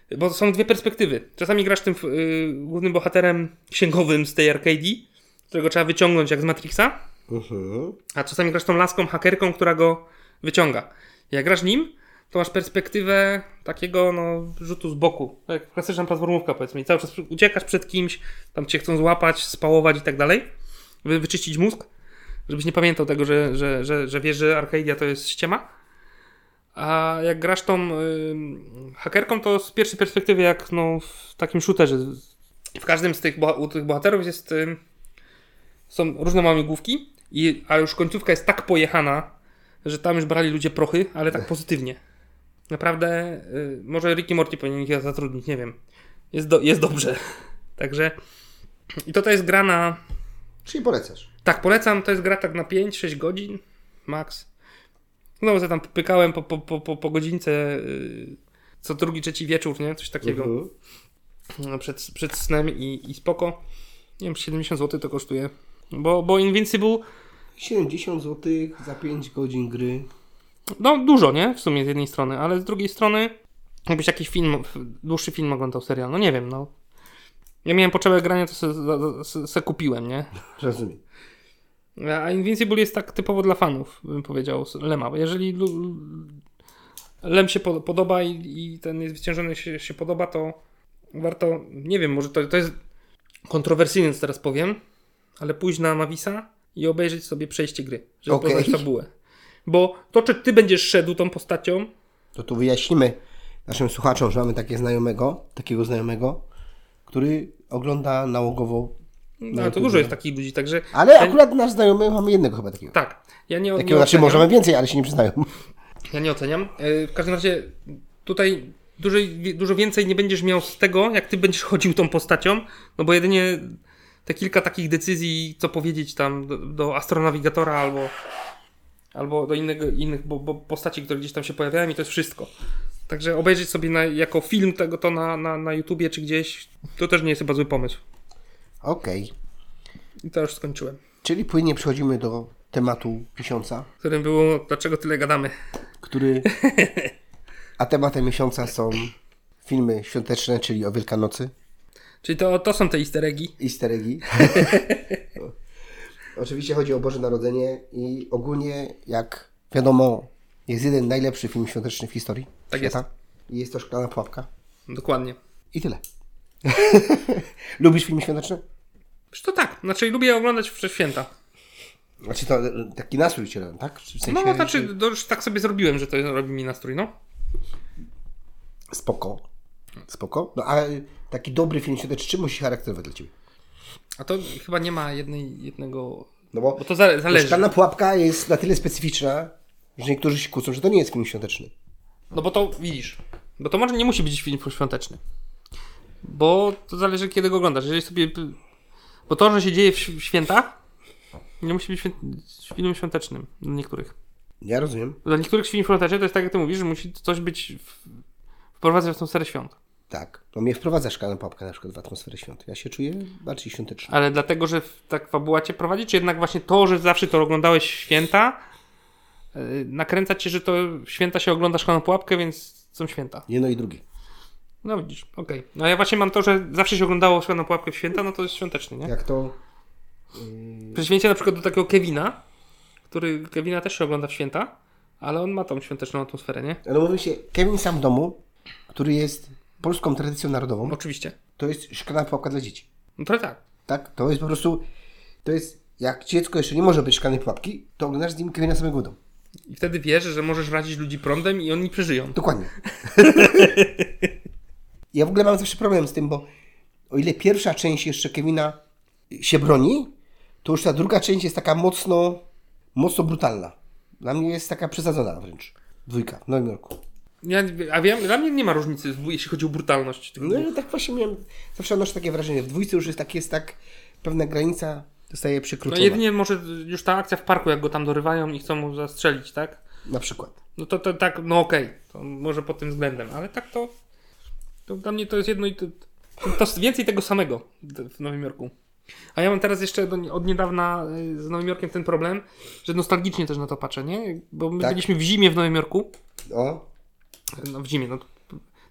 B: właśnie.
A: bo są dwie perspektywy. Czasami grasz tym y, głównym bohaterem księgowym z tej arcadii, którego trzeba wyciągnąć jak z Matrixa,
B: Mhm.
A: a czasami grasz tą laską, hakerką, która go wyciąga. Jak grasz nim, to masz perspektywę takiego no, rzutu z boku. Tak jak klasyczna platformówka powiedzmy. I cały czas uciekasz przed kimś, tam cię chcą złapać, spałować i tak dalej, żeby wyczyścić mózg, żebyś nie pamiętał tego, że, że, że, że wiesz, że Arcadia to jest ściema. A jak grasz tą ym, hakerką, to z pierwszej perspektywy jak no, w takim shooterze. W każdym z tych, boha- u tych bohaterów jest ym, są różne łamigłówki, i, ale już końcówka jest tak pojechana, że tam już brali ludzie prochy, ale tak pozytywnie. Naprawdę, y, może Ricky Morty powinien ich zatrudnić, nie wiem. Jest, do, jest dobrze. Także i to to jest gra na
B: Czyli polecasz.
A: tak, polecam. To jest gra tak na 5-6 godzin max. No, bo ja tam pykałem po, po, po, po, po godzince yy, co drugi, trzeci wieczór, nie? Coś takiego
B: Mhm.
A: no, przed, przed snem i, i spoko. Nie wiem, 70 zł to kosztuje. Bo, bo Invincible,
B: 70 zł za 5 godzin gry.
A: no dużo, nie? W sumie z jednej strony, ale z drugiej strony jakbyś jakiś film, dłuższy film oglądał serial, no nie wiem, no. Ja miałem potrzebę grania, to se, za- za- se kupiłem, nie?
B: Rozumiem.
A: A Invincible jest tak typowo dla fanów, bym powiedział, z Lema. Bo Jeżeli lu- Lem się po- podoba i, i ten niezwyciężony się, się podoba, to warto, nie wiem, może to, to jest kontrowersyjne, co teraz powiem, ale pójść na Mavisa i obejrzeć sobie przejście gry, żeby
B: Okej.
A: poznać fabułę. Bo to, czy ty będziesz szedł tą postacią,
B: To tu wyjaśnimy naszym słuchaczom, że mamy takie znajomego, takiego znajomego, który ogląda nałogowo.
A: no, ale to dużo jest takich ludzi, także
B: Ale akurat nasz znajomy, mamy jednego chyba takiego.
A: tak, ja nie, nie
B: Takiego, znaczy
A: oceniam.
B: możemy więcej, ale się nie przyznają.
A: Ja nie oceniam. Yy, W każdym razie tutaj dużo, dużo więcej nie będziesz miał z tego, jak ty będziesz chodził tą postacią, no bo jedynie te kilka takich decyzji, co powiedzieć tam do, do astronawigatora albo, albo do innego, innych bo, bo postaci, które gdzieś tam się pojawiają i to jest wszystko. Także obejrzeć sobie na, jako film tego to na, na, na YouTubie czy gdzieś, to też nie jest chyba zły pomysł.
B: Okej.
A: I to już skończyłem.
B: Czyli płynnie przechodzimy do tematu miesiąca,
A: Którym było, dlaczego tyle gadamy?
B: który. A tematem miesiąca są filmy świąteczne, czyli o Wielkanocy,
A: Czyli to, to są te easter eggi.
B: easter eggi. Oczywiście chodzi o Boże Narodzenie i ogólnie, jak wiadomo, jest jeden najlepszy film świąteczny w historii.
A: Tak
B: I jest to Szklana Pułapka.
A: Dokładnie.
B: I tyle. Lubisz filmy świąteczne?
A: Przecież to tak, znaczy lubię oglądać przez święta.
B: Znaczy to e, taki nastrój cię da, tak? Czy W sensie,
A: No, znaczy, to już tak sobie zrobiłem, że to robi mi nastrój, no.
B: Spoko. Spoko. No ale taki dobry film świąteczny, czym musi charakteryzować dla Ciebie?
A: A to chyba nie ma jednej, jednego...
B: No bo,
A: Bo to zale- zależy.
B: Szklana pułapka jest na tyle specyficzna, że niektórzy się kłócą, że to nie jest film świąteczny.
A: No bo to widzisz, bo to może nie musi być film świąteczny. Bo to zależy, kiedy go oglądasz. Jeżeli sobie... Bo to, że się dzieje w św- świętach, nie musi być świę- filmem świątecznym dla niektórych.
B: Ja rozumiem.
A: Dla niektórych film świąteczny to jest tak, jak ty mówisz, że musi coś być... W... Wprowadzać w tą serię świąt.
B: Tak. No mnie wprowadza szklana pułapka na przykład w atmosferę świąt. Ja się czuję bardziej świąteczny.
A: Ale dlatego, że w- tak fabuła cię prowadzi, czy jednak właśnie to, że zawsze to oglądałeś w święta, yy, nakręca cię, że to w święta się ogląda szklaną pułapkę, więc są święta.
B: Jedno i drugie.
A: No widzisz, okej. No ja właśnie mam to, że zawsze się oglądało szklaną pułapkę w święta, no to jest świąteczny, nie?
B: Jak to...
A: Prześwięcie na przykład do takiego Kevina, który Kevina też się ogląda w święta, ale on ma tą świąteczną atmosferę, nie?
B: No mówi się, Kevin sam w domu, który jest polską tradycją narodową,
A: Oczywiście.
B: to jest szklana pułapka dla dzieci.
A: No to tak.
B: Tak? To jest po prostu... To jest... Jak dziecko jeszcze nie może być szklanej pułapki, to oglądasz z nim Kevina samego w domu.
A: I wtedy wiesz, że możesz radzić ludzi prądem i oni przeżyją.
B: Dokładnie. ja w ogóle mam zawsze problem z tym, bo o ile pierwsza część jeszcze Kevina się broni, to już ta druga część jest taka mocno, mocno brutalna. Dla mnie jest taka przesadzona wręcz. Dwójka w Nowym Jorku.
A: Ja, a wiem, dla mnie nie ma różnicy, jeśli chodzi o brutalność. tych
B: No i tak właśnie miałem, zawsze odnoszę takie wrażenie. W dwójce już jest tak, jest tak, pewna granica zostaje
A: No
B: przekroczona.
A: jedynie może już ta akcja w parku, jak go tam dorywają i chcą mu zastrzelić, tak?
B: Na przykład.
A: No to, to tak, no okej, to może pod tym względem, ale tak to, to dla mnie to jest jedno i to, to, to jest więcej tego samego d- w Nowym Jorku. A ja mam teraz jeszcze do, od niedawna y, z Nowym Jorkiem ten problem, że nostalgicznie też na to patrzę, nie? Bo my
B: Tak.
A: byliśmy w zimie w Nowym Jorku,
B: O,
A: no w zimie, no,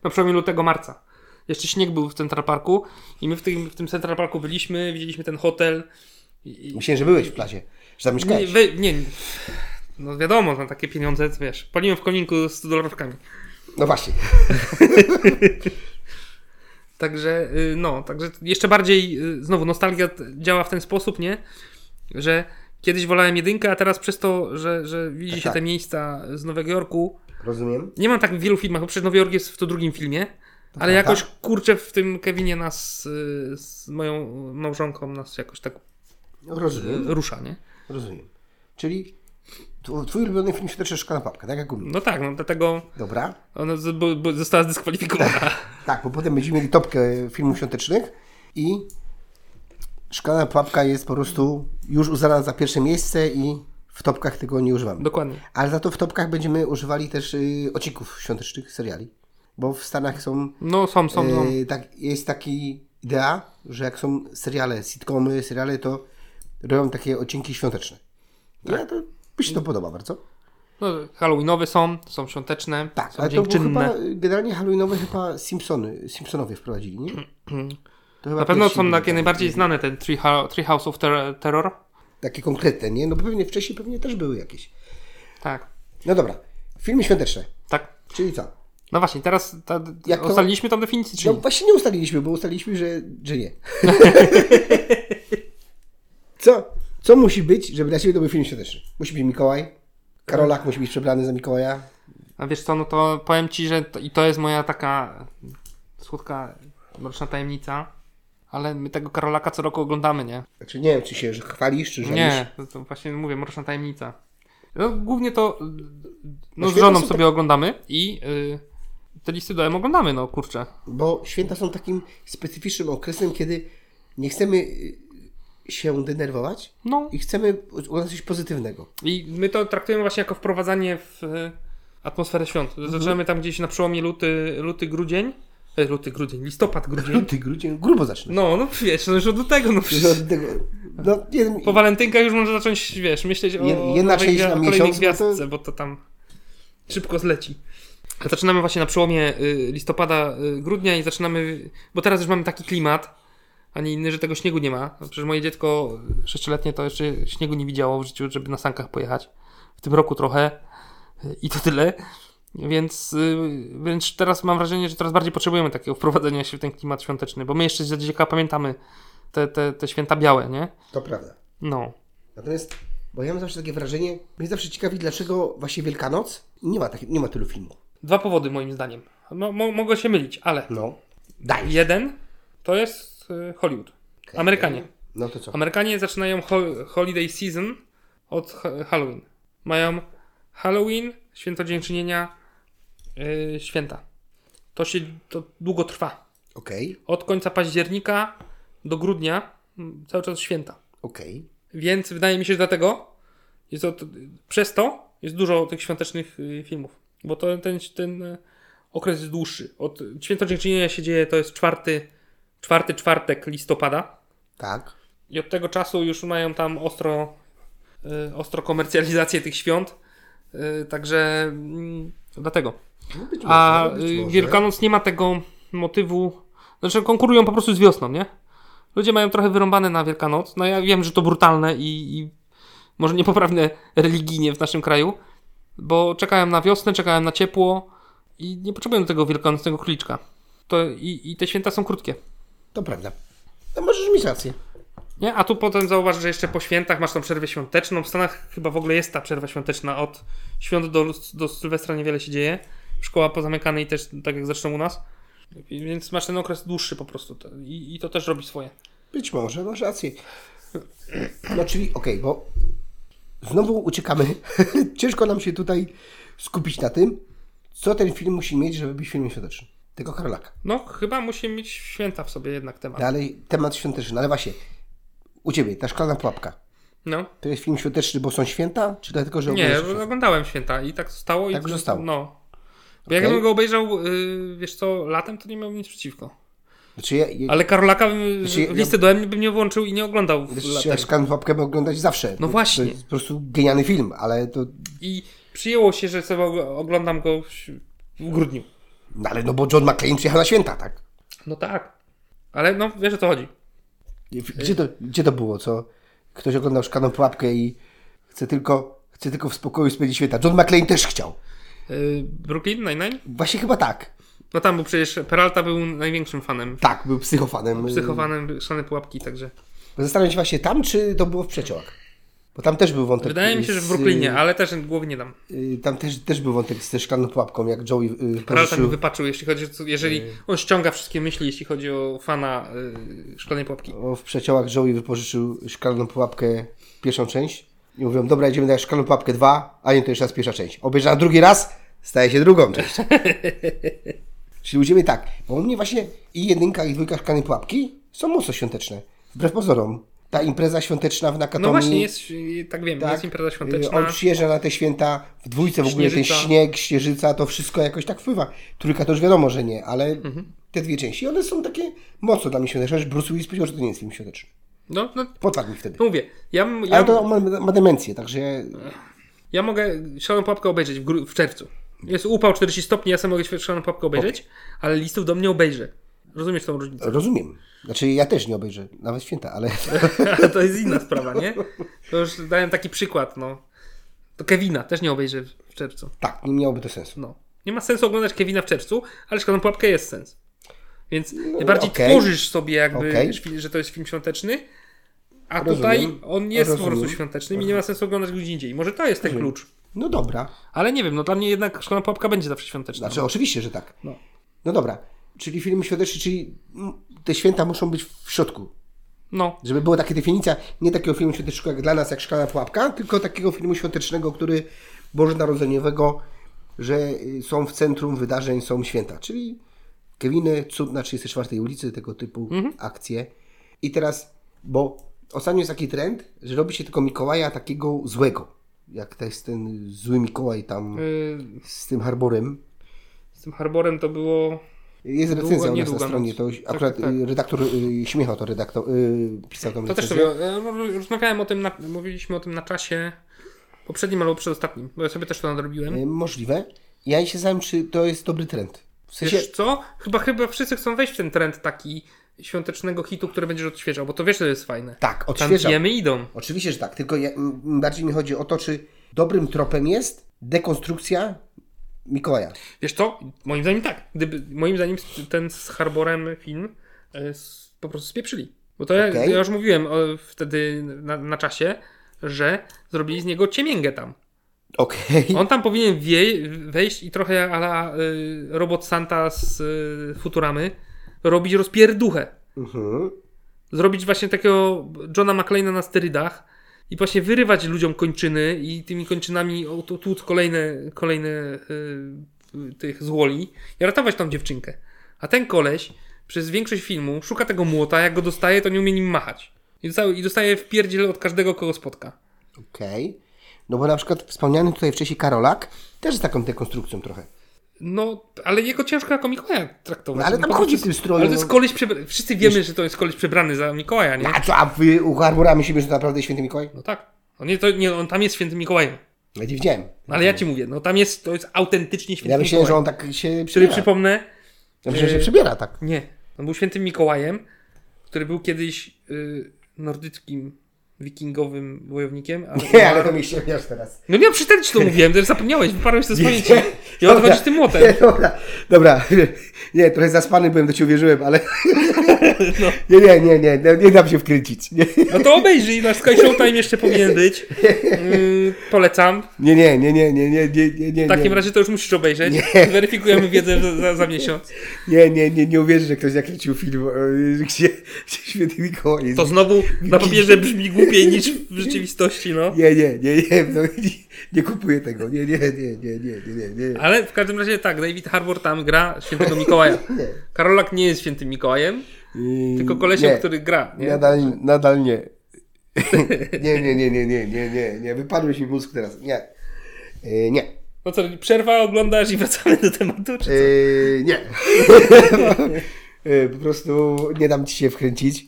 A: na przełomie lutego, marca. Jeszcze śnieg był w Central Parku i my w tym, w tym Central Parku byliśmy, widzieliśmy ten hotel. i- i-
B: myślałem, że byłeś w plazie, że tam
A: nie,
B: mieszkałeś.
A: we, nie, No wiadomo, na takie pieniądze, wiesz, paliłem w kolinku 100 dolarówkami.
B: No właśnie.
A: Także, y, no, także jeszcze bardziej, y, znowu, nostalgia t- działa w ten sposób, nie? Że kiedyś wolałem jedynkę, a teraz przez to, że, że widzi
B: Tak,
A: się te
B: tak.
A: miejsca z Nowego Jorku,
B: Rozumiem.
A: nie mam tak w wielu filmach, bo przecież Nowy Jork jest w to drugim filmie, ale
B: prawda.
A: jakoś, kurczę, w tym Kevinie nas y, z moją małżonką nas jakoś tak y,
B: Rozumiem.
A: rusza, nie?
B: Rozumiem. Czyli tu- twój ulubiony film Świąteczna na Papka, tak jak u mnie.
A: No tak, no dlatego
B: Dobra.
A: ona z, bo, bo została zdyskwalifikowana.
B: Tak, bo potem będziemy mieli topkę filmów świątecznych i Szklana Pułapka jest po prostu już uznana za pierwsze miejsce i w topkach tego nie używamy.
A: Dokładnie.
B: Ale za to w topkach będziemy używali też y, ocików świątecznych seriali, bo w Stanach są
A: No są, są, no.
B: Y, tak, jest taki idea, że jak są seriale, sitcomy, seriale, to robią takie odcinki świąteczne. Ja to mi się to podoba bardzo.
A: no Halloweenowe są, są świąteczne,
B: Tak,
A: są
B: ale to było
A: dziękczynne.
B: chyba y, generalnie Halloweenowe chyba Simpsony, Simpsonowie wprowadzili, nie? To chyba
A: Na pewno
B: pierwsi
A: są
B: byli
A: takie
B: tam,
A: najbardziej znane, ten Three, Ho- Three House of Ter- Terror.
B: Takie konkretne, nie? No bo pewnie wcześniej pewnie też były jakieś.
A: Tak,
B: No dobra, filmy świąteczne,
A: tak.
B: czyli co?
A: No właśnie, teraz ta,
B: Jak to-
A: ustaliliśmy tam definicję,
B: No
A: czyli
B: właśnie nie ustaliliśmy, bo ustaliliśmy, że, że nie. co, co musi być, żeby dla Ciebie to był film świąteczny? Musi być Mikołaj, Karolak musi być przebrany za Mikołaja.
A: A wiesz co, no to powiem ci, że to, i to jest moja taka słodka, mroczna tajemnica, ale my tego Karolaka co roku oglądamy, nie?
B: Znaczy nie wiem, czy się chwalisz, czy żalisz.
A: Nie, to, to właśnie mówię, mroczna tajemnica. No, głównie to no, z
B: święta
A: żoną
B: są
A: sobie oglądamy i y, te listy dołem oglądamy, no kurczę.
B: Bo święta są takim specyficznym okresem, kiedy nie chcemy y, się denerwować
A: No
B: i chcemy oglądać coś pozytywnego.
A: i my to traktujemy właśnie jako wprowadzanie w y, atmosferę świąt. Zaczynamy tam gdzieś na przełomie luty, luty grudzień, e, luty grudzień, listopad grudzień.
B: Luty, grudzień, grubo zacznę.
A: No, no wiesz, no już od tego, no przecież.
B: Od tego- No, jeden,
A: Po walentynkach już można zacząć, wiesz, myśleć o,
B: Je- jedna
A: nowej
B: część
A: gwia-
B: na
A: kolejnej
B: miesiąc, no to-
A: gwiazdce, bo to tam szybko zleci. A zaczynamy właśnie na przełomie y, listopada, y, grudnia i zaczynamy, bo teraz już mamy taki klimat, a nie inny, że tego śniegu nie ma. No, Przecież moje dziecko sześcioletnie to jeszcze śniegu nie widziało w życiu, żeby na sankach pojechać. W tym roku trochę y, i to tyle. Więc y, wręcz teraz mam wrażenie, że coraz bardziej potrzebujemy takiego wprowadzenia się w ten klimat świąteczny, bo my jeszcze z dzieciaka pamiętamy te, te, te święta białe, nie?
B: to prawda.
A: No.
B: Natomiast, bo ja mam zawsze takie wrażenie, mnie zawsze ciekawi, dlaczego właśnie Wielkanoc nie ma, takich, nie ma tylu filmów.
A: Dwa powody moim zdaniem. Mo, mo, mogę się mylić, ale
B: No. Daj.
A: jeden to jest y, Hollywood. Amerykanie.
B: No to co?
A: Amerykanie zaczynają ho, holiday season od ha- Halloween. Mają Halloween, święto dziękczynienia, y, święta. To się to długo trwa.
B: Okej,
A: Od końca października do grudnia mm, cały czas święta.
B: okej.
A: Więc wydaje mi się, że dlatego jest od, przez to jest dużo tych świątecznych y, filmów, bo to ten, ten y, okres jest dłuższy. Od Święto Dziękczynienia się dzieje, to jest czwarty, czwarty czwartek listopada
B: Tak.
A: i od tego czasu już mają tam ostro, y, ostro komercjalizację tych świąt, y, także mm, dlatego.
B: No być
A: A
B: może, być
A: y,
B: może.
A: Wielkanoc nie ma tego motywu, znaczy konkurują po prostu z wiosną, nie? Ludzie mają trochę wyrąbane na Wielkanoc. No ja wiem, że to brutalne i, i może niepoprawne religijnie w naszym kraju, bo czekałem na wiosnę, czekałem na ciepło i nie potrzebują tego wielkanocnego króliczka. To i, I te święta są krótkie.
B: To prawda. No możesz mieć rację.
A: Nie? A tu potem zauważ, że jeszcze po świętach masz tą przerwę świąteczną. W Stanach chyba w ogóle jest ta przerwa świąteczna. Od świąt do, do Sylwestra niewiele się dzieje. Szkoła pozamykana i też tak jak zresztą u nas. I- Więc masz ten okres dłuższy po prostu. To- I, i to też robi swoje.
B: Być może, masz rację. No czyli, okej, bo znowu uciekamy. Ciężko nam się tutaj skupić na tym, co ten film musi mieć, żeby być filmem świątecznym. Tego Karolaka.
A: No, chyba musi mieć święta w sobie jednak temat.
B: Dalej temat świąteczny, No, ale właśnie, u Ciebie, ta szklana pułapka.
A: No.
B: To jest film świąteczny, bo są święta, czy dlatego, że
A: Nie,
B: oglądasz wszystko?
A: oglądałem święta i tak zostało.
B: Tak
A: i
B: zostało.
A: No. Bo jakbym
B: Okej.
A: go obejrzał, y, wiesz co, latem, to nie miałbym nic przeciwko.
B: Znaczy, ja, ja,
A: Ale Karolaka bym,
B: Znaczy,
A: w listę do mnie bym nie włączył i nie oglądał w
B: znaczy,
A: latem.
B: ja szklaną pułapkę mogę oglądać zawsze.
A: No właśnie.
B: To jest po prostu genialny film, ale to,
A: I przyjęło się, że sobie og- oglądam go w, w grudniu.
B: no ale no bo John McClane przyjechał na święta, tak?
A: No tak. Ale no, wiesz o co chodzi.
B: Gdzie to, gdzie to było, co ktoś oglądał szklaną pułapkę i chce tylko, Chcę tylko w spokoju spędzić święta. John McClane też chciał.
A: Yy, Brooklyn Nine-Nine?
B: Właśnie chyba tak.
A: No tam był przecież, Peralta był największym fanem.
B: Tak, był psychofanem.
A: Psychowanym, szalone pułapki, także.
B: Zastanawiam się właśnie tam, czy to było w przeciołach. Bo tam też był wątek.
A: Wydaje mi się, że w
B: z-
A: Brooklynie, ale też głównie tam.
B: y, Tam też, też był wątek z szklaną pułapką, jak Joey y,
A: Peralta go
B: pożyczył.
A: wypaczył, jeśli chodzi o. Jeżeli on ściąga wszystkie myśli, jeśli chodzi o fana yy, szklanej pułapki.
B: O, w przeciołach Joey wypożyczył szklaną pułapkę pierwszą część. I mówią, dobra, idziemy na szklaną pułapkę 2, a nie to jeszcze raz pierwsza część. Obejrzana drugi raz, staje się drugą część. Czyli będziemy tak, bo u mnie właśnie i jedynka, i dwójka szklanej pułapki są mocno świąteczne. Wbrew pozorom. Ta impreza świąteczna w Nakatomii.
A: No właśnie, jest, yy, tak wiem, jest impreza
B: y,
A: świąteczna.
B: On przyjeżdża na te święta w dwójce, w ogóle ten
A: Śnieżyca.
B: śnieg, śnieżyca, to wszystko jakoś tak wpływa. Trójka to już wiadomo, że nie, ale
A: Mhm.
B: te dwie części, one są takie mocno dla mnie świąteczne. Chociaż Bruce Willis powiedział, że to nie jest film świąteczny.
A: No, no,
B: Potarł mi wtedy.
A: no mówię, ja, m- ja,
B: Ale to ma, ma demencję, także
A: ja mogę szaloną pułapkę obejrzeć w, gru- w czerwcu. Jest upał 40 stopni, ja sobie mogę szaloną pułapkę obejrzeć, ale listów do mnie obejrzę. Rozumiesz tą różnicę?
B: rozumiem. Znaczy ja też nie obejrzę, nawet święta, ale
A: Ale to jest inna sprawa, nie? To już dałem taki przykład, no. To Kevina też nie obejrzę w w czerwcu.
B: tak, nie miałoby to sensu.
A: No. Nie ma sensu oglądać Kevina w czerwcu, ale Szklaną Pułapkę jest sens. Więc bardziej
B: No, okej.
A: tworzysz sobie jakby,
B: Okej.
A: szwi- że to jest film świąteczny, a
B: Rozumiem.
A: tutaj on jest po
B: Rozumiem.
A: prostu świątecznym i nie ma sensu oglądać go gdzie indziej. Może to jest ten klucz.
B: No dobra,
A: Ale nie wiem, no dla mnie jednak Szklana Pułapka będzie zawsze świąteczna.
B: znaczy oczywiście, że tak.
A: No.
B: No dobra, czyli filmy świąteczne, czyli mm, te święta muszą być w środku.
A: No.
B: Żeby była taka definicja nie takiego filmu świątecznego jak dla nas, jak Szklana Pułapka, tylko takiego filmu świątecznego, który bożonarodzeniowego, że y, są w centrum wydarzeń, są święta. Czyli Kewiny, cud na 34 ulicy, tego typu
A: Mhm.
B: akcje. I teraz, bo ostatnio jest taki trend, że robi się tylko Mikołaja takiego złego. Jak to jest ten zły Mikołaj tam
A: Yy,
B: z tym harborem.
A: z tym Harborem to było...
B: Jest
A: Długo-
B: recenzja u nas na
A: niedługa
B: stronie,
A: noc.
B: to
A: Tak,
B: akurat
A: tak, tak.
B: y, redaktor y, Śmiecha to redaktor, y, pisał tą
A: To też sobie... e, Rozmawiałem o tym, na, mówiliśmy o tym na czasie poprzednim albo przedostatnim, bo ja sobie też to nadrobiłem.
B: E, Możliwe. Ja się zastanawiam, czy to jest dobry trend. W sensie,
A: Wiesz co? Chyba, chyba wszyscy chcą wejść w ten trend taki świątecznego hitu, który będziesz odświeżał, bo to wiesz, że to jest fajne.
B: tak,
A: Tam
B: odświeżam.
A: wiemy idą.
B: Oczywiście, że tak, tylko ja, m, m, bardziej mi chodzi o to, czy dobrym tropem jest dekonstrukcja Mikołaja.
A: Wiesz co? Moim zdaniem tak. Gdyby, moim zdaniem ten z Harborem film e, s- po prostu spieprzyli. Bo to ja,
B: Okej.
A: ja już mówiłem o, wtedy na, na czasie, że zrobili z niego ciemięgę tam.
B: Okej.
A: On tam powinien wie, wejść i trochę ala y, robot Santa z y, Futuramy robić rozpierduchę.
B: Mhm.
A: zrobić właśnie takiego Johna McClane'a na sterydach i właśnie wyrywać ludziom kończyny i tymi kończynami tu- tłuc kolejne, kolejne y, y, tych złoli i ratować tą dziewczynkę. A ten koleś przez większość filmu szuka tego młota, jak go dostaje, to nie umie nim machać. I dostaje, i dostaje w pierdziel od każdego, kogo spotka.
B: Okej. No bo na przykład wspomniany tutaj wcześniej Karolak też jest taką dekonstrukcją trochę.
A: No, ale jego ciężko jako Mikołaja traktować.
B: No, ale tam
A: po
B: chodzi
A: prostu-
B: w tym stroju,
A: Ale to jest
B: no. Tak.
A: koleś przebra... Wszyscy wiemy, że to jest koleś przebrany za Mikołaja, nie?
B: A co, a wy uharburamy siebie, że to naprawdę święty Mikołaj?
A: No tak. On, nie, to, nie, on tam jest świętym Mikołajem.
B: Ja nie widziałem.
A: No ale ja ci mówię, no tam jest, to jest autentycznie święty
B: Mhm. Ja myślałem, że
A: Mikołaj.
B: on tak się
A: Który
B: przybiera.
A: przypomnę,
B: Ja myślałem, że się przybiera, tak.
A: nie, on był świętym Mikołajem, który był kiedyś y, nordyckim wikingowym wojownikiem. Ale
B: Nie, ale to mi się wiesz teraz.
A: No nie, przeczytałem ci to mówiłem, też zapomniałeś, wyparłeś to z pamięci. I odchodzisz tym młotem.
B: Nie, dobra, dobra. Nie, trochę zaspany byłem, do ciebie wierzyłem, ale. Nie, nie, nie, nie, no, nie, nie dam się wkręcić. Nie,
A: No to obejrzyj, na Sky Showtime jeszcze powinien być. Y, polecam.
B: nie, nie, nie, nie, nie, nie, nie, nie, nie.
A: W takim razie to już musisz obejrzeć. Weryfikujemy wiedzę za, za, za miesiąc.
B: Nie, nie, nie, nie uwierzę, że ktoś zakręcił film, e, gdzie, gdzie święty Mikołaj jest.
A: To znowu na papierze brzmi głupiej niż w rzeczywistości, no.
B: Nie, nie, nie, nie, no, nie, nie kupuję tego. Nie, nie, nie, nie, nie, nie, nie, nie.
A: Ale w każdym razie tak, David Harbour tam gra świętego Mikołaja. Karolak nie jest świętym Mikołajem,
B: I-
A: tylko kolesiem,
B: nie.
A: który gra. Nie?
B: Nadal, nadal nie. nie, nie, nie, nie, nie, nie, nie, nie. Wypadłeś mi mózg teraz. Nie. E, nie.
A: No co, przerwa, oglądasz i wracamy do tematu? Czy...
B: Eee, nie. Eee, po prostu nie dam ci się wkręcić,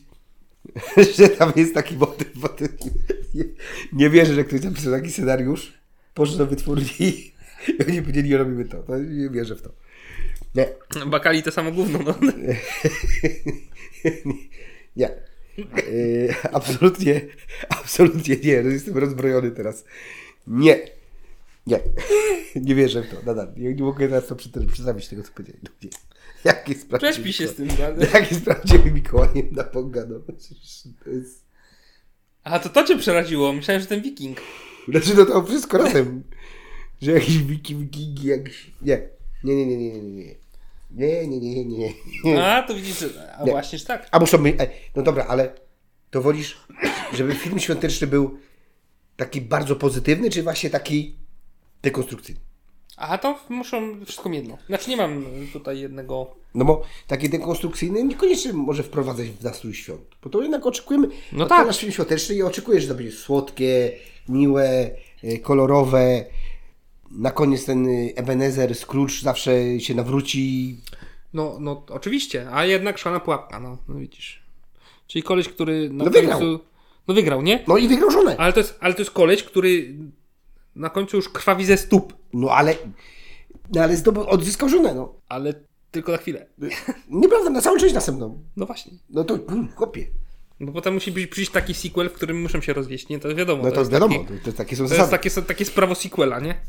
B: że tam jest taki motyw. Bo ty nie, nie wierzę, że ktoś napisał taki scenariusz, poszedł do wytwórni i oni powiedzieli, robimy to. to. Nie wierzę w to. Nie.
A: Bakali No, to samo gówno. No.
B: Nie. Yy, Eee, absolutnie, absolutnie nie. Jestem No, rozbrojony teraz. Nie. Nie. nie wierzę w to. Nadal. Ja nie mogę teraz to przyt- przedstawić tego, co powiedzieli ludzie. Jaki jest prawdziwy
A: Prześpij się z tym, no.
B: Mikołaj?
A: prawda?
B: Jaki jest prawdziwy Mikołajem na Boga? No, przecież to jest...
A: A to to cię przeraziło, myślałem, że ten wiking.
B: Znaczy, no to wszystko razem. Że jakiś wiki, wikingi, jakiś... Nie. Nie, nie, nie, nie, nie, nie. Nie, nie, nie, nie, nie. nie.
A: A, to widzisz, że- a
B: Nie.
A: właśnie, że tak.
B: A muszą być... e, No dobra, ale to wolisz, żeby film świąteczny był taki bardzo pozytywny, czy właśnie taki dekonstrukcyjny?
A: A to muszą wszystko jedno. Znaczy nie mam tutaj jednego...
B: No bo takie dekonstrukcyjne niekoniecznie może wprowadzać w nastrój świąt, bo to jednak oczekujemy.
A: No
B: No
A: tak.
B: tak. nasz film świąteczny i oczekujesz, że to będzie słodkie, miłe, y, kolorowe. Na koniec ten y, Ebenezer, Scrooge zawsze się nawróci.
A: No, no oczywiście, a jednak szana pułapka, no, no widzisz. Czyli koleś, który na
B: No
A: końcu...
B: wygrał.
A: No wygrał, nie?
B: No i wygrał żonę.
A: Ale to, jest, ale to jest koleś, który na końcu już krwawi ze stóp.
B: No ale, no, ale zdobył, odzyskał żonę, no.
A: Ale tylko na chwilę.
B: Nieprawda, na całą część następną.
A: No właśnie. No
B: No to, mm, chłopie.
A: Bo potem musi być, przyjść taki sequel, w którym muszą się rozwieść, nie? To wiadomo.
B: No to
A: jest
B: wiadomo,
A: Taki,
B: to, to takie są
A: to jest
B: zasady.
A: takie, takie sprawo sequela, nie?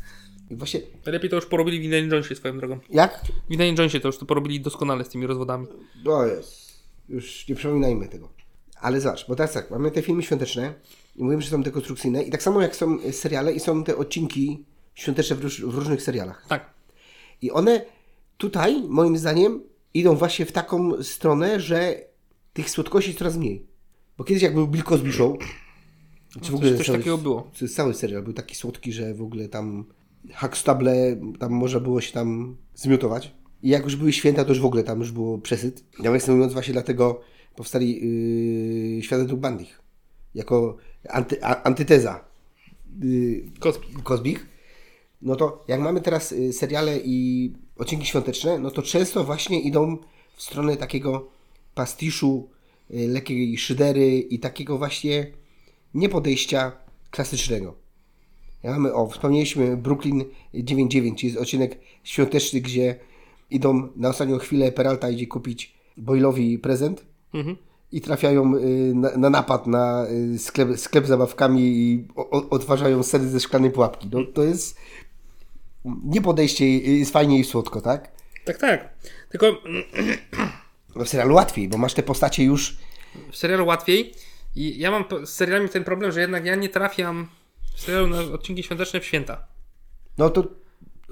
B: I Właśnie,
A: Lepiej to już porobili w Indiana Jonesie swoją drogą.
B: jak?
A: W Indiana Jonesie to już to porobili doskonale z tymi rozwodami.
B: No jest. Już nie przypominajmy tego. Ale zobacz, bo teraz tak, mamy te filmy świąteczne i mówimy, że są dekonstrukcyjne i tak samo jak są y, seriale i są te odcinki świąteczne w, róż, w różnych serialach.
A: Tak.
B: I one tutaj, moim zdaniem, idą właśnie w taką stronę, że tych słodkości jest coraz mniej. Bo kiedyś jak był Bill Cosby Show, czy w ogóle
A: No, coś takiego było.
B: czy Cały serial był taki słodki, że w ogóle tam Hackstable, tam można było się tam zmiotować. I jak już były święta, to już w ogóle tam już było przesyt. Nawiasem mówiąc, właśnie dlatego powstali yy, Światy Dwóch Bandich. Jako anty, a, antyteza yy,
A: Cosby.
B: Kozbich. No to jak mamy teraz y, seriale i odcinki świąteczne, no to często właśnie idą w stronę takiego pastiszu, y, lekkiej szydery i takiego właśnie niepodejścia klasycznego. Ja mamy, o, wspomnieliśmy Brooklyn 99, czyli jest odcinek świąteczny, gdzie idą na ostatnią chwilę, Peralta idzie kupić Boylowi prezent
A: Mhm.
B: i trafiają y, na, na napad na y, sklep, sklep z zabawkami i o, o, odważają sery ze szklanej pułapki. No, to jest nie podejście, i- i jest fajnie i słodko, tak?
A: Tak, tak. Tylko
B: No w serialu łatwiej, bo masz te postacie już...
A: w serialu łatwiej. I ja mam po- z serialami ten problem, że jednak ja nie trafiam w serialu na odcinki świąteczne w święta.
B: No to...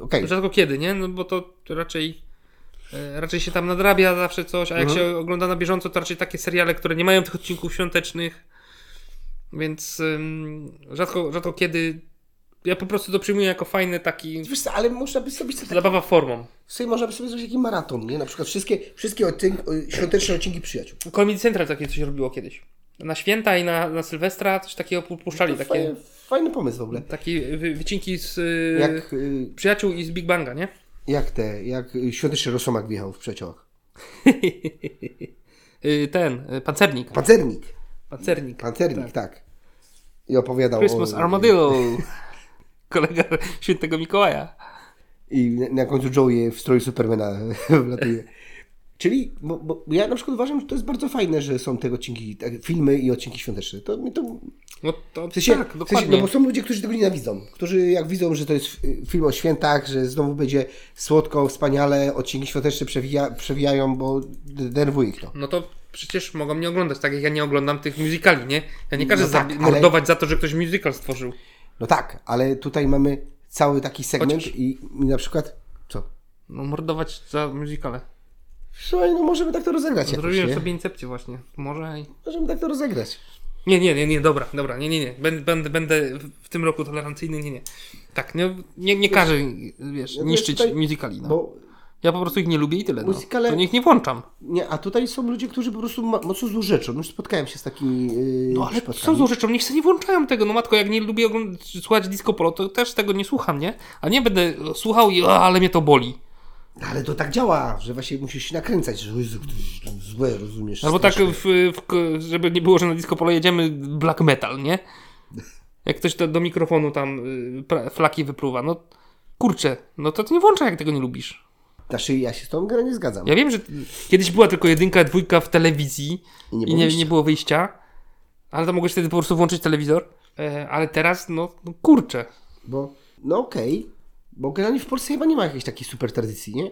B: Okej.
A: Rzadko kiedy, nie? No bo to raczej e, raczej się tam nadrabia zawsze coś, a jak
B: Mhm.
A: się ogląda na bieżąco, to raczej takie seriale, które nie mają tych odcinków świątecznych. Więc ym, rzadko, rzadko kiedy. Ja po prostu to przyjmuję jako fajny taki.
B: Wiesz co, ale można by sobie... sobie-
A: Zabawa formą.
B: Sobie można by sobie zrobić taki maraton, nie? Na przykład wszystkie, wszystkie odcinki, świąteczne odcinki przyjaciół.
A: Comedy Central takie coś robiło kiedyś. Na święta i na, na Sylwestra coś takiego pu- puszczali.
B: No To
A: Takie,
B: fajny, fajny pomysł w ogóle.
A: takie wy- wycinki z y,
B: Jak, y,
A: przyjaciół i z Big Banga, nie?
B: jak te, jak y, świąteczny rosomak wjechał w przeciołach.
A: Y, Ten, y, pancernik.
B: Pancernik.
A: Pancernik.
B: Pancernik, tak. I opowiadał
A: Christmas
B: o...
A: Armadillo. Kolega świętego Mikołaja.
B: I na- na końcu Joey w stroju Supermana wlatuje. Czyli, bo, bo ja na przykład uważam, że to jest bardzo fajne, że są te odcinki, tak, filmy i odcinki świąteczne. To, mi to,
A: No to
B: w sensie,
A: tak,
B: w sensie,
A: dokładnie.
B: no bo są ludzie, którzy tego nienawidzą. Którzy jak widzą, że to jest y, film o świętach, że znowu będzie słodko, wspaniale, odcinki świąteczne przewija, przewijają, bo denerwuje ich to.
A: no to przecież mogą mnie oglądać, tak jak ja nie oglądam tych muzykali, nie? Ja nie każę
B: No tak,
A: zabi-
B: ale-
A: mordować za to, że ktoś musical stworzył.
B: No tak, ale tutaj mamy cały taki segment
A: Chociaż-
B: i, i na przykład... Co?
A: No mordować za muzykale.
B: Słuchaj, no możemy tak to rozegrać jakoś,
A: Zrobiłem
B: nie?
A: sobie incepcję właśnie. Może i...
B: Możemy tak to rozegrać.
A: Nie, nie, nie, nie, dobra, dobra, nie, nie, nie. Będę, będę, będę w tym roku tolerancyjny, nie, nie. Tak, nie, nie, nie każę, wiesz,
B: ja
A: niszczyć
B: tutaj-
A: muzykali, no.
B: Bo
A: Ja po prostu ich nie lubię i tyle, no.
B: Musicale-
A: To niech nie włączam.
B: Nie, a tutaj są ludzie, którzy po prostu ma- mocno złorzeczą. Już spotkałem się z takimi yy,
A: No ale
B: przypadkami.
A: co złą rzeczą, niech sobie nie włączają tego, no matko, jak nie lubię ogl- słuchać disco polo, to też tego nie słucham, nie? A nie będę słuchał i, "A, ale mnie to boli.
B: Ale to tak działa, że właśnie musisz się nakręcać, że Jezu, ktoś tam złe, rozumiesz?
A: Albo tak,
B: straszne.
A: w, w, k- żeby nie było, że na disco polo jedziemy black metal, nie? Jak ktoś do, do mikrofonu tam y, pra, flaki wypluwa, no kurczę, no to, to nie włączaj, jak tego nie lubisz.
B: Znaczy, ja się z tą grę nie zgadzam.
A: Ja wiem, że kiedyś była tylko jedynka, dwójka w telewizji i
B: I nie
A: nie,
B: było
A: nie,
B: wyjścia.
A: było wyjścia, ale to mogłeś wtedy po prostu włączyć telewizor, e, ale teraz, no, no kurczę,
B: Bo, no okej, bo generalnie w Polsce chyba nie ma jakiejś takiej super tradycji, nie?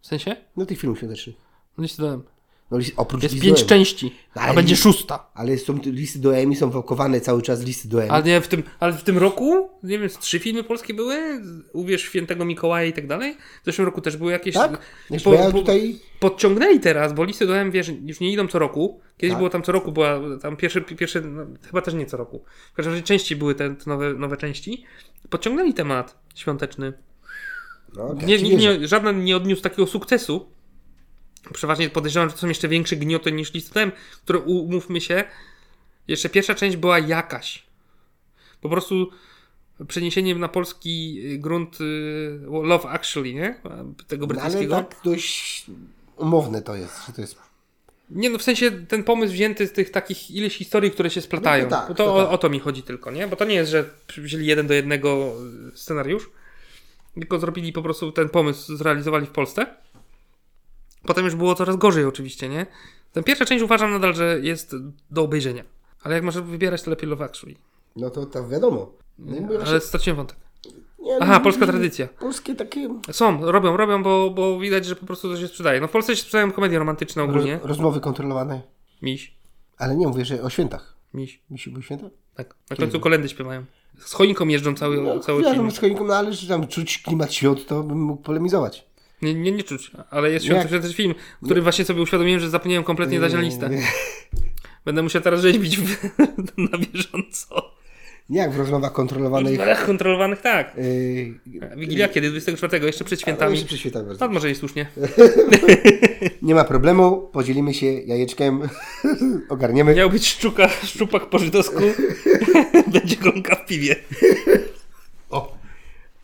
A: W sensie?
B: No tych filmów świątecznych.
A: No nie dałem.
B: No, lis- oprócz
A: Jest
B: list
A: pięć
B: do M.
A: części, a
B: Ale
A: będzie
B: nie-
A: szósta.
B: Ale są tu listy do EMI, są wałkowane cały czas listy do EMI.
A: Ale nie, w tym, ale w tym roku, nie wiem, z trzy filmy polskie były, Uwierz w Świętego Mikołaja i tak dalej. W zeszłym roku też były jakieś...
B: Tak? Wiesz,
A: Po-
B: bo ja
A: po-
B: tutaj...
A: Podciągnęli teraz, bo listy dodałem, wiesz, już nie idą co roku. Kiedyś
B: Tak.
A: było tam co roku, była tam pierwsze, pierwsze no, chyba też nie co roku. W każdym razie części były te, te nowe, nowe części. Podciągnęli temat świąteczny.
B: No, tak
A: Nie,
B: ci
A: nikt
B: wierzę.
A: nie, żaden nie odniósł takiego sukcesu. Przeważnie podejrzewam, że to są jeszcze większe gnioty niż listem, które umówmy się. Jeszcze pierwsza część była jakaś. Po prostu przeniesieniem na polski y, grunt y, Love Actually, nie? Tego
B: No, ale
A: brytyjskiego.
B: tak dość umowne to jest, że to jest...
A: Nie no, w sensie ten pomysł wzięty z tych takich ileś historii, które się splatają.
B: No to tak,
A: to
B: to
A: o,
B: tak.
A: o to mi chodzi tylko, nie? Bo to nie jest, że wzięli jeden do jednego y, scenariusz, tylko zrobili po prostu ten pomysł, zrealizowali w Polsce. Potem już było coraz gorzej oczywiście, nie? Ten pierwsza część uważam nadal, że jest do obejrzenia. Ale jak masz wybierać, to lepiej Love Actually.
B: No to, to wiadomo. No, i mówię właśnie-
A: Ale straciłem wątek.
B: nie,
A: Aha,
B: no,
A: polska tradycja.
B: Polskie takie
A: Są, robią, robią, bo, bo widać, że po prostu to się sprzedaje. No w Polsce się sprzedają komedie romantyczne
B: roz,
A: ogólnie.
B: rozmowy kontrolowane.
A: Miś,
B: Ale nie, mówię, że o świętach.
A: miś.
B: Mi się były święta?
A: Tak, na końcu kolendy śpiewają. Z choinką jeżdżą cały,
B: No,
A: cały
B: ja
A: film.
B: z choinką, no ale że tam czuć klimat świąt, to bym mógł polemizować.
A: Nie, nie, nie czuć, ale jest świąteczny też film, który właśnie sobie uświadomiłem, że zapomniałem kompletnie dać na listę.
B: Yy, Nie,
A: Będę musiał teraz rzeźbić w, na bieżąco.
B: nie jak w rozmowach kontrolowanych.
A: W barach kontrolowanych tak.
B: Yy,
A: Wigilia kiedy? 24, jeszcze przed
B: no,
A: świętami.
B: jeszcze przy świętach bardzo.
A: No może i słusznie.
B: Nie ma problemu, podzielimy się jajeczkiem, ogarniemy.
A: Miał być szczuka, szczupak po żydowsku. Będzie gąka w piwie.
B: O.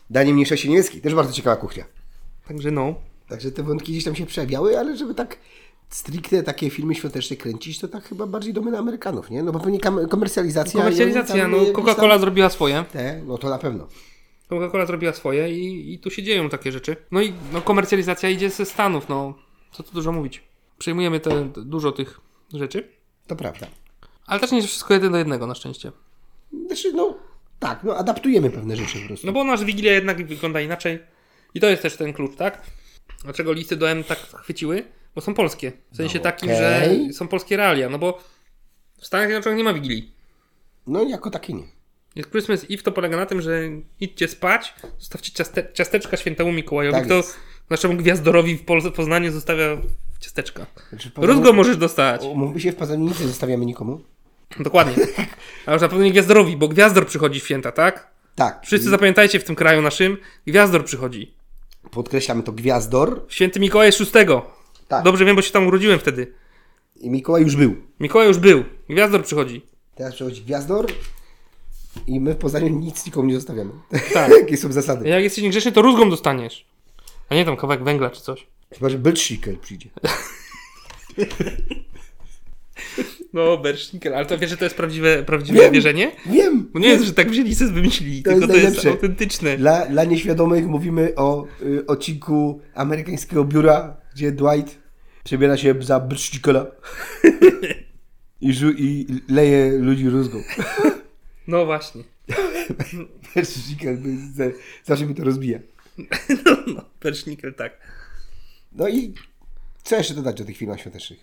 B: Danie mniejszości niemieckiej, też bardzo ciekawa kuchnia.
A: Także no.
B: Także te wątki gdzieś tam się przejawiały, ale żeby tak stricte takie filmy świąteczne kręcić, to tak chyba bardziej domena Amerykanów, nie? No bo pewnie kam- komercjalizacja... i oni
A: Komercjalizacja,
B: tam
A: no
B: jakieś tam-
A: Coca-Cola zrobiła swoje.
B: Te, no to na pewno.
A: Coca-Cola zrobiła swoje i, i tu się dzieją takie rzeczy. No i no, komercjalizacja idzie ze Stanów, no co tu dużo mówić. Przejmujemy te, d- dużo tych rzeczy,
B: To prawda.
A: ale też nie jest wszystko jeden do jednego na szczęście.
B: Znaczy, no tak, no adaptujemy pewne rzeczy po prostu.
A: No bo nasz Wigilia jednak wygląda inaczej i to jest też ten klucz, tak? Dlaczego listy do M tak chwyciły? Bo są polskie. W sensie takim, że
B: okej.
A: są polskie realia, no bo w Stanach Zjednoczonych nie ma Wigilii.
B: No jako takie nie.
A: Jest Christmas Eve to polega na tym, że idźcie spać, zostawcie ciaste ciasteczka świętemu Mikołajowi,
B: Tak
A: kto
B: jest.
A: naszemu gwiazdorowi w Pol- Poznaniu zostawia ciasteczka.
B: Znaczy, poza-
A: Rózgo możesz dostać.
B: Umówmy się, w Pazanicy zostawiamy nikomu.
A: Dokładnie. A już na pewno nie gwiazdorowi, bo gwiazdor przychodzi w święta, tak?
B: Tak,
A: Wszyscy zapamiętajcie w tym kraju naszym, gwiazdor przychodzi.
B: podkreślamy to Gwiazdor
A: Święty Mikołaj jest 6.
B: Tak.
A: Dobrze wiem, bo się tam urodziłem wtedy.
B: i Mikołaj już był.
A: Mikołaj już był, gwiazdor przychodzi.
B: Teraz przechodzi Gwiazdor i my w Poznaniu nic nikomu nie zostawiamy.
A: Tak.
B: Jakie są zasady?
A: Jak jesteś niegrzeczny, to rózgą dostaniesz. A nie tam kawałek węgla czy coś.
B: Chyba, że Beltrzikel przyjdzie.
A: No, Bersznikel, ale to wiesz, że to jest prawdziwe, prawdziwe wierzenie?
B: Wiem!
A: Bo nie jest, że tak wzięli i sobie wymyślili,
B: To
A: tylko
B: jest
A: to jest
B: najlepsze.
A: autentyczne.
B: Dla, dla nieświadomych mówimy o y, odcinku amerykańskiego biura, gdzie Dwight przebiera się za Beltrzikela I, żu- i leje ludzi rózgą.
A: No właśnie.
B: Beltrzikel zawsze mi to rozbija.
A: No, no, Bersznikel, tak.
B: No i co jeszcze dodać do tych filmów świątecznych?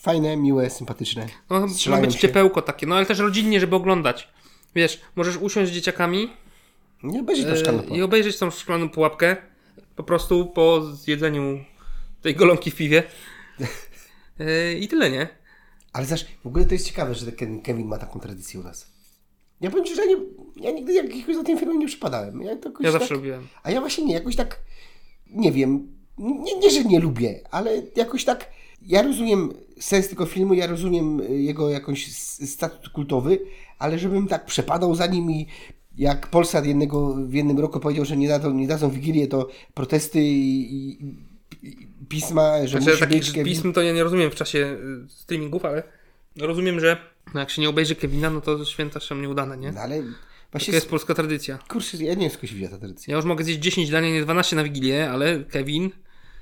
B: Fajne, miłe, sympatyczne.
A: No, ma
B: Strzelają
A: być
B: się.
A: ciepełko takie, no ale też rodzinnie, żeby oglądać. Wiesz, możesz usiąść z dzieciakami
B: Nie będzie to
A: e,
B: szklana
A: i obejrzeć tą szklaną pułapkę po prostu po zjedzeniu tej golonki w piwie. E, I tyle, nie?
B: Ale zaś, w ogóle to jest ciekawe, że ten Kevin ma taką tradycję u nas. Ja powiem ci, że ja, nie, ja nigdy jakiegoś za tym filmem nie przypadałem. Ja, to jakoś
A: Ja
B: tak,
A: zawsze robiłem.
B: A ja właśnie nie, jakoś tak, nie wiem, nie, nie, że nie lubię, ale jakoś tak, ja rozumiem sens tego filmu, ja rozumiem y, jego jakąś s- statut kultowy, ale żebym tak przepadał za nim i jak Polsat jednego, w jednym roku powiedział, że nie dadzą, nie dadzą Wigilię, to protesty i, i, i pisma, że
A: Znaczy,
B: musi
A: takich
B: być... Kevin-
A: pism to ja nie rozumiem w czasie y, streamingów, ale rozumiem, że no, jak się nie obejrzy Kevina, no to święta są nieudane, nie?
B: No ale
A: To
B: właśnie,
A: jest polska tradycja.
B: kurczę, ja nie wiem skąd się wzięła ta tradycja.
A: Ja już mogę zjeść 10 dań, a nie 12 na Wigilię, ale Kevin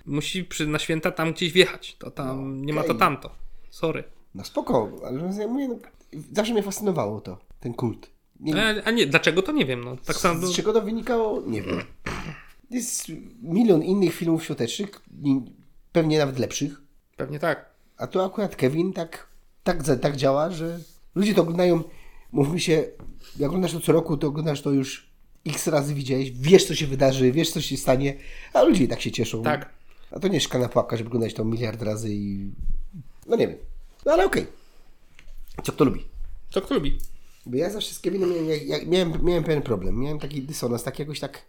A: musi przy, na święta tam gdzieś wjechać. To tam, nie ma to
B: okej.
A: tamto. Sorry.
B: No spoko, ale ja mówię, no, zawsze mnie fascynowało to, ten kult. Nie,
A: A, a nie, dlaczego to nie wiem. No. Tak samo.
B: z czego to wynikało? Nie wiem. Jest milion innych filmów świątecznych, i pewnie nawet lepszych,
A: Pewnie tak.
B: a tu akurat Kevin tak, tak, za- tak działa, że ludzie to oglądają, mówmy się, jak oglądasz to co roku, to oglądasz to już x razy widziałeś, wiesz co się wydarzy, wiesz co się stanie, a ludzie i tak się cieszą.
A: Tak.
B: A to nie szka na pułapka, żeby oglądać to miliard razy i... No nie wiem. No ale okej. Co kto lubi.
A: Co kto lubi?
B: Bo ja zawsze z Kevinem miałem, jak- jak- miałem, miałem pewien problem. Miałem taki dysonans, tak jakoś tak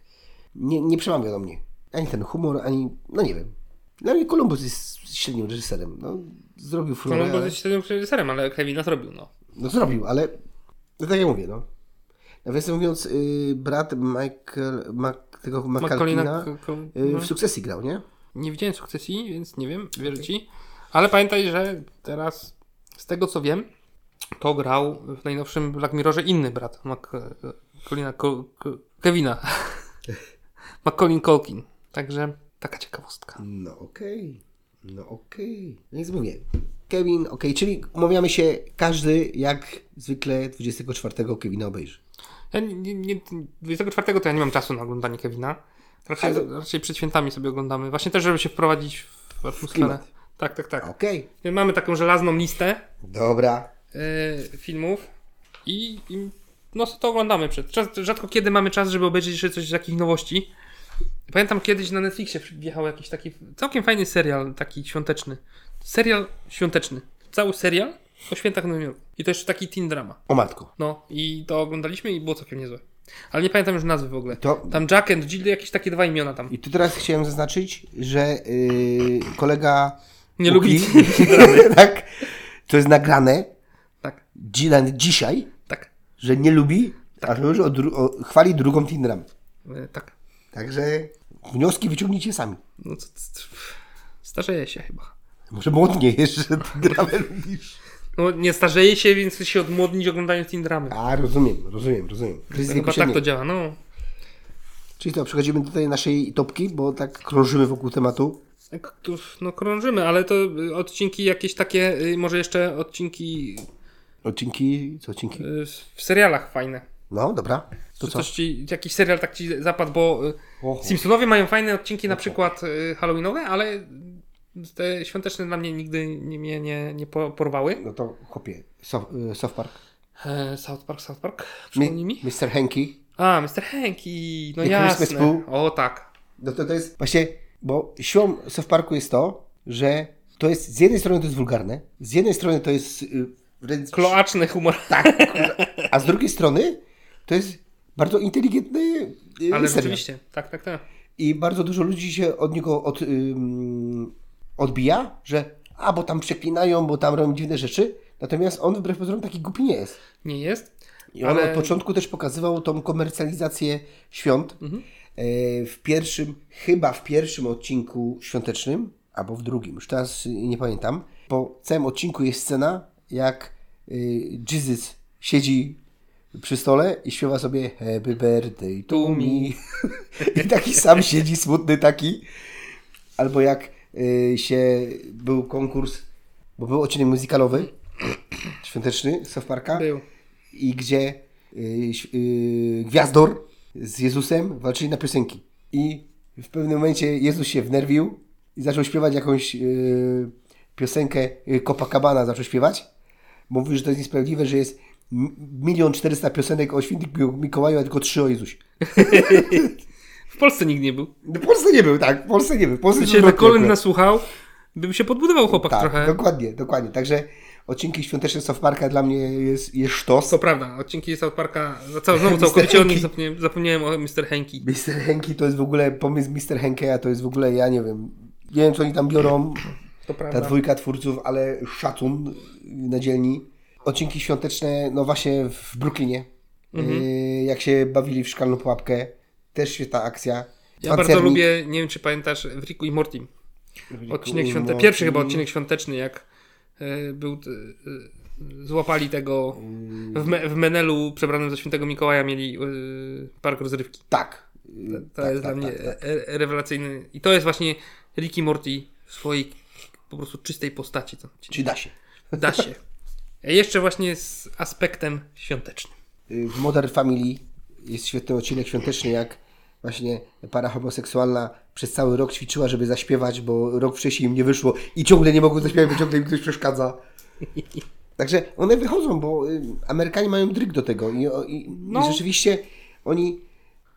B: nie, nie przemawia do mnie. Ani ten humor, ani... no nie wiem. Dla mnie Columbus jest średnim reżyserem. No, zrobił furorę,
A: Columbus
B: ale...
A: jest świetnym reżyserem, ale Kevina zrobił, no.
B: No zrobił, ale... No tak jak mówię, no. Nawiasem mówiąc, yy, brat Michael... Mac, tego
A: Macaulina
B: McCalkina
A: K- K-
B: yy,
A: no.
B: w sukcesji grał, nie?
A: Nie widziałem sukcesji, więc nie wiem, wierzę ci. Ale pamiętaj, że teraz z tego co wiem, to grał w najnowszym Black Mirrorze inny brat Macaulina, Col- Col- Kevina. Macaulin Colkin. Także taka ciekawostka.
B: No okej. No okej. Więc mówię. Kevin, okej, czyli umawiamy się, każdy jak zwykle 24 Kevina obejrzy.
A: Ja nie, nie, nie, 24 to ja nie mam czasu na oglądanie Kevina. Raczej, raczej przed świętami sobie oglądamy. Właśnie też, żeby się wprowadzić w atmosferę.
B: klimat.
A: Tak, tak, tak.
B: Okej.
A: Mamy taką żelazną listę
B: Dobra.
A: e, filmów i, i no to oglądamy przed. Czas, rzadko kiedy mamy czas, żeby obejrzeć jeszcze coś z jakichś nowości. Pamiętam kiedyś na Netflixie wjechał jakiś taki całkiem fajny serial, taki świąteczny. Serial świąteczny. Cały serial o świętach w Nowym Jorku. I to jeszcze taki teen drama.
B: O matko.
A: No i to oglądaliśmy i było całkiem niezłe. Ale nie pamiętam już nazwy w ogóle.
B: To-
A: Tam Jack and Jill, jakieś takie dwa imiona tam.
B: I tu teraz chciałem zaznaczyć, że yy, kolega...
A: Nie
B: Łuki-
A: lubi.
B: tak. To jest nagrane
A: Tak,
B: dzi- na- dzisiaj,
A: tak,
B: że nie lubi, a że już o dru- o, chwali drugą Tinderami.
A: e, tak.
B: Także wnioski wyciągnijcie sami.
A: No co, co, starzeje się chyba.
B: Może młodniej jeszcze Tinderami lubisz.
A: No nie starzeje się, więc chce się odmłodnić oglądając teen dramy.
B: A, rozumiem, rozumiem, rozumiem. Kryzys wieku
A: Chyba tak to
B: średniego.
A: działa, no.
B: Czyli to, przechodzimy do tej naszej topki, bo tak krążymy wokół tematu.
A: K- tu- No krążymy, ale to y, odcinki jakieś takie, y, może jeszcze odcinki
B: Odcinki, co odcinki?
A: y, w serialach fajne.
B: No, dobra. To
A: Czy
B: co?
A: Coś ci, jakiś serial tak ci zapadł, bo y,
B: Oho.
A: Simpsonowie mają fajne odcinki na przykład y, Halloweenowe, ale y, te świąteczne dla mnie nigdy nie, mnie nie, nie po- porwały.
B: No to chłopie, South, y, South Park.
A: E, South Park, South Park,
B: Mi-
A: przypomnij mi.
B: Mr. Henki.
A: A, Mr. Hanky, no
B: The Christmas
A: jasne.
B: Pooh.
A: O tak,
B: No to, to jest właśnie, bo siłą South Parku jest to, że to jest, z jednej strony to jest wulgarne, z jednej strony to jest y, wręcz,
A: kloaczny humor.
B: Tak, a z drugiej strony to jest bardzo inteligentny y,
A: Ale
B: serial.
A: rzeczywiście, tak, tak, tak.
B: I bardzo dużo ludzi się od niego od, ym, odbija, że a, bo tam przeklinają, bo tam robią dziwne rzeczy, natomiast on wbrew pozorom taki głupi nie jest.
A: Nie jest.
B: I on
A: Ale-
B: od początku też pokazywał tą komercjalizację świąt.
A: Mhm.
B: E, W pierwszym, chyba w pierwszym odcinku świątecznym, albo w drugim, już teraz y, nie pamiętam. Po całym odcinku jest scena, jak y, Jesus siedzi przy stole i śpiewa sobie Happy birthday to me. I taki sam siedzi, smutny taki. Albo jak y, się był konkurs, bo był odcinek muzykalowy, świąteczny, South Parka
A: Był.
B: i gdzie y, ś- y, Gwiazdor z Jezusem walczyli na piosenki. I w pewnym momencie Jezus się wnerwił i zaczął śpiewać jakąś y, piosenkę y, Copacabana zaczął śpiewać. Mówił, że to jest niesprawiedliwe, że jest m- milion czterysta piosenek o świętym Mikołaju, a tylko trzy o Jezusie.
A: W Polsce nikt nie był.
B: No, w Polsce nie był, tak, w Polsce nie był. W Polsce
A: Gdyby
B: był
A: się na
B: odwrotnie
A: kolęd
B: akurat.
A: nasłuchał, by się podbudował chłopak
B: tak,
A: trochę.
B: dokładnie, dokładnie. Także odcinki świąteczne South Parka dla mnie jest, jest sztos.
A: To prawda, odcinki South Parka, za cał- znowu całkowicie o nich zapomniałem, zapomniałem o Mr. Henki.
B: Mr. Henki to jest w ogóle pomysł Mr. Henkeya, to jest w ogóle, ja nie wiem, nie wiem co oni tam biorą,
A: To
B: ta
A: prawda.
B: dwójka twórców, ale szacun na dzielni. Odcinki świąteczne, no właśnie w Brooklynie,
A: Mhm.
B: Y, jak się bawili w szklaną pułapkę, też świetna akcja.
A: Ja bardzo
B: Pancernik.
A: lubię, nie wiem czy pamiętasz, w Riku i Mortim. Odcinek
B: i
A: świąte,
B: Morty.
A: pierwszy chyba odcinek świąteczny, jak e, był, t- e, złapali tego w, me, w menelu przebranym za świętego Mikołaja mieli e, park rozrywki.
B: Tak. Y,
A: To
B: tak,
A: jest
B: tak,
A: dla mnie
B: tak, tak.
A: e- e- rewelacyjny. I to jest właśnie Ricky Morty w swojej po prostu czystej postaci. Ten odcinek.
B: Czy da się?
A: Da się. Jeszcze właśnie z aspektem świątecznym.
B: y, w Modern Family jest świetny odcinek świąteczny, jak właśnie para homoseksualna przez cały rok ćwiczyła, żeby zaśpiewać, bo rok wcześniej im nie wyszło i ciągle nie mogą zaśpiewać, bo ciągle im ktoś przeszkadza. Także one wychodzą, bo y, Amerykanie mają dryg do tego i, o- i,
A: No.
B: i rzeczywiście oni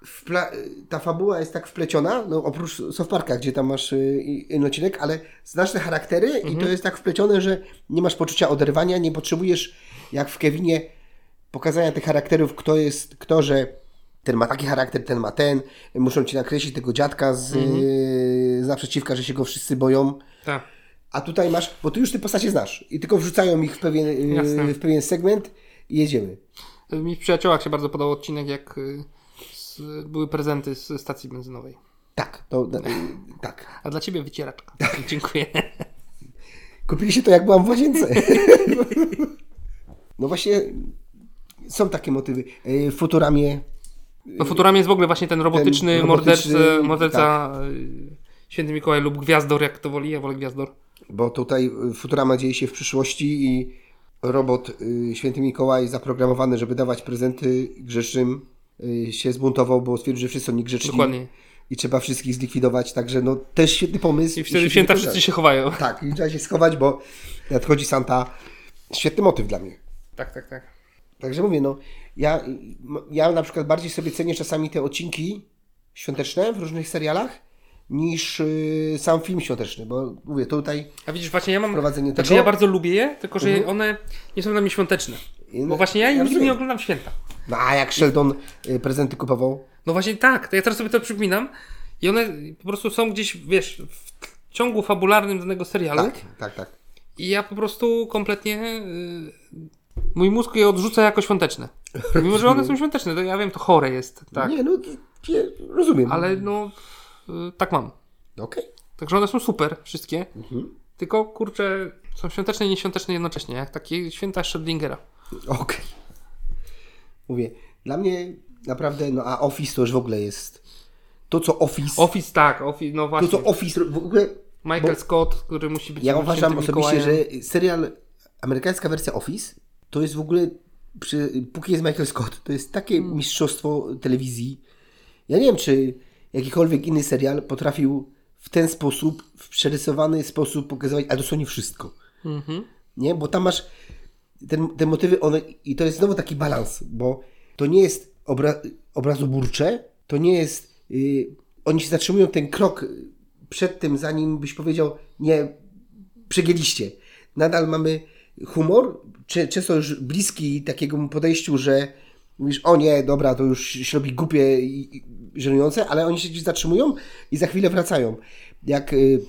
B: wpla- ta fabuła jest tak wpleciona, no oprócz South Parka, gdzie tam masz y, inny odcinek, ale znasz te charaktery i to jest tak wplecione, że nie masz poczucia oderwania, nie potrzebujesz jak w Kevinie pokazania tych charakterów, kto jest, kto, że ten ma taki charakter, ten ma ten, muszą ci nakreślić tego dziadka z, y, z naprzeciwka, że się go wszyscy boją.
A: Tak.
B: A tutaj masz, bo ty już te postacie znasz i tylko wrzucają ich w pewien, y,
A: Jasne.
B: w pewien segment i jedziemy.
A: Mi w przyjaciołach się bardzo podobał odcinek, jak y, z, były prezenty z stacji benzynowej.
B: Tak, to, y, tak.
A: A dla ciebie wycieraczka. Dziękuję.
B: Kupiliście to jak byłam w łazience. no właśnie są takie motywy. Y, W Futuramie
A: No Futurami jest w ogóle właśnie ten robotyczny, tak.
B: Ten robotyczny,
A: morderca, morderca y, Święty Mikołaj lub Gwiazdor, jak to woli, ja wolę Gwiazdor.
B: Bo tutaj y, Futurama dzieje się w przyszłości i robot y, Święty Mikołaj zaprogramowany, żeby dawać prezenty grzecznym y, się zbuntował, bo stwierdził, że wszyscy są niegrzeczni.
A: Dokładnie.
B: I trzeba wszystkich zlikwidować, także no też świetny pomysł.
A: I wtedy
B: świetny
A: święta
B: pomysł.
A: wszyscy się chowają.
B: Tak, i trzeba się schować, bo nadchodzi Santa. Świetny motyw dla mnie.
A: Tak, tak, tak.
B: Także mówię, no ja, m- ja na przykład bardziej sobie cenię czasami te odcinki świąteczne w różnych serialach niż y, sam film świąteczny, bo mówię, tutaj
A: A widzisz, właśnie ja mam.
B: Wprowadzenie
A: Znaczy
B: tego? Mhm.
A: ja bardzo lubię je, tylko że one nie są dla mnie świąteczne.
B: I-
A: Bo właśnie ja,
B: ja
A: nigdy nie
B: rozumiem.
A: oglądam święta.
B: No a jak Sheldon y, prezenty kupował?
A: No właśnie tak, to ja teraz sobie to przypominam i one po prostu są gdzieś, wiesz, w ciągu fabularnym danego serialu
B: Tak, tak, tak.
A: i ja po prostu kompletnie y, mój mózg je odrzuca jako świąteczne. Mimo, że one są świąteczne, to ja wiem, to chore jest, tak.
B: Nie, no nie, rozumiem.
A: Ale no, y, tak mam.
B: Okej.
A: Także one są super, wszystkie.
B: Mhm.
A: Tylko kurczę, są świąteczne i nieświąteczne jednocześnie, jak takie święta Schrödingera.
B: Okej. Mówię, dla mnie naprawdę, no a Office to już w ogóle jest to, co Office,
A: Office tak, Office, no
B: to,
A: właśnie.
B: co Office ro- w ogóle,
A: Michael Scott, który musi być
B: ja
A: świętym
B: uważam osobiście,
A: Mikołajem.
B: że serial, amerykańska wersja Office, to jest w ogóle, przy, póki jest Michael Scott, to jest takie
A: Mm.
B: mistrzostwo telewizji. Ja nie wiem, czy jakikolwiek inny serial potrafił w ten sposób, w przerysowany sposób pokazywać, a dosłownie wszystko.
A: Mhm.
B: Nie? Bo tam masz ten, te motywy, one, i to jest znowu taki balans, bo to nie jest obra, obrazoburcze, to nie jest. y, oni się zatrzymują ten krok przed tym, zanim byś powiedział, nie, przegięliście. Nadal mamy humor, czy, często już bliski takiemu podejściu, że mówisz, o nie, dobra, to już się robi głupie i, i żenujące, ale oni się gdzieś zatrzymują i za chwilę wracają. Jak y,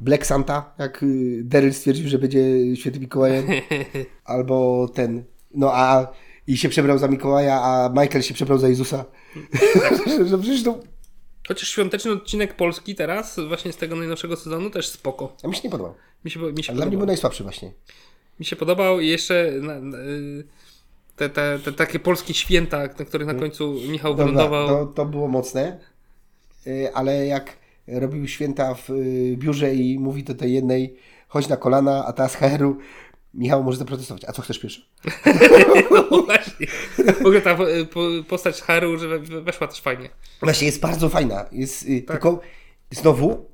B: Black Santa, jak y, Daryl stwierdził, że będzie świętym Mikołajem, albo ten, no a i się przebrał za Mikołaja, a Michael się przebrał za Jezusa. no przecież to,
A: Chociaż świąteczny odcinek Polski teraz, właśnie z tego najnowszego sezonu, też spoko.
B: a mi się nie podobał.
A: Mi się, mi się
B: A dla mnie
A: podobał.
B: był najsłabszy właśnie.
A: Mi się podobał i jeszcze na, na, y, te, te, te takie polskie święta, na których na końcu Michał
B: Mm. Dobra,
A: wylądował.
B: to, to było mocne, Y, ale jak robił święta w y, biurze i mówi do tej jednej, chodź na kolana, a ta z HR-u, Michał może zaprotestować. A co chcesz pierwszy?
A: No właśnie. W ogóle ta y, po- postać Haru, że we- we- weszła też fajnie.
B: Właśnie jest bardzo fajna. Jest, y,
A: Tak.
B: Tylko znowu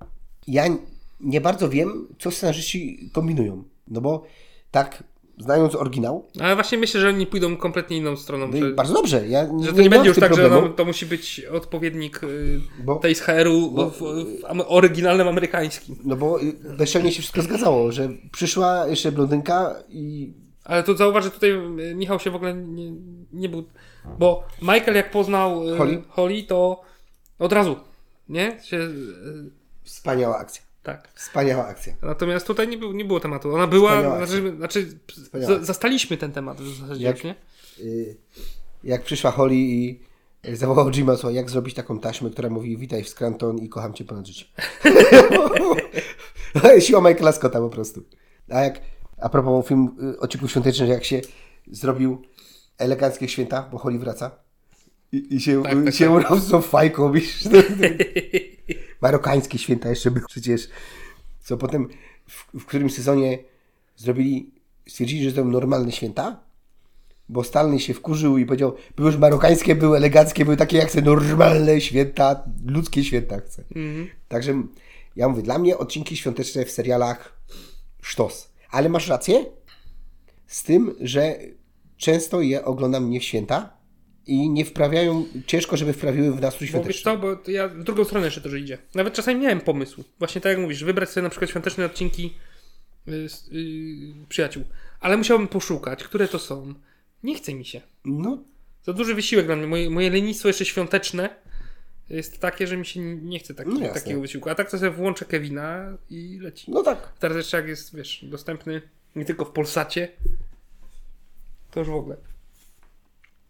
B: ja n- nie bardzo wiem, co scenarzyści kombinują. No bo tak, znając oryginał,
A: Ale właśnie myślę, że oni pójdą kompletnie inną stroną.
B: no i
A: że,
B: bardzo dobrze. Ja
A: Znaczy- że to
B: nie
A: nie
B: miałem
A: będzie
B: z
A: już
B: tym
A: tak,
B: problemu.
A: że no, to musi być odpowiednik y,
B: Bo-
A: tej z HR-u w, w, w am- oryginalnym amerykańskim.
B: No bo y, bezczelnie się wszystko zgadzało, że przyszła jeszcze blondynka i
A: Ale to zauważ, że tutaj y, Michał się w ogóle nie, nie był. Bo Michael, jak poznał y,
B: Holly?
A: Holly, to od razu. Nie? Się, y,
B: wspaniała akcja.
A: tak.
B: Wspaniała akcja.
A: Natomiast tutaj nie, był, nie było tematu. Ona była.
B: Wspaniała.
A: Znaczy, znaczy
B: Wspaniała.
A: z- zastaliśmy ten temat w zasadzie,
B: Jak-
A: już, nie?
B: Y, Jak przyszła Holly i y, zawołał Jima, słuchaj, jak zrobić taką taśmę, która mówi witaj w Scranton i kocham cię ponad życie. Siła Michaela Scotta po prostu. A jak, a propos film y, odcinków świątecznych, jak się zrobił eleganckie święta, bo Holly wraca i, i się,
A: Tak, tak,
B: tak, się tak. urosną fajką. wiesz, Marokańskie święta jeszcze były przecież. Co potem w, w którym sezonie zrobili, stwierdzili, że to są normalne święta, bo Stalny się wkurzył i powiedział, były już marokańskie, były eleganckie, były takie jak chcę, normalne święta, ludzkie święta chcę. Także ja mówię, dla mnie odcinki świąteczne w serialach sztos. Ale masz rację z tym, że często je oglądam nie w święta i nie wprawiają, ciężko żeby wprawiły w nastrój
A: Bo wiesz
B: świąteczny.
A: co, bo to ja w drugą stronę jeszcze to idzie. Nawet czasami miałem pomysł. Właśnie tak jak mówisz, wybrać sobie na przykład świąteczne odcinki y, z- y, przyjaciół. Ale musiałbym poszukać, które to są. Nie chce mi się.
B: No,
A: Za duży wysiłek dla mnie. Moje, moje lenistwo jeszcze świąteczne jest takie, że mi się nie chce taki,
B: No jasne.
A: takiego wysiłku. A tak to sobie włączę Kevina i leci.
B: no tak.
A: Teraz jeszcze jak jest, wiesz, dostępny nie tylko w Polsacie, to już w ogóle.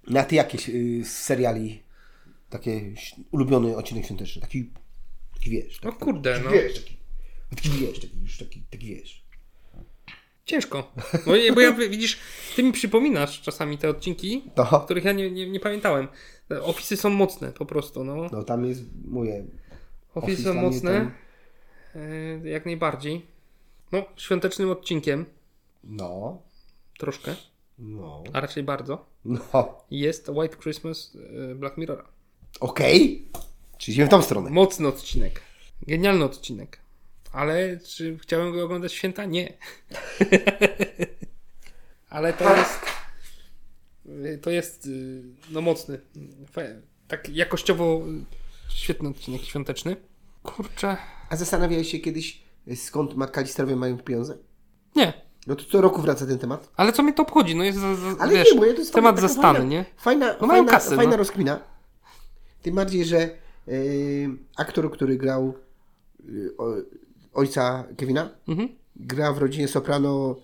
B: No, A ty jakieś y, z seriali takie ś- ulubiony odcinek świąteczny, taki, taki wiesz,
A: No
B: taki,
A: kurde, no.
B: wiesz, taki, taki wiesz, taki już taki, taki wiesz.
A: Ciężko. Bo, ja- bo ja, widzisz, ty mi przypominasz czasami te odcinki,
B: No,
A: których ja nie, nie, nie pamiętałem. Te Ofisy są mocne po prostu, no.
B: no tam jest, mówię,
A: Ofisy są
B: dla mnie
A: mocne,
B: tam-
A: e, jak najbardziej. No, świątecznym odcinkiem,
B: no,
A: troszkę,
B: no,
A: a raczej bardzo,
B: no,
A: jest White Christmas e, Black Mirrora.
B: okej, czyli idziemy w tą stronę.
A: Mocny odcinek. Genialny odcinek. Ale czy chciałem go oglądać w święta? Nie. Ale to jest. y, To jest y, no mocny. Fe- Tak jakościowo y, świetny odcinek świąteczny. Kurczę.
B: A zastanawiałeś się kiedyś, y, skąd McAllisterowie mają pieniądze?
A: Nie.
B: No to co roku wraca ten temat.
A: Ale co mnie to obchodzi? No jest za, za,
B: Ale
A: wiesz,
B: nie, bo ja to jest
A: temat
B: taka
A: zastany,
B: fajna,
A: nie?
B: Fajna,
A: No mają
B: fajna,
A: kasę,
B: fajna
A: no.
B: rozkmina. Tym bardziej, że y, aktor, który grał y, o, ojca Kevina,
A: Mhm.
B: gra w rodzinie Soprano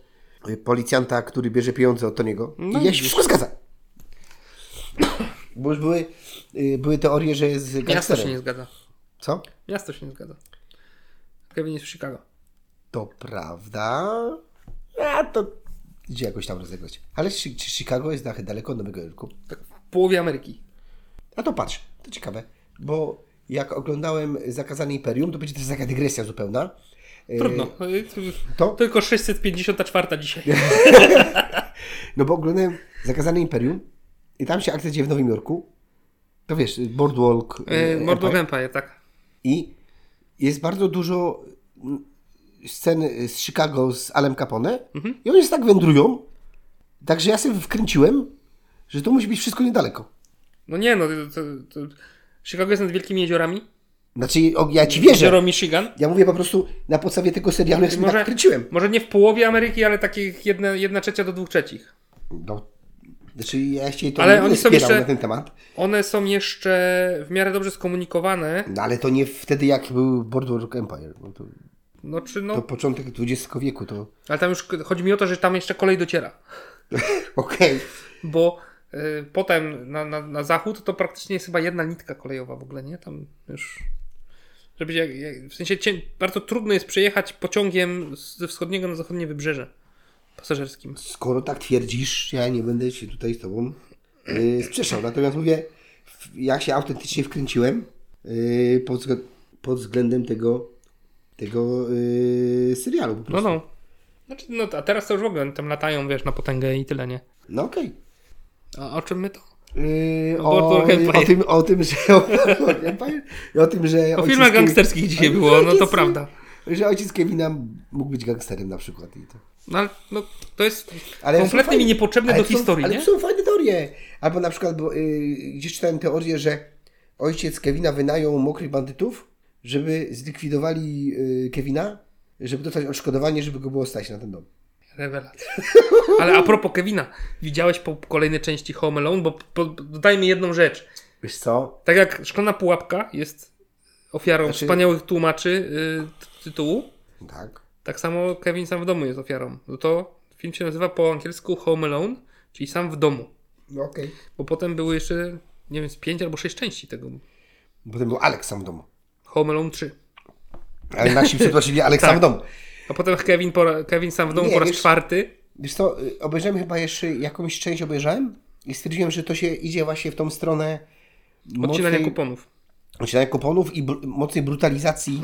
B: y, policjanta, który bierze pieniądze od Tony'ego.
A: No
B: I ja się
A: widzisz.
B: wszystko zgadza. Bo już były, y, były teorie, że jest
A: Miasto się
B: gangsterem.
A: nie zgadza.
B: Co?
A: Miasto się nie zgadza. Kevin jest w Chicago.
B: To prawda. A to idzie jakoś tam rozegrać. Ale czy, czy Chicago jest na- daleko od Nowego Jorku?
A: Tak w połowie Ameryki.
B: A to patrz, to ciekawe, bo jak oglądałem Zakazane Imperium, to będzie też taka dygresja zupełna. Y,
A: Trudno.
B: To?
A: To? Tylko 654 dzisiaj.
B: No bo oglądałem Zakazane Imperium i tam się akcja dzieje w Nowym Jorku. To wiesz, y, Boardwalk. y,
A: E, Mord of
B: Empire.
A: Empire, tak.
B: I jest bardzo dużo mm, scen z Chicago z Alem Capone
A: Mhm.
B: i oni się tak wędrują, także ja sobie wkręciłem, że to musi być wszystko niedaleko.
A: No nie, no to, to, to Chicago jest nad wielkimi jeziorami.
B: Znaczy, o, ja ci wierzę.
A: Jezioro Michigan.
B: Ja mówię po prostu na podstawie tego serialu, jak sobie
A: Może-
B: tak wkręciłem.
A: Może nie w połowie Ameryki, ale takich jedna, jedna trzecia do dwóch trzecich.
B: No, znaczy ja się to
A: Ale
B: nie
A: oni
B: będę
A: są
B: spierał
A: jeszcze-
B: na ten temat,
A: One są jeszcze w miarę dobrze skomunikowane.
B: no, ale to nie wtedy, jak był Boardwalk Empire. No to,
A: No czy
B: to
A: no.
B: początek XX wieku, to
A: Ale tam już chodzi mi o to, że tam jeszcze kolej dociera.
B: okej.
A: Bo y, potem na, na, na zachód to praktycznie jest chyba jedna nitka kolejowa w ogóle, nie? Tam już. Żeby jak, jak, w sensie cię, bardzo trudno jest przejechać pociągiem z- ze wschodniego na zachodnie wybrzeże pasażerskim.
B: Skoro tak twierdzisz, ja nie będę się tutaj z tobą yy, sprzeczał. Natomiast mówię, w- ja się autentycznie wkręciłem yy, pod, wzglę- pod względem tego, tego yy, serialu po
A: No,
B: prostu.
A: no. Znaczy, no, a teraz to już w ogóle oni tam latają, wiesz, na potęgę i tyle, nie?
B: No okej.
A: A o czym my to?
B: Yy,
A: O
B: o,
A: Boardwalk Empire.
B: o, tym, o tym, że o, Boardwalk Empire i o tym, że
A: O
B: ojciec
A: filmach
B: Kevin-
A: gangsterskich dzisiaj było, no to prawda.
B: Że ojciec Kevina mógł być gangsterem na przykład. I to.
A: No, ale, no to jest
B: Ale są
A: kompletnie mi
B: fajne-
A: niepotrzebne
B: ale
A: do
B: są-
A: historii,
B: ale
A: nie?
B: są fajne teorie. Albo na przykład bo, y, gdzieś czytałem teorię, że ojciec Kevina wynajął mokrych bandytów, żeby zlikwidowali y, Kevina, żeby dostać odszkodowanie, żeby go było stać na ten dom.
A: Rewelacja. Ale a propos Kevina, widziałeś po kolejnej części Home Alone, bo po, dodajmy jedną rzecz.
B: Wiesz co?
A: Tak jak Szklana Pułapka jest ofiarą
B: Znaczy-
A: wspaniałych tłumaczy y, t- tytułu,
B: Tak.
A: tak samo Kevin sam w domu jest ofiarą. No to film się nazywa po angielsku Home Alone, czyli sam w domu.
B: No okej.
A: Bo potem były jeszcze, nie wiem, z pięć albo sześć części tego.
B: Potem był Alex sam w domu.
A: Home Alone 3.
B: Ale nasi przeprosili Alex
A: Tak.
B: sam w domu.
A: A potem Kevin, po, Kevin sam w domu
B: Nie,
A: po raz
B: wiesz-
A: czwarty.
B: Wiesz co, y, obejrzałem chyba jeszcze jakąś część obejrzałem i stwierdziłem, że to się idzie właśnie w tą stronę
A: Odcinania
B: mocnej-
A: kuponów.
B: odcinania kuponów i br- mocnej brutalizacji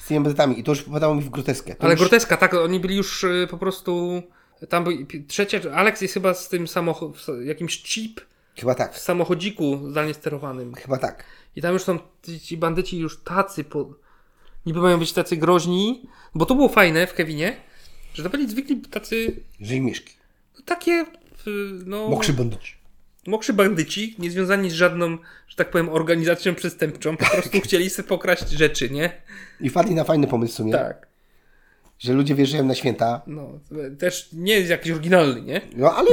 B: z tymi bandytami. I to już popadało mi w groteskę. To
A: Ale
B: już...
A: groteska, tak, oni byli już y, po prostu Tam był pi- trzecia, Alex jest chyba z tym samochodem, jakimś chip
B: Chyba tak.
A: w samochodziku zdalnie sterowanym.
B: Chyba tak.
A: I tam już są ci, ci bandyci już tacy, po, niby mają być tacy groźni, bo to było fajne w Kevinie, że to byli zwykli tacy,
B: Żyj mieszki.
A: no, takie, y, no,
B: Mokrzy bandyci.
A: mokrzy bandyci, niezwiązani z żadną, że tak powiem, organizacją przestępczą, po prostu chcieli sobie pokraść rzeczy, nie?
B: I wpadli na fajny pomysł w sumie,
A: Tak.
B: że ludzie wjeżdżają na święta,
A: No, też nie jest jakiś oryginalny, nie?
B: No ale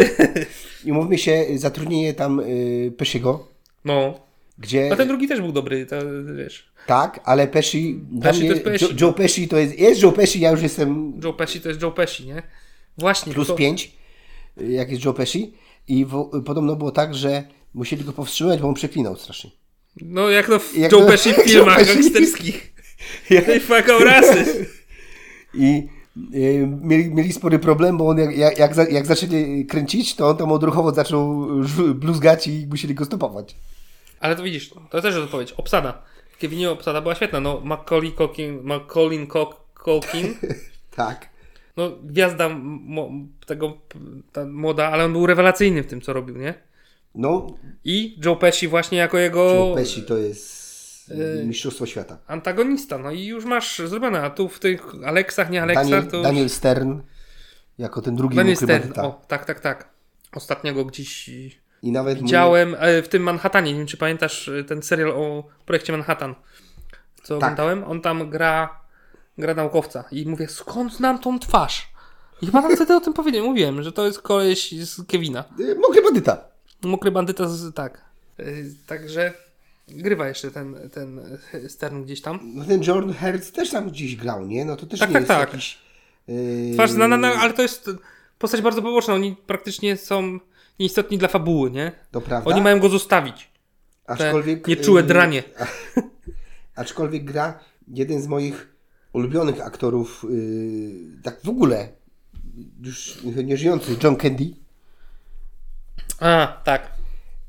B: i mówmy się, zatrudnienie tam y, Pesiego,
A: No.
B: gdzie.
A: A ten drugi też był dobry, to wiesz.
B: Tak, ale Pesi. dla
A: Pesci to
B: mnie-
A: jest Pesci.
B: Jo- Joe Pesci to jest. Jest Joe Pesci, ja już jestem
A: Joe Pesci to jest Joe Pesci, nie? Właśnie.
B: plus
A: to,
B: 5, jak jest Joe Pesci. I w, podobno było tak, że musieli go powstrzymać, bo on przeklinał strasznie.
A: No, jak to w
B: Jak
A: Joe
B: to-
A: Pesci w
B: Joe
A: filmach
B: Pesci.
A: gangsterskich. They fuck all
B: I y, mieli, mieli spory problem, bo on jak, jak, jak, za, jak zaczęli kręcić, to on tam odruchowo zaczął żu- bluzgać i musieli go stopować.
A: Ale to widzisz, to też jest odpowiedź. Obsada. W Kevinie obsada była świetna. No, Macaulay Culkin, Macaulay Cul- Culkin,
B: Tak.
A: no gwiazda mo, tego, ta młoda, ale on był rewelacyjny w tym, co robił, nie?
B: No,
A: I Joe Pesci właśnie jako jego
B: Joe Pesci to jest y, mistrzostwo świata.
A: antagonista. No i już masz zrobione, a tu w tych Aleksach, nie Aleksach,
B: Daniel,
A: to...
B: Daniel Stern jako ten drugi
A: Daniel
B: mokry
A: Stern,
B: bandyta.
A: o, tak, tak, tak. Ostatnio go gdzieś i-
B: I nawet mu-
A: widziałem e, w tym Manhattanie, nie wiem czy pamiętasz e, ten serial o projekcie Manhattan, co
B: Tak.
A: oglądałem, on tam gra, gra naukowca i mówię, skąd znam tą twarz? I chyba tam wtedy o tym powiedziałem, mówiłem, że to jest koleś z Kevina.
B: y, Mokry bandyta.
A: Mokry bandyta z, tak. E, Także grywa jeszcze ten, ten e, Stern gdzieś tam.
B: No ten John Hertz też tam gdzieś grał, nie? No to też
A: Tak,
B: nie
A: tak,
B: jest
A: tak.
B: jakiś... y,
A: Twarz znana, no, ale to jest postać bardzo poboczna, oni praktycznie są nieistotni dla fabuły, nie?
B: To prawda.
A: Oni mają go zostawić.
B: aczkolwiek,
A: te nieczułe
B: y,
A: dranie.
B: a- Aczkolwiek gra jeden z moich ulubionych aktorów, y, tak w ogóle, już nie żyjący, John Candy.
A: A, tak.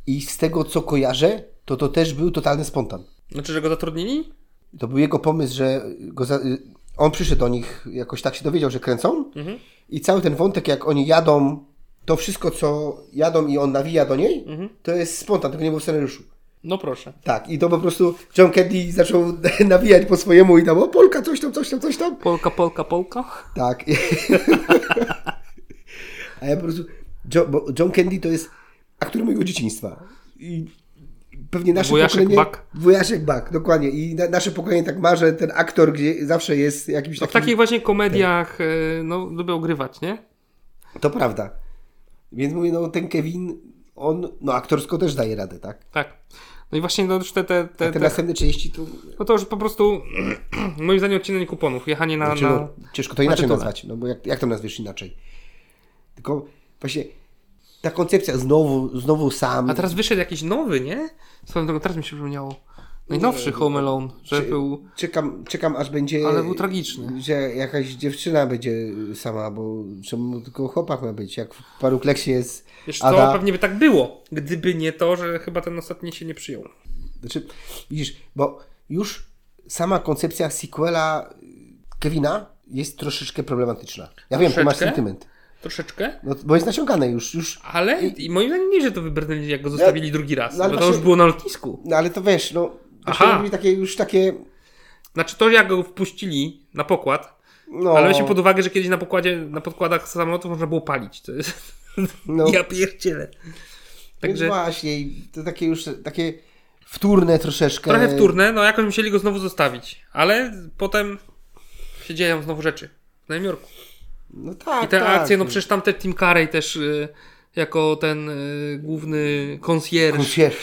B: I z tego, co kojarzę, to to też był totalny spontan.
A: Znaczy, że go zatrudnili?
B: To był jego pomysł, że go za... y, on przyszedł do nich, jakoś tak się dowiedział, że kręcą.
A: Mhm.
B: I cały ten wątek, jak oni jadą, to wszystko, co jadą i on nawija do niej,
A: Mhm.
B: to jest spontan, tego nie było w scenariuszu.
A: No proszę.
B: Tak, i to po prostu John Candy zaczął nawijać po swojemu i tam, o Polka, coś tam, coś tam, coś tam.
A: Polka, Polka, Polka?
B: Tak. A ja po prostu, John, bo John Candy to jest aktor mojego dzieciństwa. I pewnie nasze
A: Wujaszek
B: pokolenie...
A: Buck.
B: Wujaszek Buck, dokładnie. I na, nasze pokolenie tak ma, że ten aktor gdzie zawsze jest jakimś
A: No w
B: takim...
A: takich właśnie komediach e, no, lubią grywać, nie?
B: To prawda. Więc mówię, no ten Kevin, on no aktorsko też daje radę, tak?
A: Tak. No i właśnie no, już te, te,
B: A
A: te,
B: te
A: te,
B: następne części to...
A: No to już po prostu, moim zdaniem, odcinanie kuponów. Jechanie na...
B: Znaczy, no,
A: na...
B: ciężko to inaczej
A: tytule.
B: nazwać, no bo jak, jak to nazwiesz inaczej? Tylko właśnie ta koncepcja znowu, znowu sam...
A: A teraz wyszedł jakiś nowy, nie? Swoją drogą, teraz mi się przypomniało. Najnowszy Home Alone, że
B: Czy-
A: był...
B: Czekam, czekam, aż będzie.
A: Ale był tragiczny.
B: Że jakaś dziewczyna będzie sama, bo czemu tylko chłopak ma być? Jak w paru kleksie jest.
A: Wiesz co,
B: Ada.
A: pewnie by tak było, gdyby nie to, że chyba ten ostatni się nie przyjął.
B: Znaczy, widzisz, bo już sama koncepcja sequela Kevina jest troszeczkę problematyczna. Ja wiem, ty masz
A: Troszeczkę?
B: sentyment.
A: Troszeczkę,
B: No, bo jest naciągane już, już.
A: ale i moim zdaniem nie, że to wybrnęli, jak go zostawili drugi raz,
B: no ale
A: bo to
B: właśnie-
A: już było na lotnisku.
B: No ale to wiesz, no.
A: Aha.
B: Aha. takie już takie.
A: Znaczy to, jak go wpuścili na pokład,
B: No,
A: ale weźmy pod uwagę, że kiedyś na pokładzie, na podkładach samolotów można było palić. To jest...
B: no,
A: Ja tak, pierdzielę.
B: Więc
A: Także
B: właśnie, i to takie już takie wtórne troszeczkę.
A: trochę wtórne, no jakoś musieli go znowu zostawić. Ale potem się dzieją znowu rzeczy w Nowym Jorku.
B: No tak.
A: I te
B: tak.
A: akcje, no przecież tam te Tim Carey też y, jako ten y, główny konsjerż,
B: Koncierż.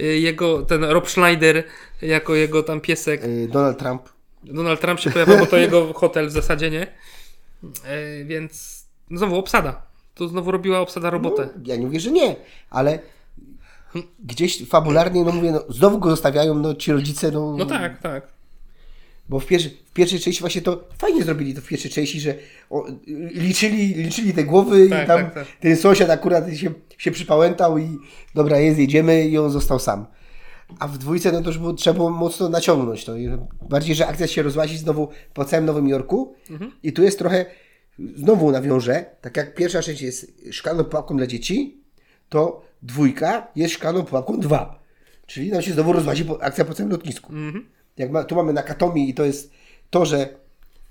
A: y, jego, ten Rob Schneider jako jego tam piesek.
B: Y, Donald Trump.
A: Donald Trump się pojawia, bo to jego hotel w zasadzie, nie? E, więc no znowu obsada. To znowu robiła obsada robotę.
B: No, ja nie mówię, że nie, ale gdzieś fabularnie, no mówię, no, znowu go zostawiają, no ci rodzice, no.
A: No tak, tak.
B: Bo w, pierwszy, w pierwszej części właśnie to fajnie zrobili to w pierwszej części, że o, y, liczyli, liczyli te głowy
A: Tak,
B: i tam
A: tak, tak.
B: ten sąsiad akurat się, się przypałętał i dobra, jest, jedziemy i on został sam. A w dwójce no to już było, trzeba było mocno naciągnąć to. I Bardziej, że akcja się rozłazi znowu po całym Nowym Jorku i tu jest trochę znowu nawiążę, tak jak pierwsza część jest szklaną pułapką dla dzieci, to dwójka jest szklaną pułapką 2. Czyli nam się znowu rozłazi po- akcja po całym lotnisku. Jak ma, tu mamy Nakatomi i to jest to, że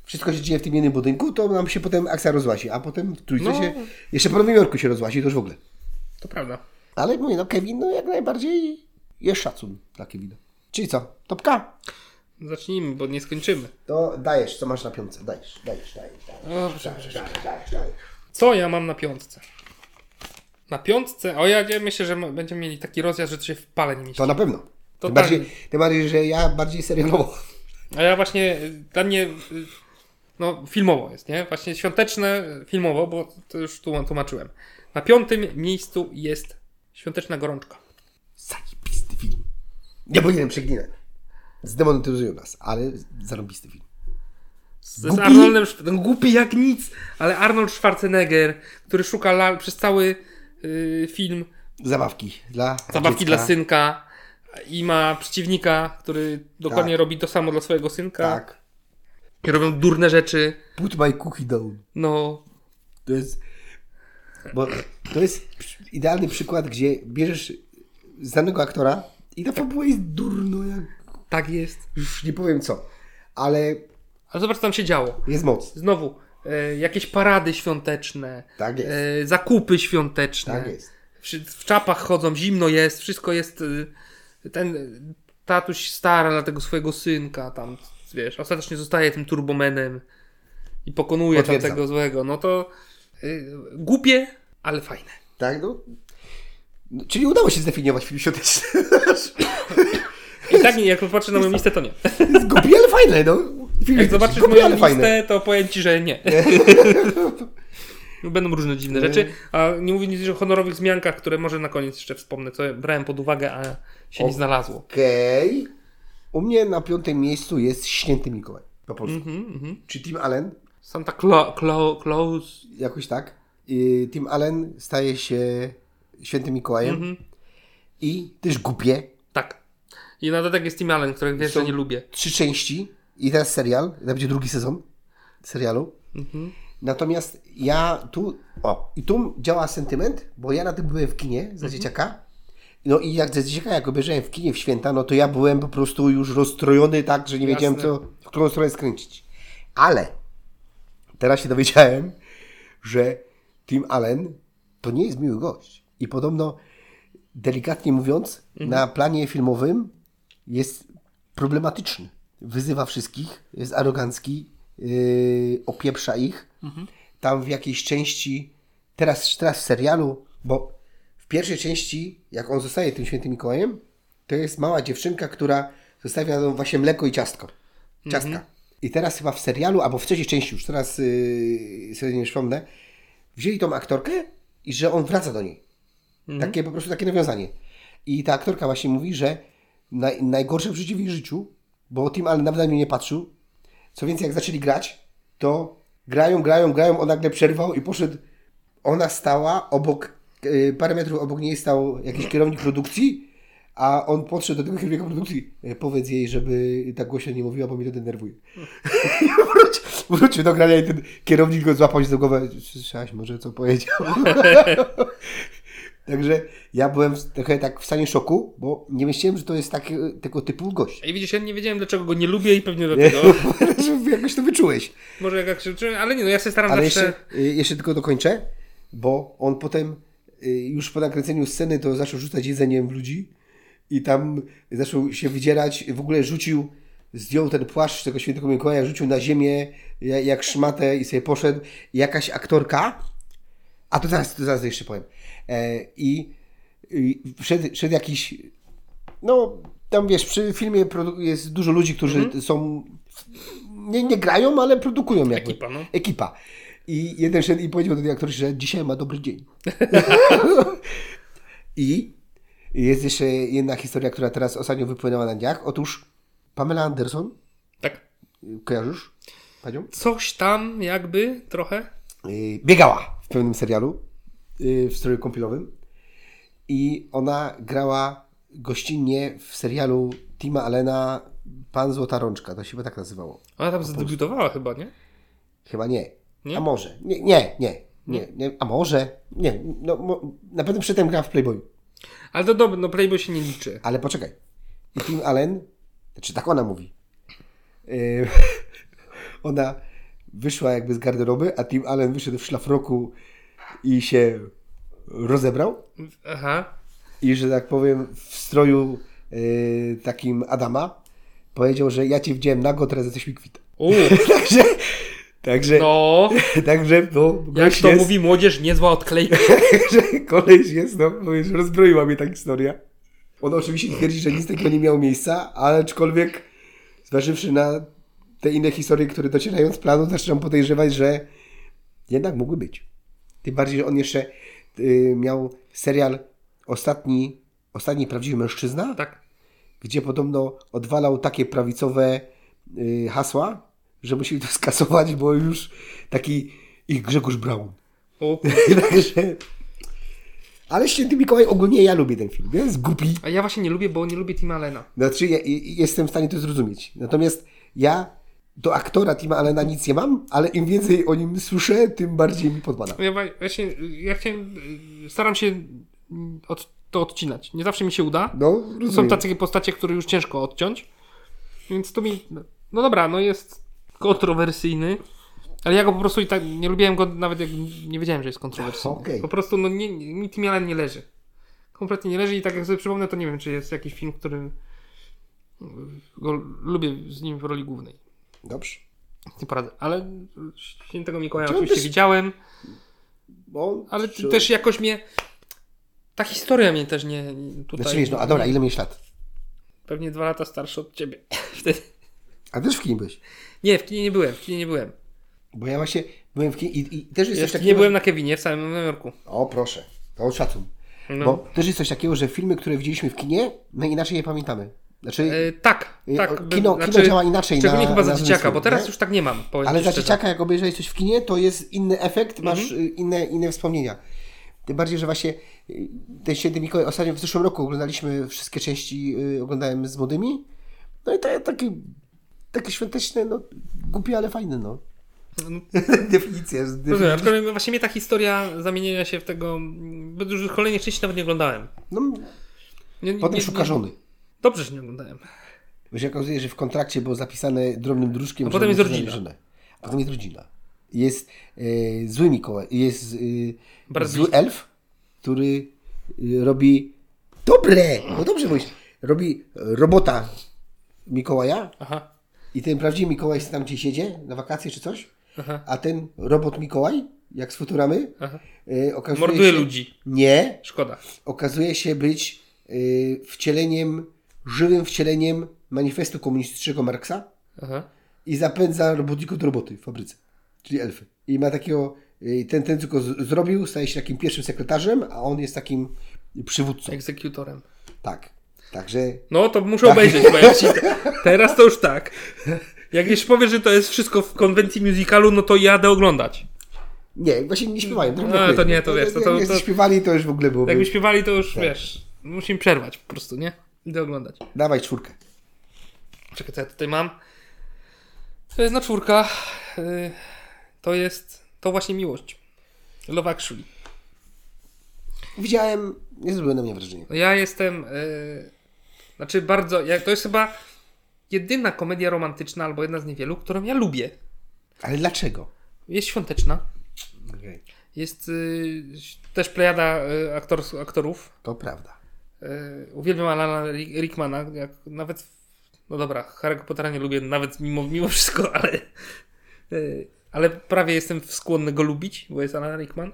B: wszystko się dzieje w tym jednym budynku, to nam się potem akcja rozłazi, a potem w trójce
A: No.
B: się, jeszcze po Nowym Jorku się rozłazi, to już w ogóle.
A: To prawda.
B: Ale mówię, no Kevin, no jak najbardziej jest szacun dla Kevina. Czyli co? Topka?
A: Zacznijmy, bo nie skończymy.
B: To dajesz, co masz na piątce. Dajesz, dajesz, dajesz, dajesz,
A: Dobrze.
B: dajesz, dajesz, dajesz, dajesz.
A: Co ja mam na piątce? Na piątce? O, ja, ja myślę, że m- będziemy mieli taki rozjazd, że to się w pale nie mieści.
B: To na pewno. Tym
A: Totalnie.
B: bardziej,
A: tak.
B: tym bardziej, że ja bardziej serialowo.
A: A ja właśnie, y, dla mnie, y, no filmowo jest, nie? Właśnie świąteczne y, filmowo, bo to już tu tłumaczyłem. Na piątym miejscu jest świąteczna gorączka.
B: Zajebisty film. Nie powinienem przeglinać. Zdemonetyzują nas, ale zarobisty film.
A: Z, z
B: Głupi?
A: Arnoldem, Szw- no, głupi jak nic, ale Arnold Schwarzenegger, który szuka la, przez cały y, film
B: Zabawki dla
A: zabawki
B: dziecka.
A: dla synka i ma przeciwnika, który dokładnie
B: Tak.
A: robi to samo dla swojego synka.
B: Tak.
A: I robią durne rzeczy.
B: Put my cookie down.
A: No,
B: To jest. Bo to jest idealny przykład, gdzie bierzesz znanego aktora i ta fabuła jest durno, jak
A: tak jest.
B: już nie powiem co, ale
A: Ale zobacz, co tam się działo.
B: jest moc.
A: Znowu, e, jakieś parady świąteczne,
B: Tak jest.
A: e, zakupy świąteczne.
B: Tak jest.
A: Wszy- W czapach chodzą, zimno jest, wszystko jest. y, Ten y, tatuś stara dla tego swojego synka, tam wiesz, ostatecznie zostaje tym turbomenem i pokonuje tam
B: Potwierdzam.
A: tego złego. No to y, głupie, ale fajne.
B: Tak, no. No, Czyli udało się zdefiniować film świąteczny.
A: I tak, jak patrzę na moją listę, to nie. Tak
B: Jest głupi, ale fajny, no.
A: Jak
B: Film jest
A: zobaczysz
B: głupi,
A: moją
B: ale
A: listę,
B: fajny.
A: to powiem ci, że nie. Będą różne dziwne rzeczy, a nie mówię nic o honorowych zmiankach, które może na koniec jeszcze wspomnę, co brałem pod uwagę, a się nie znalazło.
B: Okej. U mnie na piątym miejscu jest Święty Mikołaj. Po polsku.
A: Mhm, mhm.
B: Czy Tim Allen,
A: Santa Cla- Cla- Claus.
B: jakoś tak. I Tim Allen staje się Świętym Mikołajem. I też głupie.
A: Tak. I na dodatek jest Tim Allen, którego wiesz, że nie lubię.
B: Trzy części. I teraz serial. To będzie drugi sezon serialu. Natomiast ja tu... O, i tu działa sentyment, bo ja na tym byłem w kinie za dzieciaka. No i jak za dzieciaka, jak obejrzałem w kinie w święta, no to ja byłem po prostu już rozstrojony tak, że nie wiedziałem,
A: Jasne.
B: co, w którą stronę skręcić. Ale teraz się dowiedziałem, że Tim Allen to nie jest miły gość. I podobno, delikatnie mówiąc, na planie filmowym jest problematyczny. Wyzywa wszystkich, jest arogancki, yy, opieprza ich. Tam w jakiejś części, teraz, teraz w serialu, bo w pierwszej części, jak on zostaje tym świętym Mikołajem, to jest mała dziewczynka, która zostawia no, właśnie mleko i ciastko. Ciastka. I teraz chyba w serialu, albo w trzeciej części, już teraz yy, sobie nie przypomnę, wzięli tą aktorkę i że on wraca do niej. Takie po prostu takie nawiązanie. I ta aktorka właśnie mówi, że naj, najgorsze w życiu w jej życiu, bo Tim Allen nawet na mnie nie patrzył. Co więcej, jak zaczęli grać, to grają, grają, grają, on nagle przerwał i poszedł. Ona stała obok, yy, parę metrów obok niej stał jakiś kierownik produkcji, a on podszedł do tego kierownika produkcji. E, Powiedz jej, żeby tak głośno nie mówiła, bo mnie to denerwuje. I wróci, wrócił do grania i ten kierownik go złapał się za głowę. Słyszałaś może, co powiedział? Także ja byłem w- trochę tak w stanie szoku, bo nie myślałem, że to jest taki, tego typu gość.
A: I widzisz, ja nie wiedziałem, dlaczego go nie lubię i pewnie dlatego.
B: Jakoś to wyczułeś.
A: Może jak- jak się uczyłem, ale nie no, ja się staram
B: Ale
A: zawsze...
B: jeszcze, y, jeszcze tylko dokończę, bo on potem y, już po nakręceniu sceny to zaczął rzucać jedzeniem w ludzi i tam zaczął się wydzierać, w ogóle rzucił, zdjął ten płaszcz tego świętego Mikołaja, rzucił na ziemię ja- jak szmatę i sobie poszedł. I Jakaś aktorka, a to zaraz, to zaraz jeszcze powiem, e, i, i wszedł, wszedł jakiś, no tam wiesz, przy filmie produ- jest dużo ludzi, którzy
A: Mhm.
B: są, nie, nie grają, ale produkują jakby
A: Ekipa, no.
B: ekipa. I jeden szedł i powiedział do tej aktorki, że dzisiaj ma dobry dzień. I jest jeszcze jedna historia, która teraz ostatnio wypłynęła na dniach. Otóż Pamela Anderson,
A: Tak.
B: kojarzysz panią?
A: Coś tam jakby trochę.
B: Yy, Biegała w pewnym serialu yy, w stroju kąpielowym. I ona grała gościnnie w serialu Tima Allena Pan Złota Rączka. To się chyba tak nazywało.
A: Ona tam zadebiutowała chyba, nie?
B: Chyba nie.
A: Nie?
B: A może? Nie, nie, nie. nie, nie. A może? Nie. No, mo, na pewno przy tym gra w Playboyu.
A: Ale to dobra, no Playboy się nie liczy.
B: Ale poczekaj. I Tim Allen, znaczy tak ona mówi. Yy, ona wyszła jakby z garderoby, a Tim Allen wyszedł w szlafroku i się rozebrał.
A: Aha.
B: I że tak powiem, w stroju yy, takim Adama powiedział, że ja cię widziałem nago, teraz jesteś mi kwit.
A: U,
B: Także, także,
A: no,
B: także, no,
A: jak
B: gość
A: to
B: jest,
A: mówi młodzież, niezła odklejka.
B: że koleś jest, no, bo już rozbroiła mnie ta historia. On oczywiście twierdzi, że nic takiego nie miało miejsca, ale aczkolwiek, zważywszy na te inne historie, które docierają z planu, zaczynam podejrzewać, że jednak mogły być. Tym bardziej, że on jeszcze y, miał serial Ostatni, Ostatni Prawdziwy Mężczyzna,
A: Tak.
B: gdzie podobno odwalał takie prawicowe y, hasła, że musieli to skasować, bo już taki ich Grzegorz Braun.
A: U,
B: Także... Ale Święty Mikołaj, ogólnie ja lubię ten film. Ja Jest głupi.
A: a ja właśnie nie lubię, bo nie lubię Tima Allena.
B: Znaczy, ja, i- i jestem w stanie to zrozumieć. Natomiast ja do aktora Tima Allena nic nie mam, ale im więcej o nim słyszę, tym bardziej mi podpada.
A: Ja wa- właśnie, ja chciałem, y, staram się mm, od, to odcinać. Nie zawsze mi się uda.
B: No,
A: To są
B: rozumiem.
A: takie postacie, które już ciężko odciąć. Więc to mi. No dobra, no jest kontrowersyjny. Ale ja go po prostu i tak nie lubiłem go nawet jak nie wiedziałem, że jest kontrowersyjny.
B: Okej.
A: Po prostu no nie, nie, mi Tim Allen nie leży. Kompletnie nie leży i tak jak sobie przypomnę, to nie wiem, czy jest jakiś film, który y, go lubię z nim w roli głównej.
B: Dobrze.
A: Nie poradzę. Ale świętego Mikołaja
B: Czy on
A: oczywiście
B: też-
A: widziałem,
B: Bo on-
A: ale
B: czy-
A: też jakoś mnie. Ta historia mnie też nie. nie- Tutaj,
B: Znaczy, wiesz, no, a dobra, ile miałeś lat?
A: Pewnie dwa lata starszy od ciebie. Wtedy.
B: A też w kinie byłeś.
A: Nie, w kinie nie byłem, w kinie nie byłem.
B: Bo ja właśnie byłem w kinie i, i też jest
A: Ja w
B: coś
A: kinie
B: takiego...
A: byłem na Kevinie w samym Nowym Jorku.
B: O, proszę. To szacun.
A: No.
B: Bo też jest coś takiego, że filmy, które widzieliśmy w kinie, my inaczej je pamiętamy. Znaczy,
A: E, tak,
B: E,
A: tak.
B: o,
A: by-
B: kino- kino działa inaczej
A: Szczególnie
B: na-
A: chyba za
B: na
A: dzieciaka,
B: zmysły,
A: bo teraz
B: nie?
A: już tak nie mam. powiem
B: Ale
A: ci
B: za
A: szczerze.
B: dzieciaka, jak obejrzałeś coś w kinie, to jest inny efekt, masz
A: Mhm.
B: y, inne, inne wspomnienia. Tym bardziej, że właśnie y, ten Święty Mikołaj, ostatnio w zeszłym roku oglądaliśmy wszystkie części, y, oglądałem z młodymi. No i to taki, taki świąteczny, no głupi, ale fajny, no. Definicja. z-
A: Rozumiem,
B: definicja.
A: aczkolwiek właśnie mnie ta historia zamienienia się w tego, mm, bo już kolejnych części nawet nie oglądałem.
B: No,
A: Nie, nie,
B: potem
A: nie-
B: szuka żony.
A: Dobrze, że nie oglądałem.
B: Bo się okazuje, że w kontrakcie było zapisane drobnym druczkiem,
A: A
B: że
A: potem jest
B: mu przyznali
A: rodzina.
B: żonę. A potem jest rodzina. Jest y, zły Mikołaj, jest y,
A: Bardzo
B: zły
A: blisko.
B: elf, który y, robi dobre, no dobrze mówisz, robi robota Mikołaja
A: Aha,
B: i ten prawdziwy Mikołaj tam gdzie siedzie, na wakacje czy coś,
A: aha,
B: a ten robot Mikołaj, jak z Futuramy,
A: aha.
B: y, okazuje
A: Morduje
B: się...
A: ludzi.
B: Nie,
A: Szkoda.
B: okazuje się być y, wcieleniem, żywym wcieleniem manifestu komunistycznego Marksa
A: Aha.
B: i zapędza robotników do roboty w fabryce, czyli elfy. I ma takiego, y, ten, ten co go z- zrobił, staje się takim pierwszym sekretarzem, a on jest takim przywódcą.
A: Egzekutorem.
B: Tak. Także
A: No, to muszę
B: Tak.
A: obejrzeć, bo jak ci... Teraz to już tak. Jak już powiesz, że to jest wszystko w konwencji musicalu, no to jadę oglądać.
B: nie, właśnie nie tak śpiewają.
A: No, ale to nie, to wiesz, to- to-
B: Jak
A: to-
B: śpiewali, to już w ogóle byłoby.
A: Jakby śpiewali, to już tak. wiesz. Musimy przerwać po prostu, nie? Idę oglądać.
B: Dawaj czwórkę.
A: Czekaj, co ja tutaj mam? To jest na czwórka. y, To jest. To właśnie miłość. Love Actually.
B: Widziałem, nie zrobiło na mnie wrażenie.
A: No Ja jestem. y, Znaczy bardzo. Ja, to jest chyba jedyna komedia romantyczna, albo jedna z niewielu, którą ja lubię.
B: Ale dlaczego?
A: Jest świąteczna. Jest y, też plejada y, aktors, aktorów.
B: To prawda.
A: Yy, uwielbiam Alana Ri- Rickmana, jak nawet, no dobra, Harry'ego Pottera nie lubię nawet mimo, mimo wszystko, ale, yy, ale prawie jestem skłonny go lubić, bo jest Alan Rickman.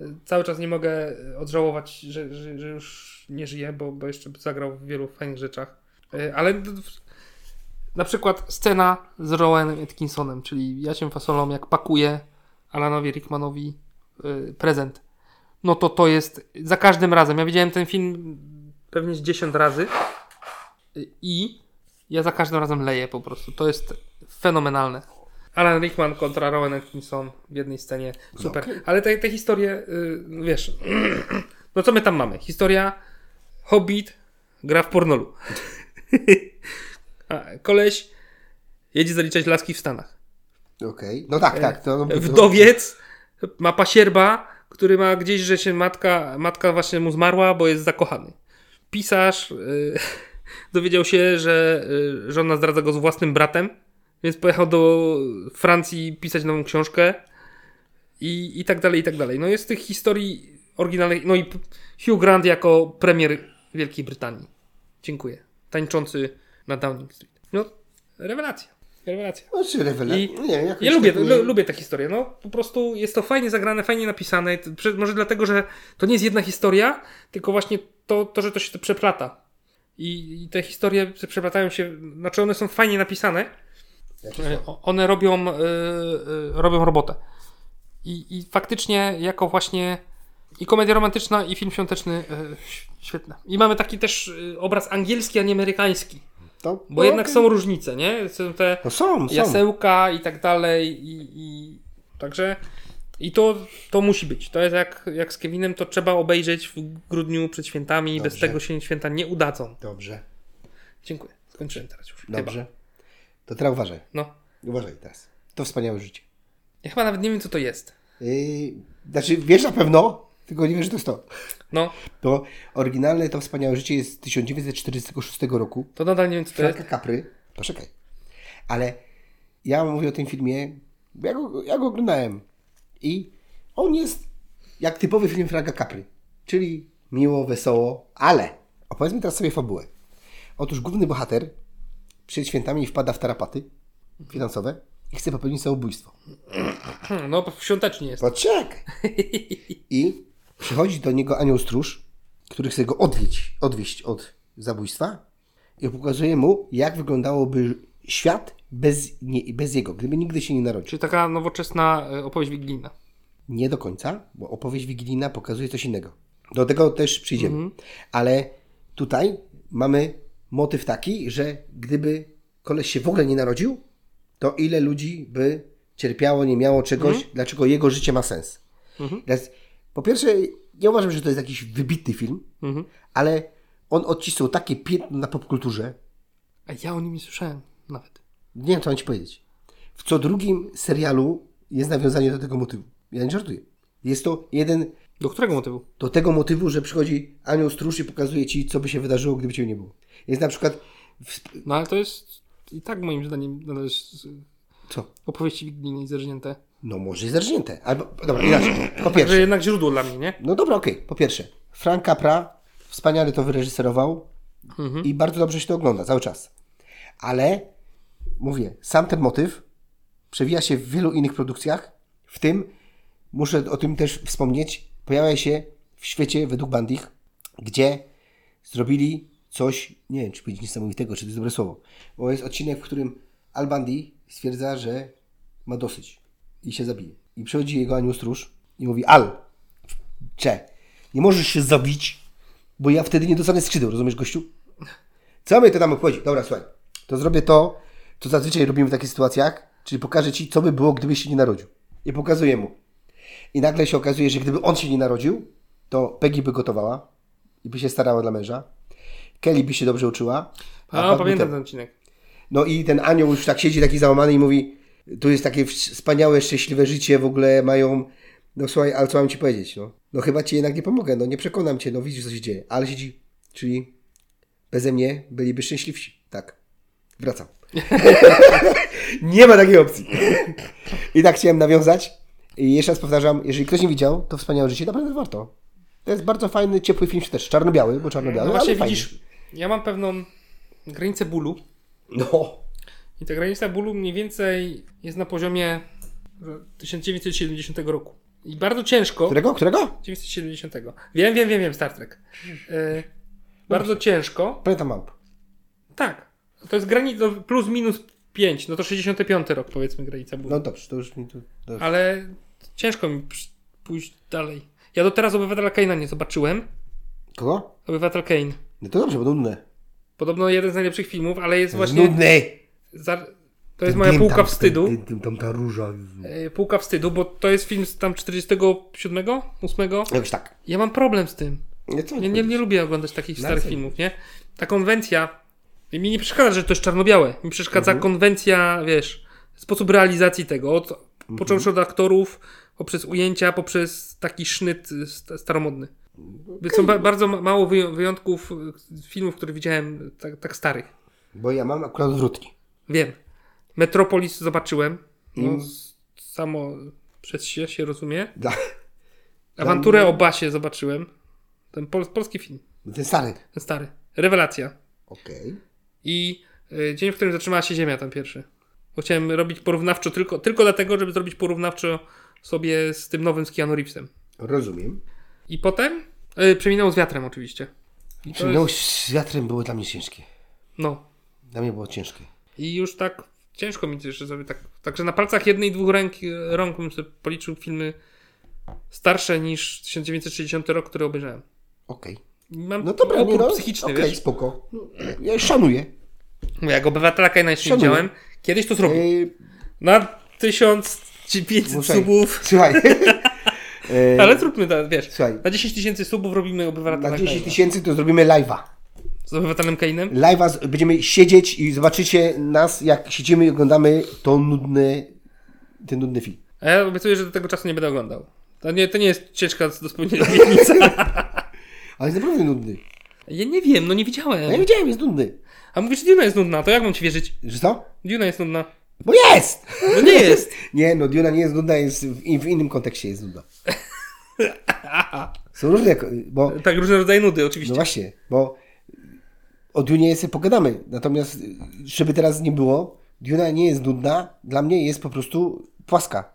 A: Yy, Cały czas nie mogę odżałować, że, że, że już nie żyje, bo, bo jeszcze zagrał w wielu fajnych rzeczach. Yy, Ale d- d- na przykład scena z Rowanem Atkinsonem, czyli Jaciem Fasolą, jak pakuje Alanowi Rickmanowi yy, prezent no to to jest za każdym razem. Ja widziałem ten film pewnie z 10 razy i ja za każdym razem leję po prostu. To jest fenomenalne. Alan Rickman kontra Rowan Atkinson w jednej scenie. Super.
B: okej.
A: Ale te, te historie, y, wiesz, no co my tam mamy? Historia Hobbit gra w pornolu. A koleś jedzie zaliczać laski w Stanach.
B: Okej. No
A: E,
B: tak, tak. To, to,
A: Wdowiec ma pasierba, który ma gdzieś, że się matka, matka właśnie mu zmarła, bo jest zakochany. Pisarz y, dowiedział się, że y, żona zdradza go z własnym bratem, więc pojechał do Francji pisać nową książkę i, i tak dalej, i tak dalej. No jest tych historii oryginalnych. No i p- Hugh Grant jako premier Wielkiej Brytanii. Dziękuję. Tańczący na Downing Street. No, rewelacja. Rewelacja.
B: No, czy rewelacja?
A: I-
B: Nie, jakoś
A: Ja lubię,
B: tak nie-
A: lu- lubię tę historię. No, po prostu jest to fajnie zagrane, fajnie napisane. T- prze- Może dlatego, że to nie jest jedna historia, tylko właśnie to, to że to się to przeplata. I, I te historie se przeplatają się, znaczy one są fajnie napisane.
B: Jakoś
A: E, o- One robią, e, e, robią robotę. I, I faktycznie jako właśnie i komedia romantyczna, i film świąteczny e, ś- świetne. I mamy taki też e, obraz angielski, a nie amerykański.
B: To,
A: Bo jednak są różnice, nie? Są te
B: No są, są.
A: jasełka i tak dalej i, i także i to, to musi być. To jest jak, jak z Kevinem, to trzeba obejrzeć w grudniu przed świętami. Bez
B: Dobrze.
A: tego się święta nie udadzą.
B: Dobrze,
A: Dziękuję. Skończyłem teraz już.
B: dobrze.
A: Chyba.
B: To teraz uważaj.
A: No.
B: Uważaj teraz. To wspaniałe życie.
A: Ja chyba nawet nie wiem, co to jest.
B: Yy, znaczy, wiesz na pewno, tylko nie wiesz, że to jest to.
A: No,
B: To oryginalne To wspaniałe życie jest z 1946 roku.
A: to nadal nie wiem, co to jest.
B: Franka Capry. Poczekaj. Ale ja mówię o tym filmie, bo ja go, ja go oglądałem. I on jest jak typowy film Franka Capry. Czyli miło, wesoło, ale opowiedzmy teraz sobie fabułę. Otóż główny bohater przed świętami wpada w tarapaty finansowe i chce popełnić samobójstwo.
A: Hmm, No, świątecznie jest.
B: Poczekaj. I przychodzi do niego anioł stróż, który chce go odwieźć, odwieźć od zabójstwa i pokazuje mu, jak wyglądałoby świat bez, nie, bez jego, gdyby nigdy się nie narodził.
A: Czyli taka nowoczesna e, opowieść wigilijna.
B: Nie do końca, bo opowieść wigilijna pokazuje coś innego. Do tego też przyjdziemy. Ale tutaj mamy motyw taki, że gdyby koleś się w ogóle nie narodził, to ile ludzi by cierpiało, nie miało czegoś, dlaczego jego życie ma sens. Teraz, po pierwsze, nie uważam, że to jest jakiś wybitny film,
A: Mhm.
B: ale on odcisnął takie piętno na popkulturze,
A: A ja o nim nie słyszałem nawet.
B: nie wiem, co mam ci powiedzieć. W co drugim serialu jest nawiązanie do tego motywu. Ja nie żartuję. Jest to jeden
A: Do którego motywu?
B: do tego motywu, że przychodzi anioł stróż i pokazuje ci, co by się wydarzyło, gdyby cię nie było. Jest na przykład... W...
A: No, ale to jest i tak moim zdaniem nadal jest z-
B: Co?
A: opowieści wigilijnej zerżnięte.
B: No może jest zarżnięte. Albo... Dobra, inaczej. Po
A: Także
B: pierwsze.
A: jednak źródło dla mnie, nie?
B: No dobra, okej. Po pierwsze. Frank Capra wspaniale to wyreżyserował i bardzo dobrze się to ogląda cały czas. Ale mówię, sam ten motyw przewija się w wielu innych produkcjach, w tym, muszę o tym też wspomnieć, pojawia się w świecie według Bandich, gdzie zrobili coś, nie wiem, czy powiedzieć niesamowitego, czy to jest dobre słowo, bo jest odcinek, w którym Al Bandi stwierdza, że ma dosyć i się zabije. I przychodzi jego anioł stróż i mówi, Al, Cze, nie możesz się zabić, bo ja wtedy nie dostanę skrzydeł, rozumiesz gościu? Co mnie to tam obchodzi? Dobra, słuchaj, to zrobię to, co zazwyczaj robimy w takich sytuacjach, czyli pokażę ci, co by było, gdybyś się nie narodził. I pokazuję mu. I nagle się okazuje, że gdyby on się nie narodził, to Peggy by gotowała i by się starała dla męża. Kelly by się dobrze uczyła.
A: A,
B: Pat by
A: pamiętam
B: ten-
A: ten odcinek.
B: no i ten anioł już tak siedzi taki załamany i mówi, tu jest takie wspaniałe, szczęśliwe życie, w ogóle mają, no słuchaj, ale co mam ci powiedzieć, no. No chyba ci jednak nie pomogę, no nie przekonam cię, no widzisz co się dzieje, ale siedzi, czyli beze mnie byliby szczęśliwsi, tak. Wracam. nie ma takiej opcji. I tak chciałem nawiązać. I jeszcze raz powtarzam, jeżeli ktoś nie widział, to wspaniałe życie, naprawdę warto. To jest bardzo fajny, ciepły film, też czarno-biały, bo czarno-biały,
A: No właśnie
B: ale fajny.
A: widzisz, ja mam pewną granicę bólu
B: No,
A: i ta granica bólu mniej więcej jest na poziomie że 1970 roku. I bardzo ciężko.
B: którego, którego?
A: 1970. Wiem, wiem, wiem, wiem, Star Trek. E, bardzo ciężko.
B: Planeta Małp.
A: Tak. To jest granica plus minus 5, no to 65 rok powiedzmy granica bólu.
B: No dobrze, to już mi tu... Dobrze.
A: Ale ciężko mi przy- pójść dalej. Ja do teraz obywatela Kane'a nie zobaczyłem.
B: Kogo?
A: Obywatel Kane.
B: No to dobrze, bo nudne.
A: Podobno jeden z najlepszych filmów, ale
B: No
A: jest właśnie.
B: Nudne!
A: Za... To jest moja
B: Dym
A: półka
B: tam,
A: wstydu.
B: Tym, tym, tam ta róża.
A: E, Półka wstydu, bo to jest film z tam 47, 8.
B: Jakoś tak.
A: Ja mam problem z tym.
B: Nie, co
A: Ja nie, nie lubię oglądać takich
B: Na
A: starych
B: co?
A: filmów, nie?
B: Mhm.
A: Ta konwencja. I mi nie przeszkadza, że to jest czarno-białe. Mi przeszkadza konwencja, wiesz, sposób realizacji tego, od,
B: Mhm.
A: począwszy od aktorów, poprzez ujęcia, poprzez taki sznyt y, st- staromodny. Są ba- bardzo ma- mało wyją- wyjątków y, filmów, które widziałem y, tak, tak starych.
B: Bo ja mam akurat odwrotnie.
A: Wiem. Metropolis zobaczyłem. No,
B: Mm.
A: s- Samo przez się, się rozumie.
B: Dla...
A: Awanturę o Basie zobaczyłem. Ten pol, polski film,
B: Ten stary.
A: ten stary. Rewelacja.
B: Okej.
A: I y, dzień, w którym zatrzymała się Ziemia, ten pierwszy. Bo chciałem robić porównawczo tylko, tylko dlatego, żeby zrobić porównawczo sobie z tym nowym z Keanu Reevesem.
B: Rozumiem.
A: I potem y, przeminął z wiatrem, oczywiście. I to
B: Przynęło
A: jest,
B: No, z wiatrem było dla mnie ciężkie.
A: no.
B: Dla mnie było ciężkie.
A: I już tak ciężko mi też sobie tak. Także na palcach jednej i dwóch ręk, rąk bym sobie policzył filmy starsze niż 1960 rok, który obejrzałem.
B: Okej.
A: I Mam
B: No dobra, nie
A: opór
B: no.
A: psychiczny,
B: Okej,
A: wiesz?
B: spoko. No, Ja szanuję.
A: Bo jak obywatelka i nie
B: Szanuję.
A: widziałem, kiedyś to zrobił.
B: Yy,
A: Na 1500
B: muszę-
A: subów.
B: Słuchaj. Yy,
A: Ale zróbmy, to, wiesz,
B: Słuchaj.
A: na 10 tysięcy subów robimy obywatela
B: Na 10
A: Kaina.
B: tysięcy to zrobimy live'a.
A: Z obywatelem Kainem?
B: Live'a z- będziemy siedzieć i zobaczycie nas, jak siedzimy i oglądamy to nudne, ten nudny film.
A: A ja obiecuję, że do tego czasu nie będę oglądał. To nie, to nie jest ciężka do spełnienia obietnica.
B: Ale jest naprawdę nudny.
A: Ja nie wiem, no nie
B: No ja
A: widziałem.
B: widziałem, jest nudny.
A: A mówisz, Duna jest nudna, to jak mam ci wierzyć?
B: Że co?
A: Duna jest nudna.
B: Bo jest!
A: No nie jest!
B: Nie, no Duna nie jest nudna, jest w, i w innym kontekście jest nudna. Są różne, ko- bo
A: Tak, różne rodzaje nudy,
B: no
A: oczywiście.
B: właśnie, bo o Dunie sobie pogadamy, natomiast y, żeby teraz nie było, Duna nie jest nudna, dla mnie jest po prostu płaska.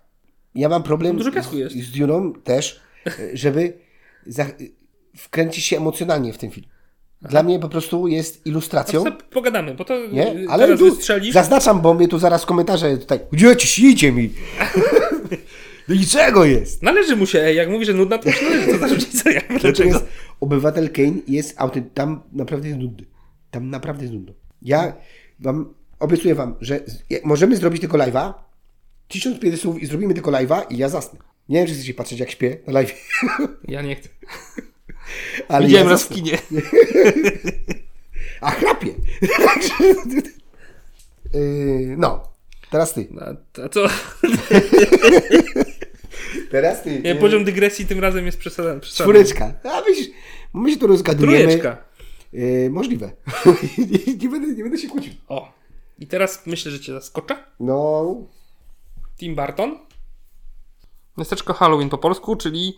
B: Ja mam problem
A: Dużo piasku jest.
B: z, z Duną też, y, żeby za, y, wkręcić się emocjonalnie w ten film. Dla mnie po prostu jest ilustracją.
A: No, pogadamy, bo to
B: Nie?
A: Ale
B: Ale
A: y, teraz
B: du-
A: wystrzelisz.
B: zaznaczam, bo mnie tu zaraz komentarze tutaj. Gdzie ci idzie mi? Do niczego jest.
A: Należy mu się, ej, jak mówi, że nudna, to mu się należy to zarzucić. co ja- Dlaczego?
B: Natomiast obywatel Kane jest auty- tam naprawdę jest nudny. Tam naprawdę jest nudno. Ja wam obiecuję wam, że z- je- możemy zrobić tylko live'a. 1500 słów i zrobimy tylko live'a i ja zasnę. Nie wiem, czy chcecie patrzeć jak śpię na live,
A: Ja nie chcę.
B: ale
A: Widziałem
B: ja
A: raz w
B: zasnę.
A: kinie.
B: A chrapię. Yy, no, teraz ty.
A: A, a co?
B: Teraz ty.
A: Nie,
B: Yy,
A: poziom dygresji tym razem jest przesadzony.
B: Czwóreczka. A myślisz, my się tu rozgadujemy.
A: Trójeczka.
B: Yy, możliwe. nie, nie, będę, nie będę się kłócił.
A: O. I teraz myślę, że cię zaskoczę.
B: No,
A: Tim Burton. Miasteczko Halloween po polsku, czyli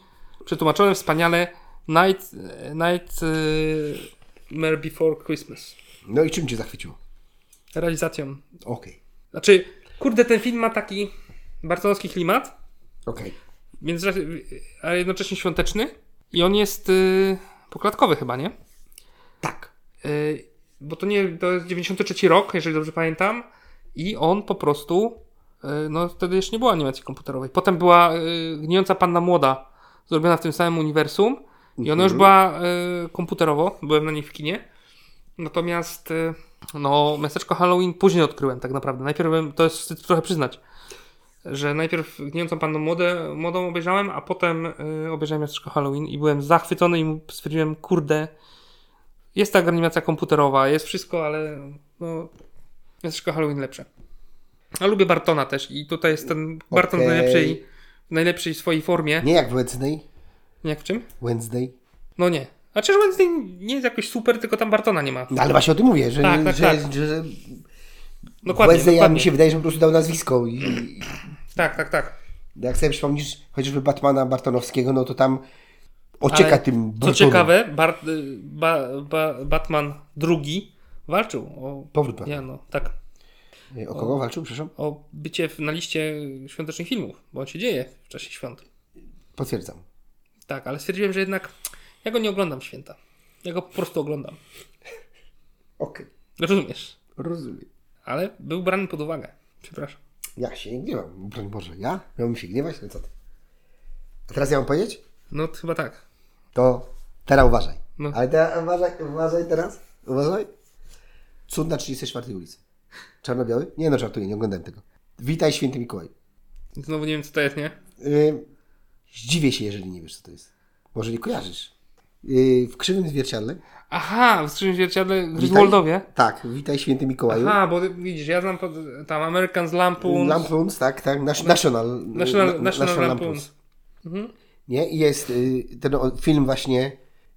A: przetłumaczone wspaniale Night, Night y, Mer Before Christmas.
B: no i czym cię zachwyciło?
A: Realizacją.
B: Okej,
A: Znaczy, kurde, ten film ma taki bartonowski klimat,
B: okej.
A: więc, a jednocześnie świąteczny. I on jest y, poklatkowy chyba, nie?
B: Tak.
A: Y, bo to nie, to jest 93 rok, jeżeli dobrze pamiętam, i on po prostu, y, no wtedy jeszcze nie było animacji komputerowej. Potem była y, Gnijąca Panna Młoda, zrobiona w tym samym uniwersum i ona już była y, komputerowo, byłem na niej w kinie. Natomiast, y, no, Miasteczko Halloween później odkryłem tak naprawdę. Najpierw, byłem- to jest wstyd trochę przyznać, że najpierw Gnijącą Panną Młodę, Młodą obejrzałem, a potem y, obejrzałem Miasteczko Halloween i byłem zachwycony i stwierdziłem, kurde, jest ta animacja komputerowa, jest wszystko, ale no, jest troszkę Halloween lepsze. A lubię Bartona też i tutaj jest ten Barton w
B: Okej.
A: najlepszej, w najlepszej swojej formie.
B: Nie jak w Wednesday.
A: Nie. Jak w czym?
B: Wednesday.
A: No nie. A czyż Wednesday nie jest jakoś super, tylko tam Bartona nie ma.
B: No ale właśnie o tym mówię, że,
A: Tak, tak,
B: że,
A: tak.
B: że, że
A: Dokładnie,
B: Wednesday ja
A: dokładnie.
B: mi się wydaje, że po prostu dał nazwisko. I, i
A: Tak, tak, tak.
B: jak sobie przypomnisz chociażby Batmana Bartonowskiego, no to tam ocieka
A: Ale
B: tym
A: Co
B: Bartonem.
A: ciekawe, Bar- y, ba- ba- Batman II walczył o...
B: Powrót Batmana.
A: Ja, no, tak.
B: Yy, O kogo walczył, przepraszam?
A: O bycie w, na liście świątecznych filmów, bo on się dzieje w czasie świąt.
B: Potwierdzam.
A: Tak, ale stwierdziłem, że jednak ja go nie oglądam w święta. Ja go po prostu oglądam.
B: Okej,
A: Rozumiesz?
B: rozumiem.
A: Ale był brany pod uwagę. Przepraszam.
B: Ja się nie gniewam, broń Boże. Ja? Miałbym się gniewać? No co ty? A teraz ja mam powiedzieć?
A: No to chyba tak.
B: To teraz uważaj.
A: No.
B: Ale teraz uważaj, uważaj teraz. Uważaj. Cud na 34 ulicy. Czarno-biały? Nie no, żartuję, nie oglądałem tego. Witaj święty Mikołaj.
A: Znowu nie wiem, co to jest, nie?
B: Yy, zdziwię się, jeżeli nie wiesz, co to jest. Może nie kojarzysz. Yy, w krzywym zwierciadle.
A: Aha, w skrzydłym zwierciadle Griswoldowie.
B: Tak, witaj święty Mikołaju.
A: Aha, bo ty- widzisz, ja znam pod, tam American z Lampoon.
B: Lampoons, tak, tak. Nas, national,
A: National-
B: na-
A: National Lampoons. Mhm.
B: Nie? I jest y, ten o- film właśnie,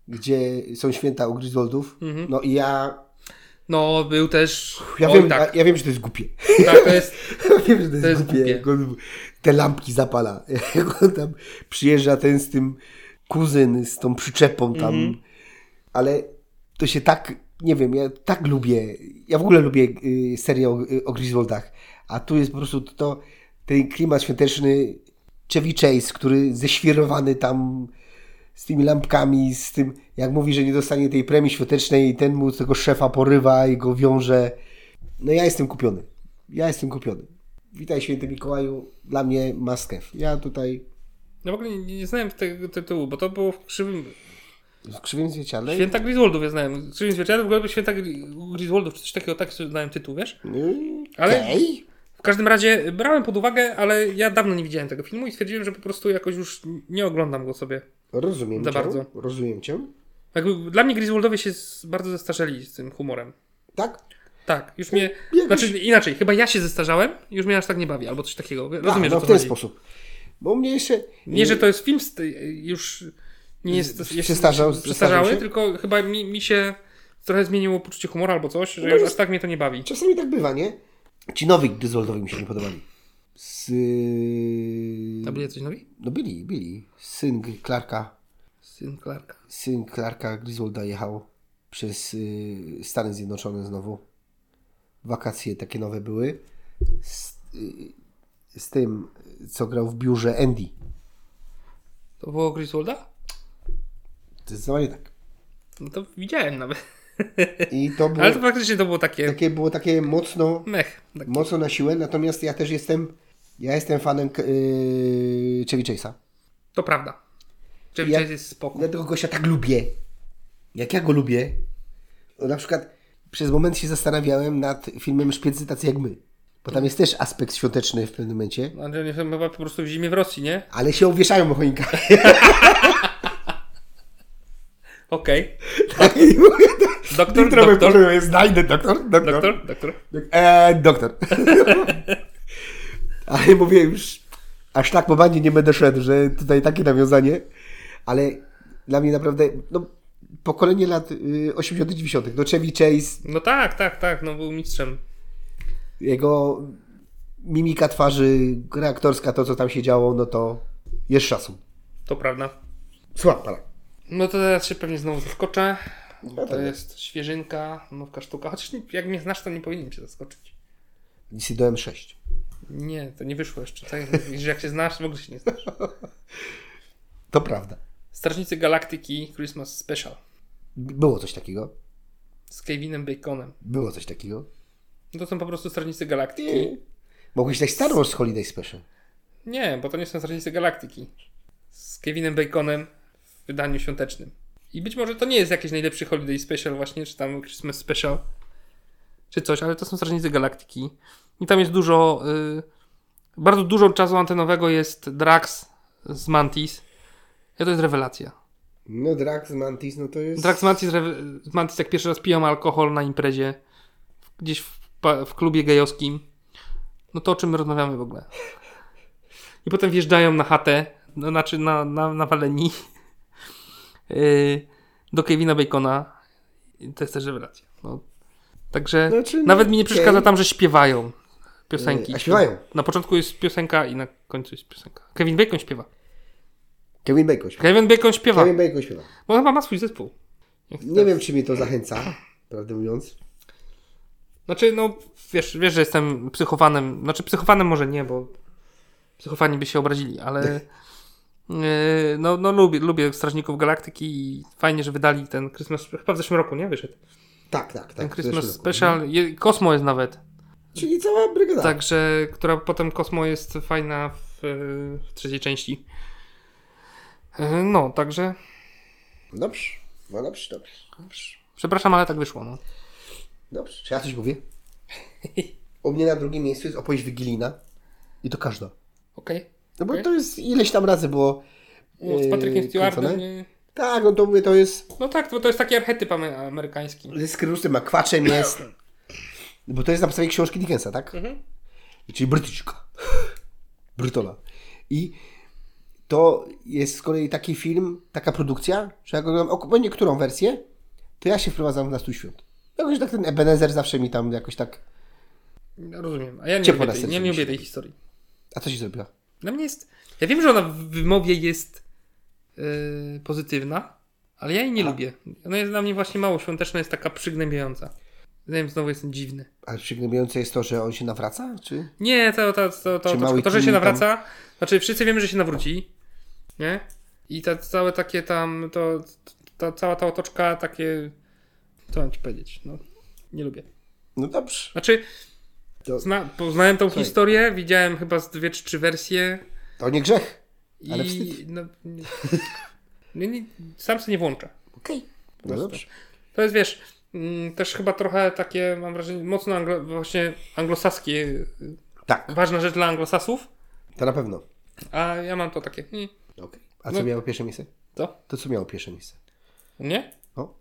B: gdzie są święta u Griswoldów. No i ja...
A: No, był też.
B: Ja,
A: Mhm. Oj,
B: wiem,
A: tak,
B: ja, ja wiem, że to jest głupie.
A: tak, to jest.
B: Ja wiem, że to jest,
A: jest
B: głupie.
A: głupie.
B: Jak on te lampki zapala. Jak on tam przyjeżdża ten z tym kuzyn, z tą przyczepą tam. Ale to się tak, nie wiem, ja tak lubię. Ja w ogóle lubię y, serię o, y, o Griswoldach. A tu jest po prostu to, to ten klimat świąteczny Chevy Chase, który ześwirowany tam z tymi lampkami, z tym, jak mówi, że nie dostanie tej premii świątecznej i ten mu tego szefa porywa i go wiąże. No ja jestem kupiony. Ja jestem kupiony. Witaj święty Mikołaju, dla mnie maskew. Ja tutaj
A: Ja w ogóle nie, nie znałem tego tytułu, bo to było w krzywym.
B: w krzywym zwierciadle.
A: Święta Griswoldów, ja znałem. W krzywym zwierciadle w ogóle święta Gri- Griswoldów, czy coś takiego, tak sobie znałem tytuł, wiesz? Ale-
B: Ale... Okay.
A: W każdym razie brałem pod uwagę, ale ja dawno nie widziałem tego filmu i stwierdziłem, że po prostu jakoś już nie oglądam go sobie.
B: Rozumiem
A: Za
B: cię.
A: bardzo.
B: Rozumiem cię.
A: Jakby, dla mnie Griswoldowie się z- bardzo zestarzeli z tym humorem.
B: Tak?
A: Tak, już mnie.
B: Jakoś-
A: Znaczy inaczej, chyba ja się zestarzałem, już mnie aż tak nie bawi, albo coś takiego. Rozumiem,
B: A, no
A: że
B: w
A: to
B: ten
A: chodzi.
B: sposób. Bo mnie jeszcze...
A: Nie, że to jest film st- już nie jest, jest
B: Przestarzał- przestarzał się?
A: tylko chyba mi, mi się trochę zmieniło poczucie humoru albo coś, że
B: No
A: już
B: jest-
A: aż tak mnie to nie bawi.
B: Czasami tak bywa, nie? Ci nowi Gryzoldowi mi się nie podobali. Z... yy,
A: A byli coś nowi?
B: No byli, byli. Syn Gr- Clarka,
A: Syn Clarka.
B: syn Clarka Griswolda jechał przez y, Stany Zjednoczone znowu. Wakacje takie nowe były. Z, y, z tym, co grał w biurze Andy.
A: To było Griswolda?
B: Zdecydowanie tak.
A: No to widziałem nawet.
B: I to było,
A: Ale to faktycznie to było takie
B: No. takie, było takie mocno,
A: mech. Tak.
B: mocno na siłę, natomiast ja też jestem, ja jestem fanem k- y, Chevy Chase'a.
A: To prawda. Czyli
B: Ja-
A: jest spoko.
B: Ja tego gościa tak lubię. Jak ja go lubię. No, Na przykład przez moment się zastanawiałem nad filmem Szpiedzy tacy jak my. Bo tam jest też aspekt świąteczny w pewnym momencie.
A: No, Andrzej, oni chyba po prostu w zimie w Rosji, nie?
B: Ale się obwieszają o choinka.
A: Okej.
B: Tak,
A: Doktor,
B: Jutro bym
A: doktor,
B: poczuł, znajdę doktor, doktor.
A: doktor, doktor.
B: Dok- e, doktor. Ale mówię już, aż tak po bandzie nie będę szedł, że tutaj takie nawiązanie. Ale dla mnie naprawdę, no, pokolenie lat y, 80 90 no Chevy Chase,
A: No tak, tak, tak, no był mistrzem.
B: jego mimika twarzy, gra aktorska, to co tam się działo, no to jest szacun.
A: To prawda.
B: Słucham pana.
A: No to teraz się pewnie znowu zaskoczę.
B: tak.
A: To jest świeżynka, nowka sztuka. Chociaż nie- jak mnie znasz, to nie powinienem cię zaskoczyć.
B: Dissido M6.
A: Nie, to nie wyszło jeszcze. Tak? Że jak się znasz, w ogóle się nie znasz.
B: To prawda.
A: Strażnicy Galaktyki Christmas Special
B: Było coś takiego.
A: z Kevinem Baconem.
B: Było coś takiego.
A: No to są po prostu Strażnicy Galaktyki.
B: Mogłeś dać Star Wars Holiday Special.
A: Nie, bo to nie są Strażnicy Galaktyki. Z Kevinem Baconem w wydaniu świątecznym. I być może to nie jest jakiś najlepszy Holiday Special właśnie, czy tam Christmas Special, czy coś, ale to są Strażnicy Galaktyki. I tam jest dużo, y, bardzo dużo czasu antenowego jest Drax z Mantis. Ja to jest rewelacja.
B: No Drax Mantis, no to jest...
A: Drax z Mantis, rewe- z Mantis jak pierwszy raz piją alkohol na imprezie, gdzieś w, pa- w klubie gejowskim. No to o czym my rozmawiamy w ogóle? I potem wjeżdżają na chatę, no, znaczy na, na, na Waleni yy, do Kevina Bacona. I To jest też rewelacja. No. Także
B: Znaczy, no,
A: nawet mi nie
B: okej.
A: przeszkadza tam, że śpiewają piosenki.
B: Yy, a śpiewają.
A: Na początku jest piosenka i na końcu jest piosenka. Kevin Bacon śpiewa.
B: Kevin Bacon śpiewa.
A: Kevin Bacon śpiewa.
B: Kevin Bacon śpiewa.
A: Bo chyba ma swój zespół. Jak
B: Nie wiem, czy mnie to zachęca, prawdę mówiąc.
A: Znaczy, no wiesz, wiesz, że jestem psychofanem. Znaczy, psychofanem może nie, bo psychofani by się obrazili, ale yy, no, no lubię, lubię Strażników Galaktyki i fajnie, że wydali ten Christmas, chyba w zeszłym roku, nie? Wyszedł.
B: Tak, tak, tak.
A: Ten
B: w
A: Christmas
B: zeszłym roku. Tak.
A: Special, Tak. je, Kosmo jest nawet.
B: Czyli cała brygada.
A: Także, która potem Kosmo jest fajna w, yy, w trzeciej części. Yy, No, także
B: Dobrze. No dobrze, dobrze. Dobrze.
A: przepraszam, ale tak wyszło. No.
B: Dobrze, czy ja coś mówię? U mnie na drugim miejscu jest opowieść Wigilina. I to każda.
A: Okej.
B: No bo
A: Okej.
B: to jest ileś tam razy było.
A: No, Z Patrykiem
B: e, kręcone.
A: Stewartem. nie-
B: Tak, no to mówię, to jest...
A: No tak, bo to jest taki archetyp amer- amerykański.
B: Z kryzysem akwaczem jest... No Bo to jest na podstawie książki Dickensa, tak? Czyli Brytyjczyka. Brytola. I to jest z kolei taki film, taka produkcja, że jak oglądam ok- będzie którą wersję, to ja się wprowadzam w Nastrój Świąt. Jakoś tak ten Ebenezer zawsze mi tam jakoś tak...
A: No, Rozumiem. A ja nie
B: Ciepło
A: lubię,
B: na
A: tej,
B: sercu
A: nie
B: mi się
A: lubię tej
B: robi.
A: historii.
B: A co ci zrobiła?
A: Dla mnie jest. Ja wiem, że ona w wymowie jest yy, pozytywna, ale ja jej nie lubię. Ona jest dla mnie właśnie mało świąteczna, jest taka przygnębiająca. Zdaniem znowu jestem dziwny.
B: Ale przygnębiające jest to, że on się nawraca, czy...
A: Nie, to, to, to, to,
B: Czy
A: to,
B: mały
A: to że się
B: Timmy tam-
A: nawraca. Znaczy, wszyscy wiemy, że się nawróci. Nie? I ta całe takie tam, to, ta cała ta otoczka, takie. Co mam ci powiedzieć? No, nie lubię.
B: No dobrze.
A: Znaczy,
B: To-
A: zna, poznałem tą
B: Słuchaj.
A: historię, widziałem chyba z dwie czy trzy wersje.
B: To nie grzech.
A: I,
B: Ale wstyd.
A: No, nie, nie, nie, sam sobie nie włączę.
B: Okej. No
A: Proste.
B: dobrze.
A: To jest, wiesz, mm, też chyba trochę takie, mam wrażenie, mocno anglo, właśnie anglosaskie, y,
B: Tak,
A: ważna rzecz dla anglosasów,
B: to na pewno.
A: a ja mam to takie, nie,
B: Okej. A co
A: No.
B: miało pierwsze miejsce?
A: to,
B: To co miało pierwsze miejsce?
A: nie?
B: No,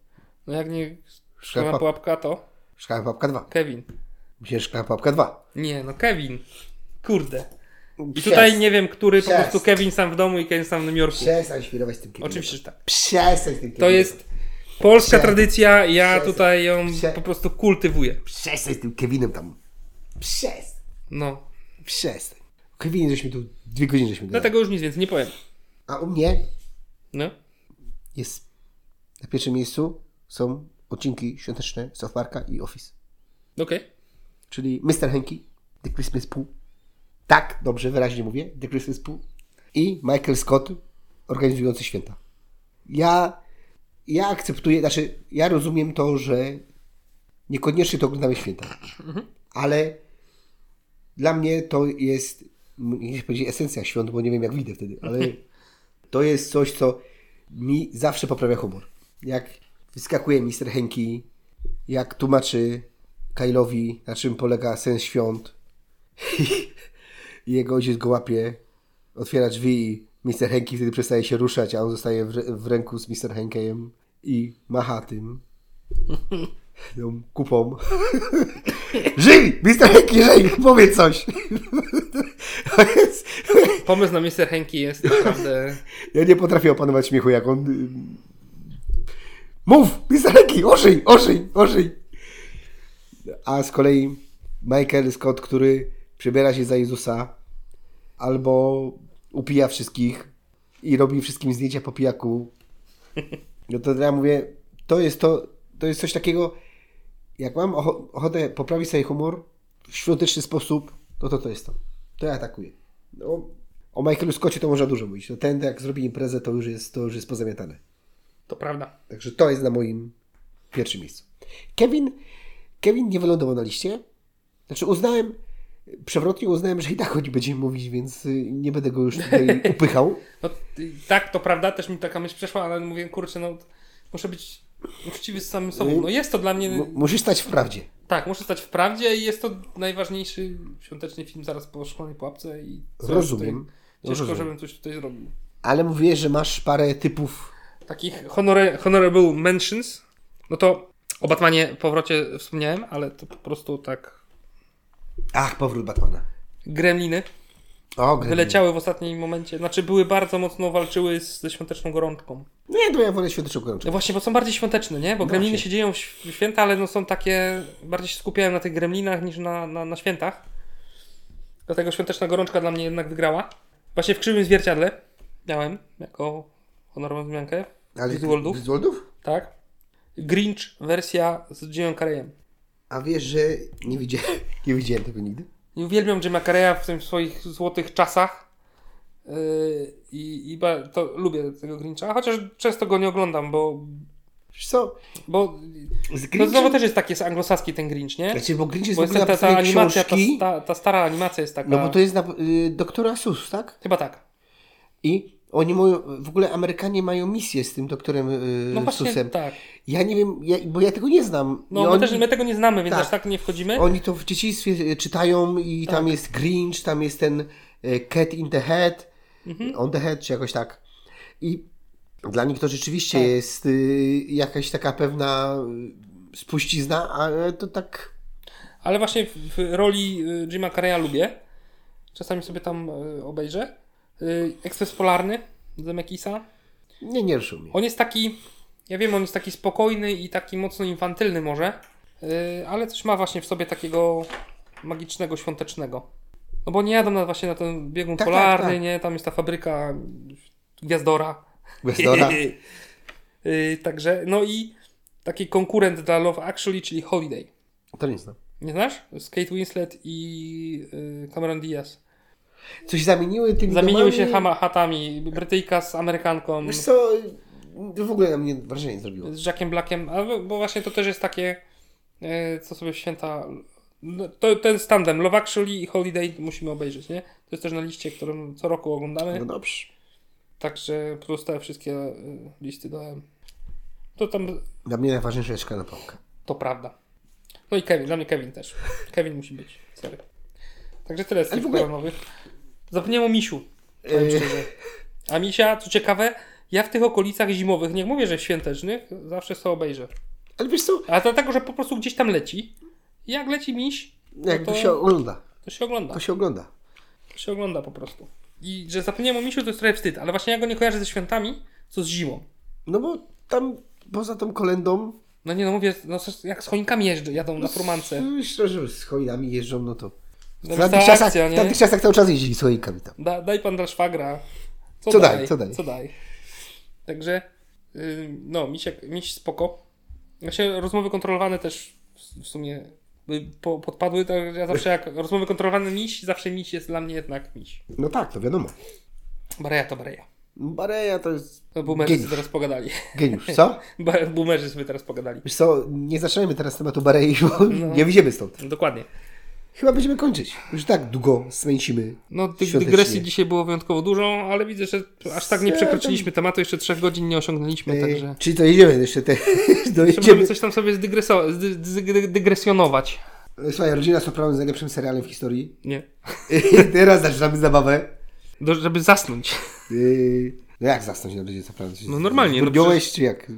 A: No jak nie
B: Szkoła
A: szkoła pułapka, to
B: Szkała Papka 2.
A: Kevin.
B: Myślę, że Szkała Papka 2.
A: Nie, no Kevin. Kurde. I tutaj nie wiem, który, po
B: Przez.
A: prostu Kevin sam w domu i Kevin sam w Nowym Jorku.
B: Przestań świrować z tym kiedyś.
A: Oczywiście, że tak.
B: Przestań z tym kiedyś.
A: To jest polska
B: Przez.
A: tradycja, ja
B: Przez.
A: tutaj ją
B: Przez.
A: po prostu kultywuję.
B: Przestań z tym Kevinem tam. Przestań.
A: No.
B: Przestań. O Kevinie żeśmy tu dwie godziny żeśmy gadali.
A: Dlatego już nic więcej nie powiem.
B: A u mnie
A: No.
B: jest na pierwszym miejscu są odcinki świąteczne South Parka i Office.
A: Okej.
B: Czyli Mr. Henke, The Christmas Pooh. Tak, dobrze, wyraźnie mówię. The Christmas Pooh. I Michael Scott organizujący święta. Ja, ja akceptuję, znaczy ja rozumiem to, że niekoniecznie to oglądamy święta. Ale dla mnie to jest, m, nie chcę powiedzieć esencja świąt, bo nie wiem jak wyjdę wtedy, ale to jest coś, co mi zawsze poprawia humor. Jak wyskakuje Mr. Henki, jak tłumaczy Kyle'owi, na czym polega sens świąt. I jego ojciec go łapie, otwiera drzwi i Mr. Henki wtedy przestaje się ruszać, a on zostaje w, w ręku z Mr. Henkiem i macha tym tą kupą. żyj! Mr. Henki, żyj! Powiedz coś! to jest...
A: Pomysł na Mr. Henki jest naprawdę...
B: Ja nie potrafię opanować śmiechu, jak on... ym, Mów! Pisareki! Ożyj! Ożyj! Ożyj! A z kolei Michael Scott, który przebiera się za Jezusa albo upija wszystkich i robi wszystkim zdjęcia po pijaku. No to ja mówię, to jest to, to jest coś takiego, jak mam ocho- ochotę poprawić sobie humor w świąteczny sposób, no to to, to jest to. To ja atakuję. No, o Michaelu Scottie to można dużo mówić. No ten, jak zrobi imprezę, to już jest, to już jest pozamiatane.
A: To prawda.
B: Także to jest na moim pierwszym miejscu. Kevin, Kevin nie wylądował na liście. Znaczy uznałem, przewrotnie uznałem, że i tak o nim będziemy mówić, więc y, nie będę go już tutaj upychał.
A: No, y, tak, to prawda, też mi taka myśl przeszła, ale mówię, kurczę, no muszę być uczciwy z samym sobą. No jest to dla mnie...
B: M- musisz stać w prawdzie.
A: Tak, muszę stać w prawdzie i jest to najważniejszy świąteczny film zaraz po szkolnej pułapce i... co
B: Rozumiem.
A: Tutaj, ciężko,
B: Rozumiem.
A: żebym coś tutaj zrobił.
B: Ale mówiłeś, że masz parę typów.
A: Takich honore, honorable mentions, no to o Batmanie powrocie wspomniałem, ale to po prostu tak...
B: Ach, powrót Batmana.
A: Gremliny
B: O, Gremlin.
A: wyleciały w ostatnim momencie, znaczy były bardzo mocno walczyły z, ze świąteczną gorączką.
B: Nie, to No ja wolę świąteczną gorączkę.
A: No właśnie, bo są bardziej świąteczne, nie? Bo gremliny się dzieją w św- święta, ale no są takie, bardziej się skupiają na tych gremlinach niż na, na, na świętach. Dlatego świąteczna gorączka dla mnie jednak wygrała. Właśnie w krzywym zwierciadle miałem jako honorową wzmiankę. Ale Griswoldów,
B: Griswoldów?
A: tak. Grinch wersja z Jimem Carreyem.
B: A wiesz, że nie widziałem, nie widziałem tego nigdy.
A: I uwielbiam Jima Carreya w tym swoich złotych czasach. Yy, I, i ba, to lubię tego Grincha, chociaż często go nie oglądam, bo,
B: Wiesz co? No
A: bo
B: Z
A: to znowu
B: Grinchem...
A: też jest taki anglosaski ten Grinch, nie?
B: Znaczy, bo Grinch jest
A: Bo
B: w
A: jest ta, ta,
B: ogóle na
A: ta
B: podstawie
A: animacja, ta,
B: książki.
A: ta, ta stara animacja jest taka.
B: No bo to jest na, y, doktora Sus, tak?
A: Chyba tak.
B: I oni mają, w ogóle Amerykanie mają misję z tym doktorem y,
A: No właśnie
B: Susem.
A: tak.
B: Ja nie wiem, ja, bo ja tego nie znam. I
A: No my,
B: oni,
A: też, my tego nie znamy, więc
B: tak.
A: aż tak nie wchodzimy.
B: oni to w dzieciństwie y, czytają i tam jest e, Grinch, tam
A: Mhm.
B: jest ten y, Cat in the Head, on the Head, czy jakoś tak. I Dla nich to
A: Tak.
B: rzeczywiście jest y, jakaś taka pewna y, spuścizna, ale to tak
A: Ale właśnie w, w roli y, Jima Carreya lubię. Czasami sobie tam y, obejrzę. Y, Ekspres Polarny Zemeckisa.
B: nie, nie ruszył mnie.
A: On jest taki, ja wiem, on jest taki spokojny i taki mocno infantylny może, yy, ale coś ma właśnie w sobie takiego magicznego, świątecznego. No bo nie jadą na, właśnie na ten biegun
B: Tak,
A: polarny,
B: tak, tak.
A: nie? Tam jest ta fabryka Gwiazdora.
B: Gwiazdora.
A: Yy, także, no i taki konkurent dla Love Actually, czyli Holiday.
B: To no. nie znam.
A: Nie znasz? Z Kate Winslet i yy, Cameron Diaz.
B: Coś zamieniły tymi
A: Zamieniły się
B: domami.
A: hama, hatami. Brytyjka z Amerykanką.
B: Wiesz co, to w ogóle na mnie wrażenie nie zrobiło.
A: z Jackiem Blackiem, a w- bo właśnie to też jest takie, e, co sobie w święta. no, To, ten standem Love Actually i Holiday musimy obejrzeć, nie? To jest też na liście, którą co roku oglądamy.
B: No dobrze.
A: Także pozostałe wszystkie e, listy dałem. To tam
B: Dla mnie najważniejsza jest szklana pałka.
A: to prawda. No i Kevin, dla mnie Kevin też. Kevin musi być, sorry. Także tyle z
B: Ale
A: tych
B: w ogóle-
A: koronowych. Zapomniałem o Misiu. powiem
B: Yy.
A: szczerze. A Misia, co ciekawe, ja w tych okolicach zimowych, nie mówię, że świątecznych, zawsze sobie obejrzę.
B: Ale wiesz co,
A: A dlatego, że po prostu gdzieś tam leci. I Jak leci miś, no
B: jakby
A: to,
B: się ogląda.
A: to się ogląda.
B: To się ogląda.
A: To się ogląda po prostu. I że zapomniałem o misiu, to jest trochę wstyd, ale właśnie ja go nie kojarzę ze świętami, co z zimą.
B: No bo tam poza tą kolendą,
A: No nie no, mówię, no s- jak z choinkami jeżdżą, jadą No, na furmance.
B: y, szczerze, z choinami jeżdżą, no to...
A: No to
B: W tamtych
A: akcja,
B: czasach,
A: nie?
B: w tamtych czasach cały czas jeździli z choinkami tam.
A: Da, daj pan dla szwagra.
B: Co daj, co daj.
A: Także, yy, no, misiek, miś spoko. Znaczy, rozmowy kontrolowane też w- w sumie y, po, podpadły, tak ja zawsze jak rozmowy kontrolowane miś, zawsze miś jest dla mnie jednak miś.
B: No tak, to wiadomo.
A: Bareja to bareja.
B: Bareja to jest
A: No, boomerzy
B: Geniusz.
A: sobie teraz pogadali.
B: geniusz, co?
A: Ba- Boomerzy sobie teraz pogadali.
B: Wiesz co, nie zaczynajmy teraz tematu Barei, bo
A: No.
B: nie wyjdziemy stąd.
A: Dokładnie.
B: Chyba będziemy kończyć. Już tak długo smęcimy.
A: No, tych
B: Świątecznie.
A: dygresji dzisiaj było wyjątkowo dużo, ale widzę, że aż tak nie przekroczyliśmy tematu, jeszcze trzech godzin nie osiągnęliśmy,
B: E,
A: No także...
B: Czyli to jedziemy jeszcze te...
A: Jeszcze możemy
B: dojedziemy.
A: coś tam sobie zdygreso- zdy- zdy- dygresjonować.
B: Słuchaj, Rodzina Soprano jest najlepszym serialem w historii.
A: Nie.
B: Teraz zaczynamy zabawę.
A: Do, żeby zasnąć.
B: Yy, No jak zasnąć na Rodzinie Soprano? Czy-
A: No normalnie, no
B: Zrobiłeś czy jak?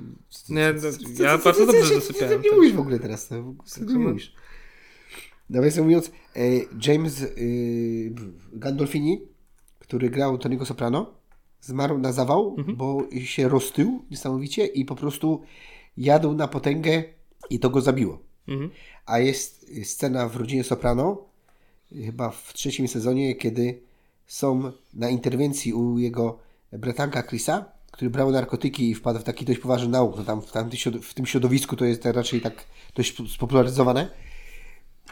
A: Nie, no,
B: Co- co-
A: ja
B: co-
A: bardzo
B: co-
A: dobrze
B: co- co
A: zasypiałem. tak.
B: ty mówisz w ogóle teraz? Co ty
A: no.
B: mówisz? Nawiasem mówiąc, e, James e, Gandolfini, który grał Tony'ego Soprano, zmarł na zawał,
A: Mhm.
B: bo się roztył niesamowicie i po prostu jadł na potęgę i to go zabiło.
A: Mhm.
B: A jest scena w Rodzinie Soprano, chyba w trzecim sezonie, kiedy są na interwencji u jego bratanka Chrisa, który brał narkotyki i wpadł w taki dość poważny nauk. No tam, w, tamtym, środ- w tym środowisku to jest raczej tak dość sp- spopularyzowane.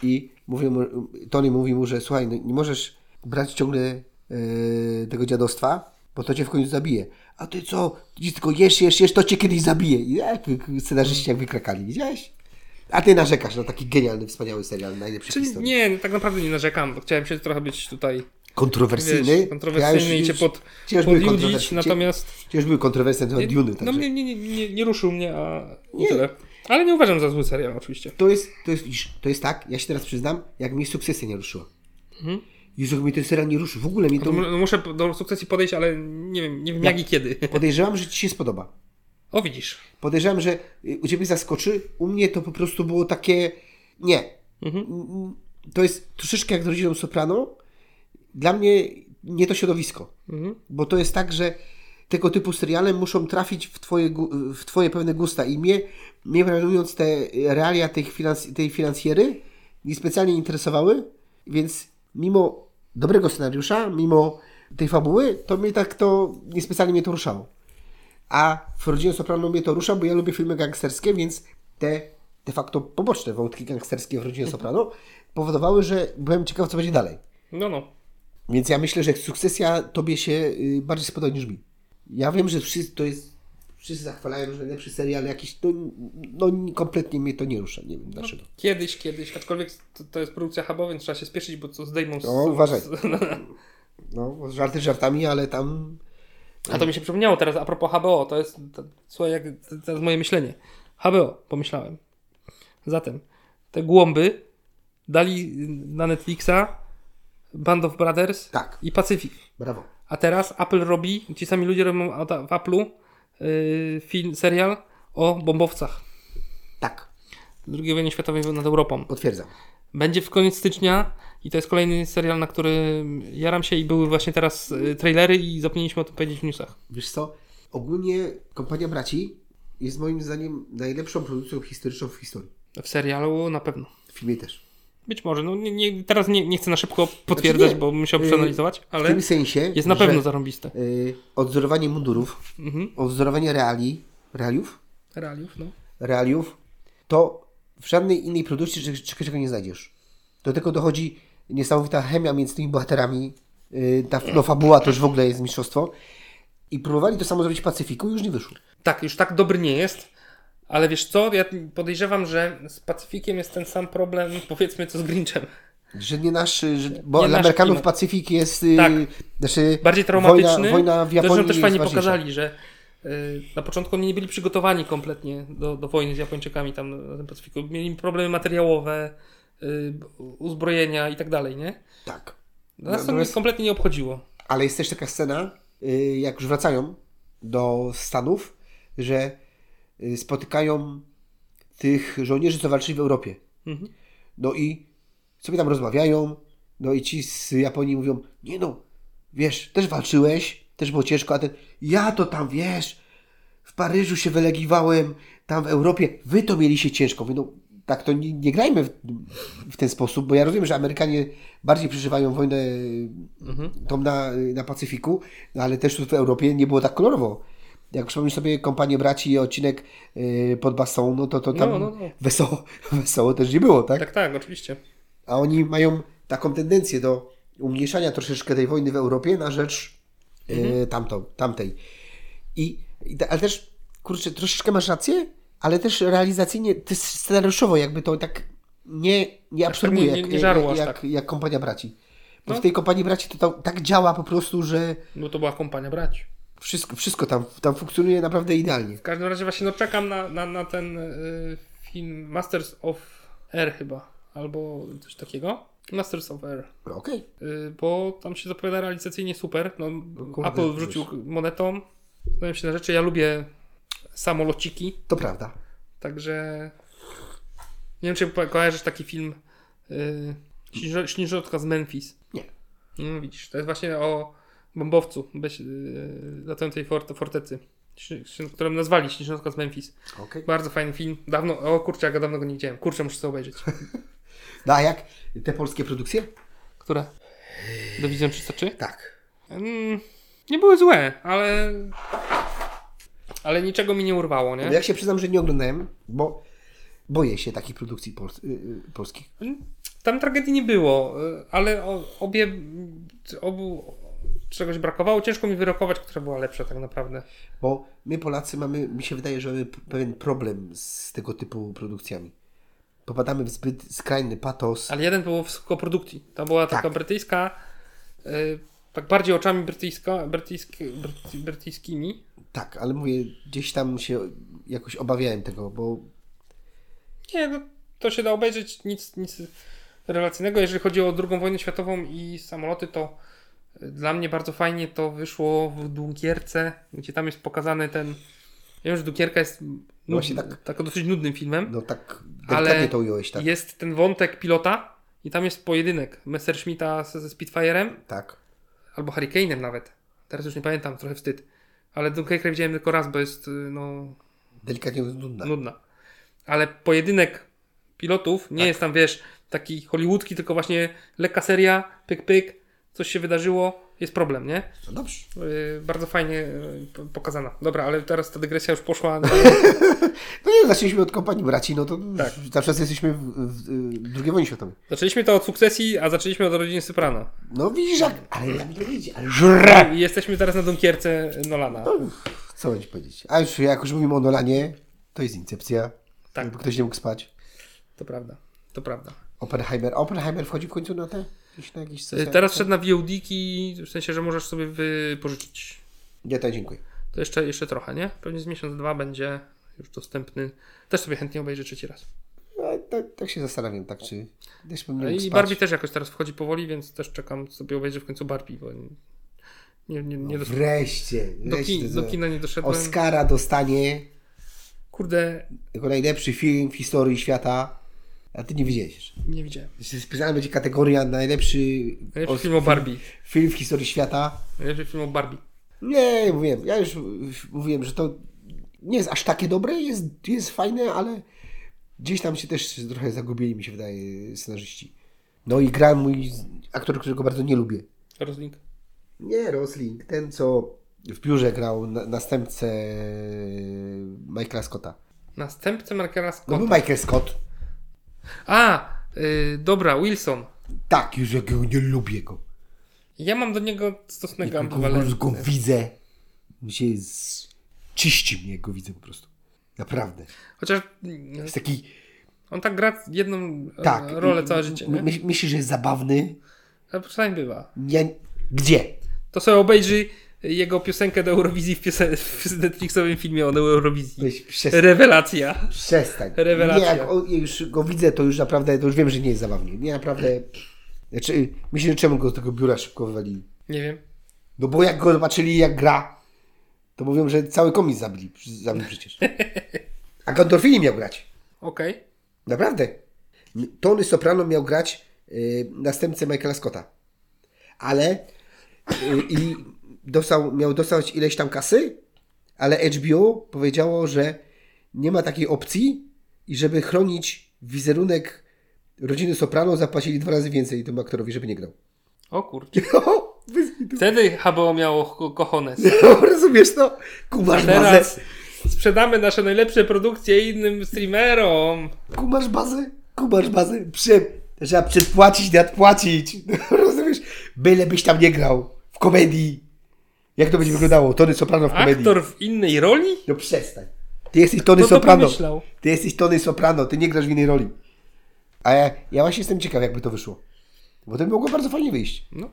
B: I mówił mu, Tony mówi mu, że słuchaj, no, nie możesz brać ciągle e, tego dziadostwa, bo to cię w końcu zabije. A ty co? Ty tylko jesz, jesz, jesz, to cię kiedyś zabije. I jak scenarzyści jak wykrakali, widziałeś? A ty narzekasz na taki genialny, wspaniały serial, najlepszy w
A: Czyli
B: historii.
A: nie, tak naprawdę nie narzekam, bo chciałem się trochę być tutaj,
B: Kontrowersyjny.
A: wiesz, kontrowersyjny
B: Ja
A: i
B: już-
A: cię pod,
B: ci już były
A: podjudzić,
B: kontrowersy-
A: natomiast...
B: Ci już były kontrowersje na temat Duny,
A: no
B: także.
A: mnie nie, nie, nie, nie ruszył mnie, a nie. tyle. Ale nie uważam za zły serial oczywiście.
B: To jest, to jest, widzisz, to jest tak, ja się teraz przyznam, jak mnie sukcesja nie ruszyła.
A: Mhm.
B: Jezu, jak mnie ten serial nie ruszył, w ogóle mnie
A: To
B: to...
A: No mu- muszę do sukcesji podejść, ale nie wiem, nie wiem jak i kiedy.
B: Podejrzewam, że ci się spodoba.
A: O widzisz.
B: Podejrzewam, że y, u ciebie zaskoczy, u mnie to po prostu było takie... Nie. Mm, To jest troszeczkę jak z rodziną Soprano. Dla mnie nie to środowisko. Bo to jest tak, że tego typu seriale muszą trafić w twoje, gu- w twoje pewne gusta i mnie, mnie prawdę mówiąc, te realia tej, financ- tej finansjery niespecjalnie interesowały, więc mimo dobrego scenariusza, mimo tej fabuły, to mnie tak to, niespecjalnie mnie to ruszało. A w Rodzinie Soprano mnie to rusza, bo ja lubię filmy gangsterskie, więc te de facto poboczne wątki gangsterskie w Rodzinie Soprano powodowały, że byłem ciekaw, co będzie dalej.
A: No, no.
B: Więc ja myślę, że sukcesja tobie się y, bardziej spodoba niż mi. Ja wiem, że wszyscy to jest. Wszyscy zachwalają, że najlepszy serial jakiś. No, no kompletnie mnie to nie rusza. Nie wiem dlaczego.
A: Kiedyś, kiedyś, aczkolwiek to, to jest produkcja hubowa, więc trzeba się spieszyć, bo co zdejmą z...
B: No, uważaj.
A: z-
B: No, żarty żartami, ale tam.
A: A to mi się przypomniało teraz a propos HBO, to jest, to, słuchaj, jak, to teraz moje myślenie. HBO, pomyślałem. Zatem, te głąby dali na Netflixa Band of Brothers
B: Tak.
A: i Pacific.
B: Brawo.
A: A teraz Apple robi, ci sami ludzie robią od- w Apple'u y, film, serial o bombowcach
B: Tak,
A: II wojny światowej nad Europą.
B: potwierdzam.
A: Będzie w koniec stycznia i to jest kolejny serial, na który jaram się i były właśnie teraz y, trailery i zapomnieliśmy o tym powiedzieć w newsach.
B: Wiesz co? Ogólnie Kompania Braci jest moim zdaniem najlepszą produkcją historyczną w historii.
A: W serialu na pewno.
B: W filmie też.
A: Być może, no nie, nie, teraz nie, nie chcę na szybko potwierdzać,
B: nie.
A: bo musiałbym
B: Y,
A: przeanalizować,
B: W
A: ale
B: tym sensie,
A: jest na
B: że,
A: pewno zarąbiste.
B: y, Odwzorowanie mundurów,
A: Mhm.
B: odwzorowanie reali, realiów,
A: Realiów, no.
B: realiów, to w żadnej innej produkcji czy- czy- czego nie znajdziesz. Do tego dochodzi niesamowita chemia między tymi bohaterami. y, Ta no, fabuła to już w ogóle jest mistrzostwo. I próbowali to samo zrobić w Pacyfiku i już nie wyszło.
A: Tak, już tak dobry nie jest. Ale wiesz co, ja podejrzewam, że z Pacyfikiem jest ten sam problem, powiedzmy, co z Grinchem.
B: Że nie nasz, y, że, bo
A: Nie
B: dla
A: nasz
B: Amerykanów
A: klimat.
B: Pacyfik jest y,
A: Tak.
B: znaczy,
A: Bardziej traumatyczny.
B: Wojna, wojna w Japonii
A: Zresztą też fajnie
B: jest ważniejsza.
A: pokazali, że y, na początku oni nie byli przygotowani kompletnie do, do wojny z Japończykami tam na tym Pacyfiku. Mieli problemy materiałowe, y, uzbrojenia i tak dalej, nie?
B: Tak.
A: Nas to
B: Natomiast-
A: kompletnie nie obchodziło.
B: Ale jest też taka scena, y, jak już wracają do Stanów, że y, spotykają tych żołnierzy, co walczyli w Europie.
A: Mhm.
B: No i sobie tam rozmawiają, no i ci z Japonii mówią, nie no, wiesz, też walczyłeś, też było ciężko, a ten, ja to tam, wiesz, w Paryżu się wylegiwałem, tam w Europie, wy to mieli się ciężko. Mówię, no, tak to nie, nie grajmy w, w ten sposób, bo ja rozumiem, że Amerykanie bardziej przeżywają wojnę
A: Mhm.
B: tą na, na Pacyfiku, no, ale też tu w Europie nie było tak kolorowo. Jak przypomnisz sobie kompanię braci i odcinek y, pod Bastą, no to, to tam
A: No, no, no.
B: Wesoło, wesoło też nie było, tak?
A: Tak, tak, oczywiście.
B: A oni mają taką tendencję do umniejszania troszeczkę tej wojny w Europie na rzecz
A: Mhm.
B: e, tamtą, tamtej. I, i ta, ale też, kurczę, troszeczkę masz rację, ale też realizacyjnie, ty scenariuszowo jakby to tak nie, nie absorbuje,
A: Tak, nie- nie-
B: jak,
A: nie żarło
B: jak,
A: aż
B: jak,
A: tak.
B: jak kompania braci. Bo
A: No.
B: w tej kompanii braci to, tam tak działa po prostu, że
A: Bo to była kompania braci.
B: wszystko, wszystko tam, tam funkcjonuje naprawdę idealnie.
A: W każdym razie właśnie no czekam na, na, na ten y, film Masters of Air chyba, albo coś takiego. Masters of Air,
B: No, Okej.
A: y, bo tam się zapowiada realizacyjnie super. No,
B: kurde,
A: Apple wrzucił monetą, znałem się na rzeczy, ja lubię samolociki,
B: To prawda.
A: także nie wiem czy po- kojarzysz taki film y, Śniżo- Śniżotka z Memphis.
B: Nie.
A: No widzisz, to jest właśnie o bombowcu beś, y, latającej fort, fortecy, ś- ś- którą nazwali Śniżotka z Memphis.
B: Okej.
A: Bardzo fajny film. Dawno, o kurczę, jak ja dawno go nie widziałem. Kurczę, muszę sobie obejrzeć.
B: No a jak te polskie produkcje?
A: Które? Do Wizją 303?
B: Tak.
A: Mm, nie były złe, ale... Ale niczego mi nie urwało,
B: No
A: nie?
B: ja się przyznam, że nie oglądałem, bo boję się takich produkcji pols- y, y, polskich.
A: Mm, Tam tragedii nie było, y, ale o- obie... Obu czegoś brakowało. Ciężko mi wyrokować, która była lepsza tak naprawdę.
B: Bo my Polacy mamy, mi się wydaje, że mamy p- pewien problem z tego typu produkcjami. Popadamy w zbyt skrajny patos.
A: Ale jeden był w koprodukcji. To była taka
B: Tak.
A: brytyjska... y, tak bardziej oczami brytyjska, brytyjski, bryty, brytyjskimi.
B: Tak, ale mówię, gdzieś tam się jakoś obawiałem tego, bo
A: Nie, no, to się da obejrzeć, nic, nic relacyjnego. Jeżeli chodzi o II wojnę światową i samoloty, to y, dla mnie bardzo fajnie to wyszło w Dunkierce, gdzie tam jest pokazany ten... Ja wiem, że Dunkierka jest
B: Właśnie
A: nudny,
B: tak.
A: tak. dosyć nudnym filmem,
B: no tak delikatnie
A: ale
B: to ująłeś, tak?
A: jest ten wątek pilota i tam jest pojedynek Messerschmitta ze, ze Spitfire'em
B: Tak.
A: albo Hurricane'em nawet. Teraz już nie pamiętam, trochę wstyd. Ale Dunkierkę widziałem tylko raz, bo jest y, no,
B: Delikatnie nudna.
A: nudna. Ale pojedynek pilotów nie jest tam, wiesz, taki hollywoodzki, tylko właśnie lekka seria, pyk, pyk, coś się wydarzyło, jest problem, nie?
B: No dobrze.
A: Yy, bardzo fajnie yy, po- pokazana. Dobra, ale teraz ta dygresja już poszła.
B: No nie, zaczęliśmy od kompanii braci, no to
A: Tak.
B: cały czas jesteśmy w, w, w II wojnie światowej.
A: Zaczęliśmy to od sukcesji, a zaczęliśmy od rodziny Syprana.
B: No widzisz, jak, ale jak to idzie, ale żre!
A: I jesteśmy teraz na Dunkierce Nolana.
B: Co będzie powiedzieć? A już jak już mówimy o Nolanie, to jest Incepcja.
A: Tak.
B: Jakby ktoś nie mógł spać.
A: To prawda, to prawda.
B: Oppenheimer. Oppenheimer wchodzi w końcu na te? Jakiś, na jakiś
A: Yy, Teraz wszedł na VOD-ki, w sensie, że możesz sobie wypożyczyć.
B: Nie, to dziękuję.
A: To jeszcze, jeszcze trochę, nie? Pewnie z miesiąc, dwa będzie już dostępny. Też sobie chętnie obejrzę trzeci raz.
B: No, tak, tak się zastanawiam, tak czy... Też bym nie mógł
A: No I
B: spać.
A: Barbie też jakoś teraz wchodzi powoli, więc też czekam sobie obejrzę w końcu Barbie, bo Nie, nie,
B: No,
A: nie doszedłem.
B: Wreszcie,
A: Do,
B: wreszcie.
A: kin, do kina nie doszedłem.
B: Oscara dostanie
A: Kurde,
B: jako najlepszy film w historii świata, a ty nie widziałeś jeszcze.
A: nie widziałem.
B: Specjalna będzie kategoria najlepszy,
A: Najlepszy
B: os-
A: film o Barbie.
B: film w historii świata.
A: Najlepszy film o Barbie.
B: Nie, ja mówiłem, ja już mówiłem, że to nie jest aż takie dobre, jest, jest fajne, ale gdzieś tam się też trochę zagubili, mi się wydaje, scenarzyści. No i gra mój aktor, którego bardzo nie lubię.
A: Rosling.
B: Nie, Rosling, ten co w biurze grał na, następcę Michaela Scotta.
A: Następca Markera
B: No
A: Scott.
B: był Michael Scott.
A: A, y, dobra, Wilson.
B: Tak, już jak go nie lubię go.
A: Ja mam do niego stosunek
B: Go, go, go
A: ambiwalentny.
B: widzę. Mi się z... ciści mnie, jak go widzę po prostu. Naprawdę.
A: Chociaż mm,
B: Jest taki
A: on tak gra jedną e,
B: Tak.
A: rolę całe życie,
B: My,
A: nie?
B: my, myślisz, że jest zabawny?
A: Ale przynajmniej bywa.
B: Ja... Gdzie?
A: To sobie obejrzy jego piosenkę do Eurowizji w, piose- w Netflixowym filmie o Eurowizji.
B: Weź przestań.
A: Rewelacja.
B: przestań.
A: Rewelacja.
B: Nie, jak o, już go widzę, to już naprawdę, to już wiem, że nie jest zabawny. Nie, naprawdę. Znaczy, myślę, że czemu go z tego biura szybko wywalili?
A: Nie wiem.
B: No bo jak go zobaczyli, jak gra, to mówią, że cały komis zabili, zabił przecież. A Gandolfini miał grać.
A: Okej.
B: Naprawdę. Tony Soprano miał grać y, następcę Michaela Scotta. Ale y, i dostał, miał dostać ileś tam kasy, ale HBO powiedziało, że nie ma takiej opcji i żeby chronić wizerunek rodziny Soprano zapłacili dwa razy więcej temu aktorowi, żeby nie grał.
A: O kurczę.
B: Bez kitu.
A: Wtedy HBO miało ko- kochones.
B: Rozumiesz to? Kumasz bazę.
A: Teraz sprzedamy nasze najlepsze produkcje innym streamerom.
B: Kumasz bazę? Kumasz bazę? Prze... Trzeba przepłacić, nadpłacić. Rozumiesz? Bylebyś tam nie grał. W komedii. Jak to będzie wyglądało? Tony Soprano w komedii.
A: Aktor w innej roli?
B: No przestań. Ty jesteś Tony
A: Kto to
B: Soprano.
A: pomyślał?
B: Ty jesteś Tony Soprano. Ty nie grasz w innej roli. A ja, ja właśnie jestem ciekaw, jakby to wyszło. Bo to by mogło bardzo fajnie wyjść.
A: No.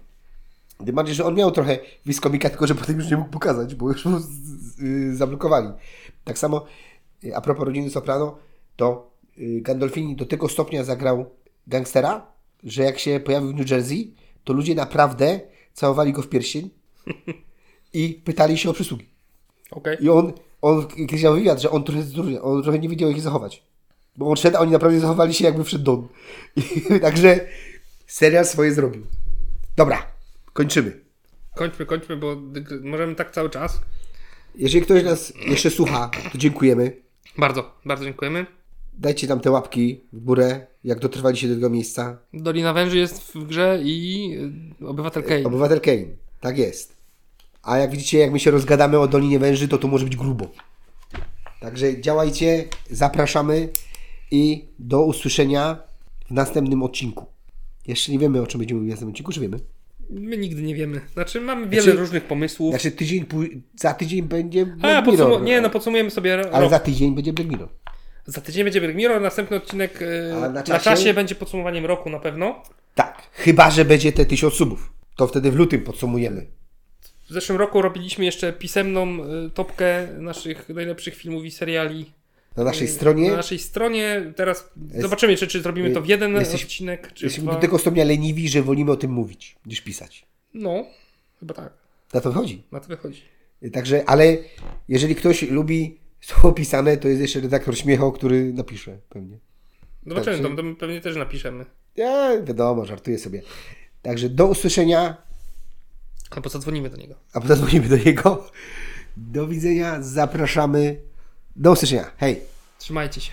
B: Tym bardziej, że on miał trochę wiskomika, tylko że potem już nie mógł pokazać, bo już mu z, z, y, zablokowali. Tak samo y, a propos rodziny Soprano, to y, Gandolfini do tego stopnia zagrał gangstera, że jak się pojawił w New Jersey, to ludzie naprawdę całowali go w pierścień i pytali się o przysługi.
A: Okej.
B: I on, on kiedyś miał wywiad, że on trochę, zdurny, on trochę nie wiedział, jak ich zachować. Bo on szedł, a oni naprawdę zachowali się, jakby wszedł Don. I, także serial swoje zrobił. Dobra, kończymy.
A: Kończmy, kończmy, bo dygry- możemy tak cały czas.
B: Jeżeli ktoś nas jeszcze słucha, to dziękujemy.
A: Bardzo, bardzo dziękujemy.
B: Dajcie nam te łapki w górę, jak dotrwaliście do tego miejsca.
A: Dolina Węży jest w grze i y, Obywatel Kane.
B: Obywatel Kane, tak jest. A jak widzicie, jak my się rozgadamy o Dolinie Węży, to tu może być grubo. Także działajcie, zapraszamy i do usłyszenia w następnym odcinku. Jeszcze nie wiemy, o czym będziemy mówić w następnym odcinku, czy wiemy?
A: My nigdy nie wiemy. Znaczy, mamy wiele
B: Znaczy-
A: różnych pomysłów.
B: Znaczy tydzień, pój- za tydzień będzie
A: A,
B: Black
A: podsumu-
B: Mirror.
A: nie, no podsumujemy sobie ro-
B: Ale
A: rok.
B: za tydzień będzie Black Mirror.
A: Za tydzień będzie Black Mirror, następny odcinek y,
B: A na
A: na, czasie?
B: czasie?
A: będzie podsumowaniem roku na pewno.
B: Tak, chyba, że będzie te tysiąc subów. To wtedy w lutym podsumujemy.
A: W zeszłym roku robiliśmy jeszcze pisemną y, topkę naszych najlepszych filmów i seriali
B: Na naszej
A: y,
B: stronie.
A: Na naszej stronie. Teraz zobaczymy, czy, czy zrobimy to w jeden
B: jesteś-
A: odcinek, czy
B: Jesteśmy
A: dwa.
B: do tego stopnia leniwi, że wolimy o tym mówić, niż pisać.
A: No, chyba tak.
B: Na to chodzi.
A: Na to wychodzi.
B: Także, ale jeżeli ktoś lubi słowo pisane, to jest jeszcze redaktor śmiecho, który napisze pewnie.
A: Zobaczymy,
B: Także-
A: to, to my pewnie też napiszemy.
B: Ja, wiadomo, żartuję sobie. Także do usłyszenia,
A: Albo zadzwonimy do niego.
B: a potem dzwonimy do niego. Do widzenia, zapraszamy. Do usłyszenia. Hej!
A: Trzymajcie się.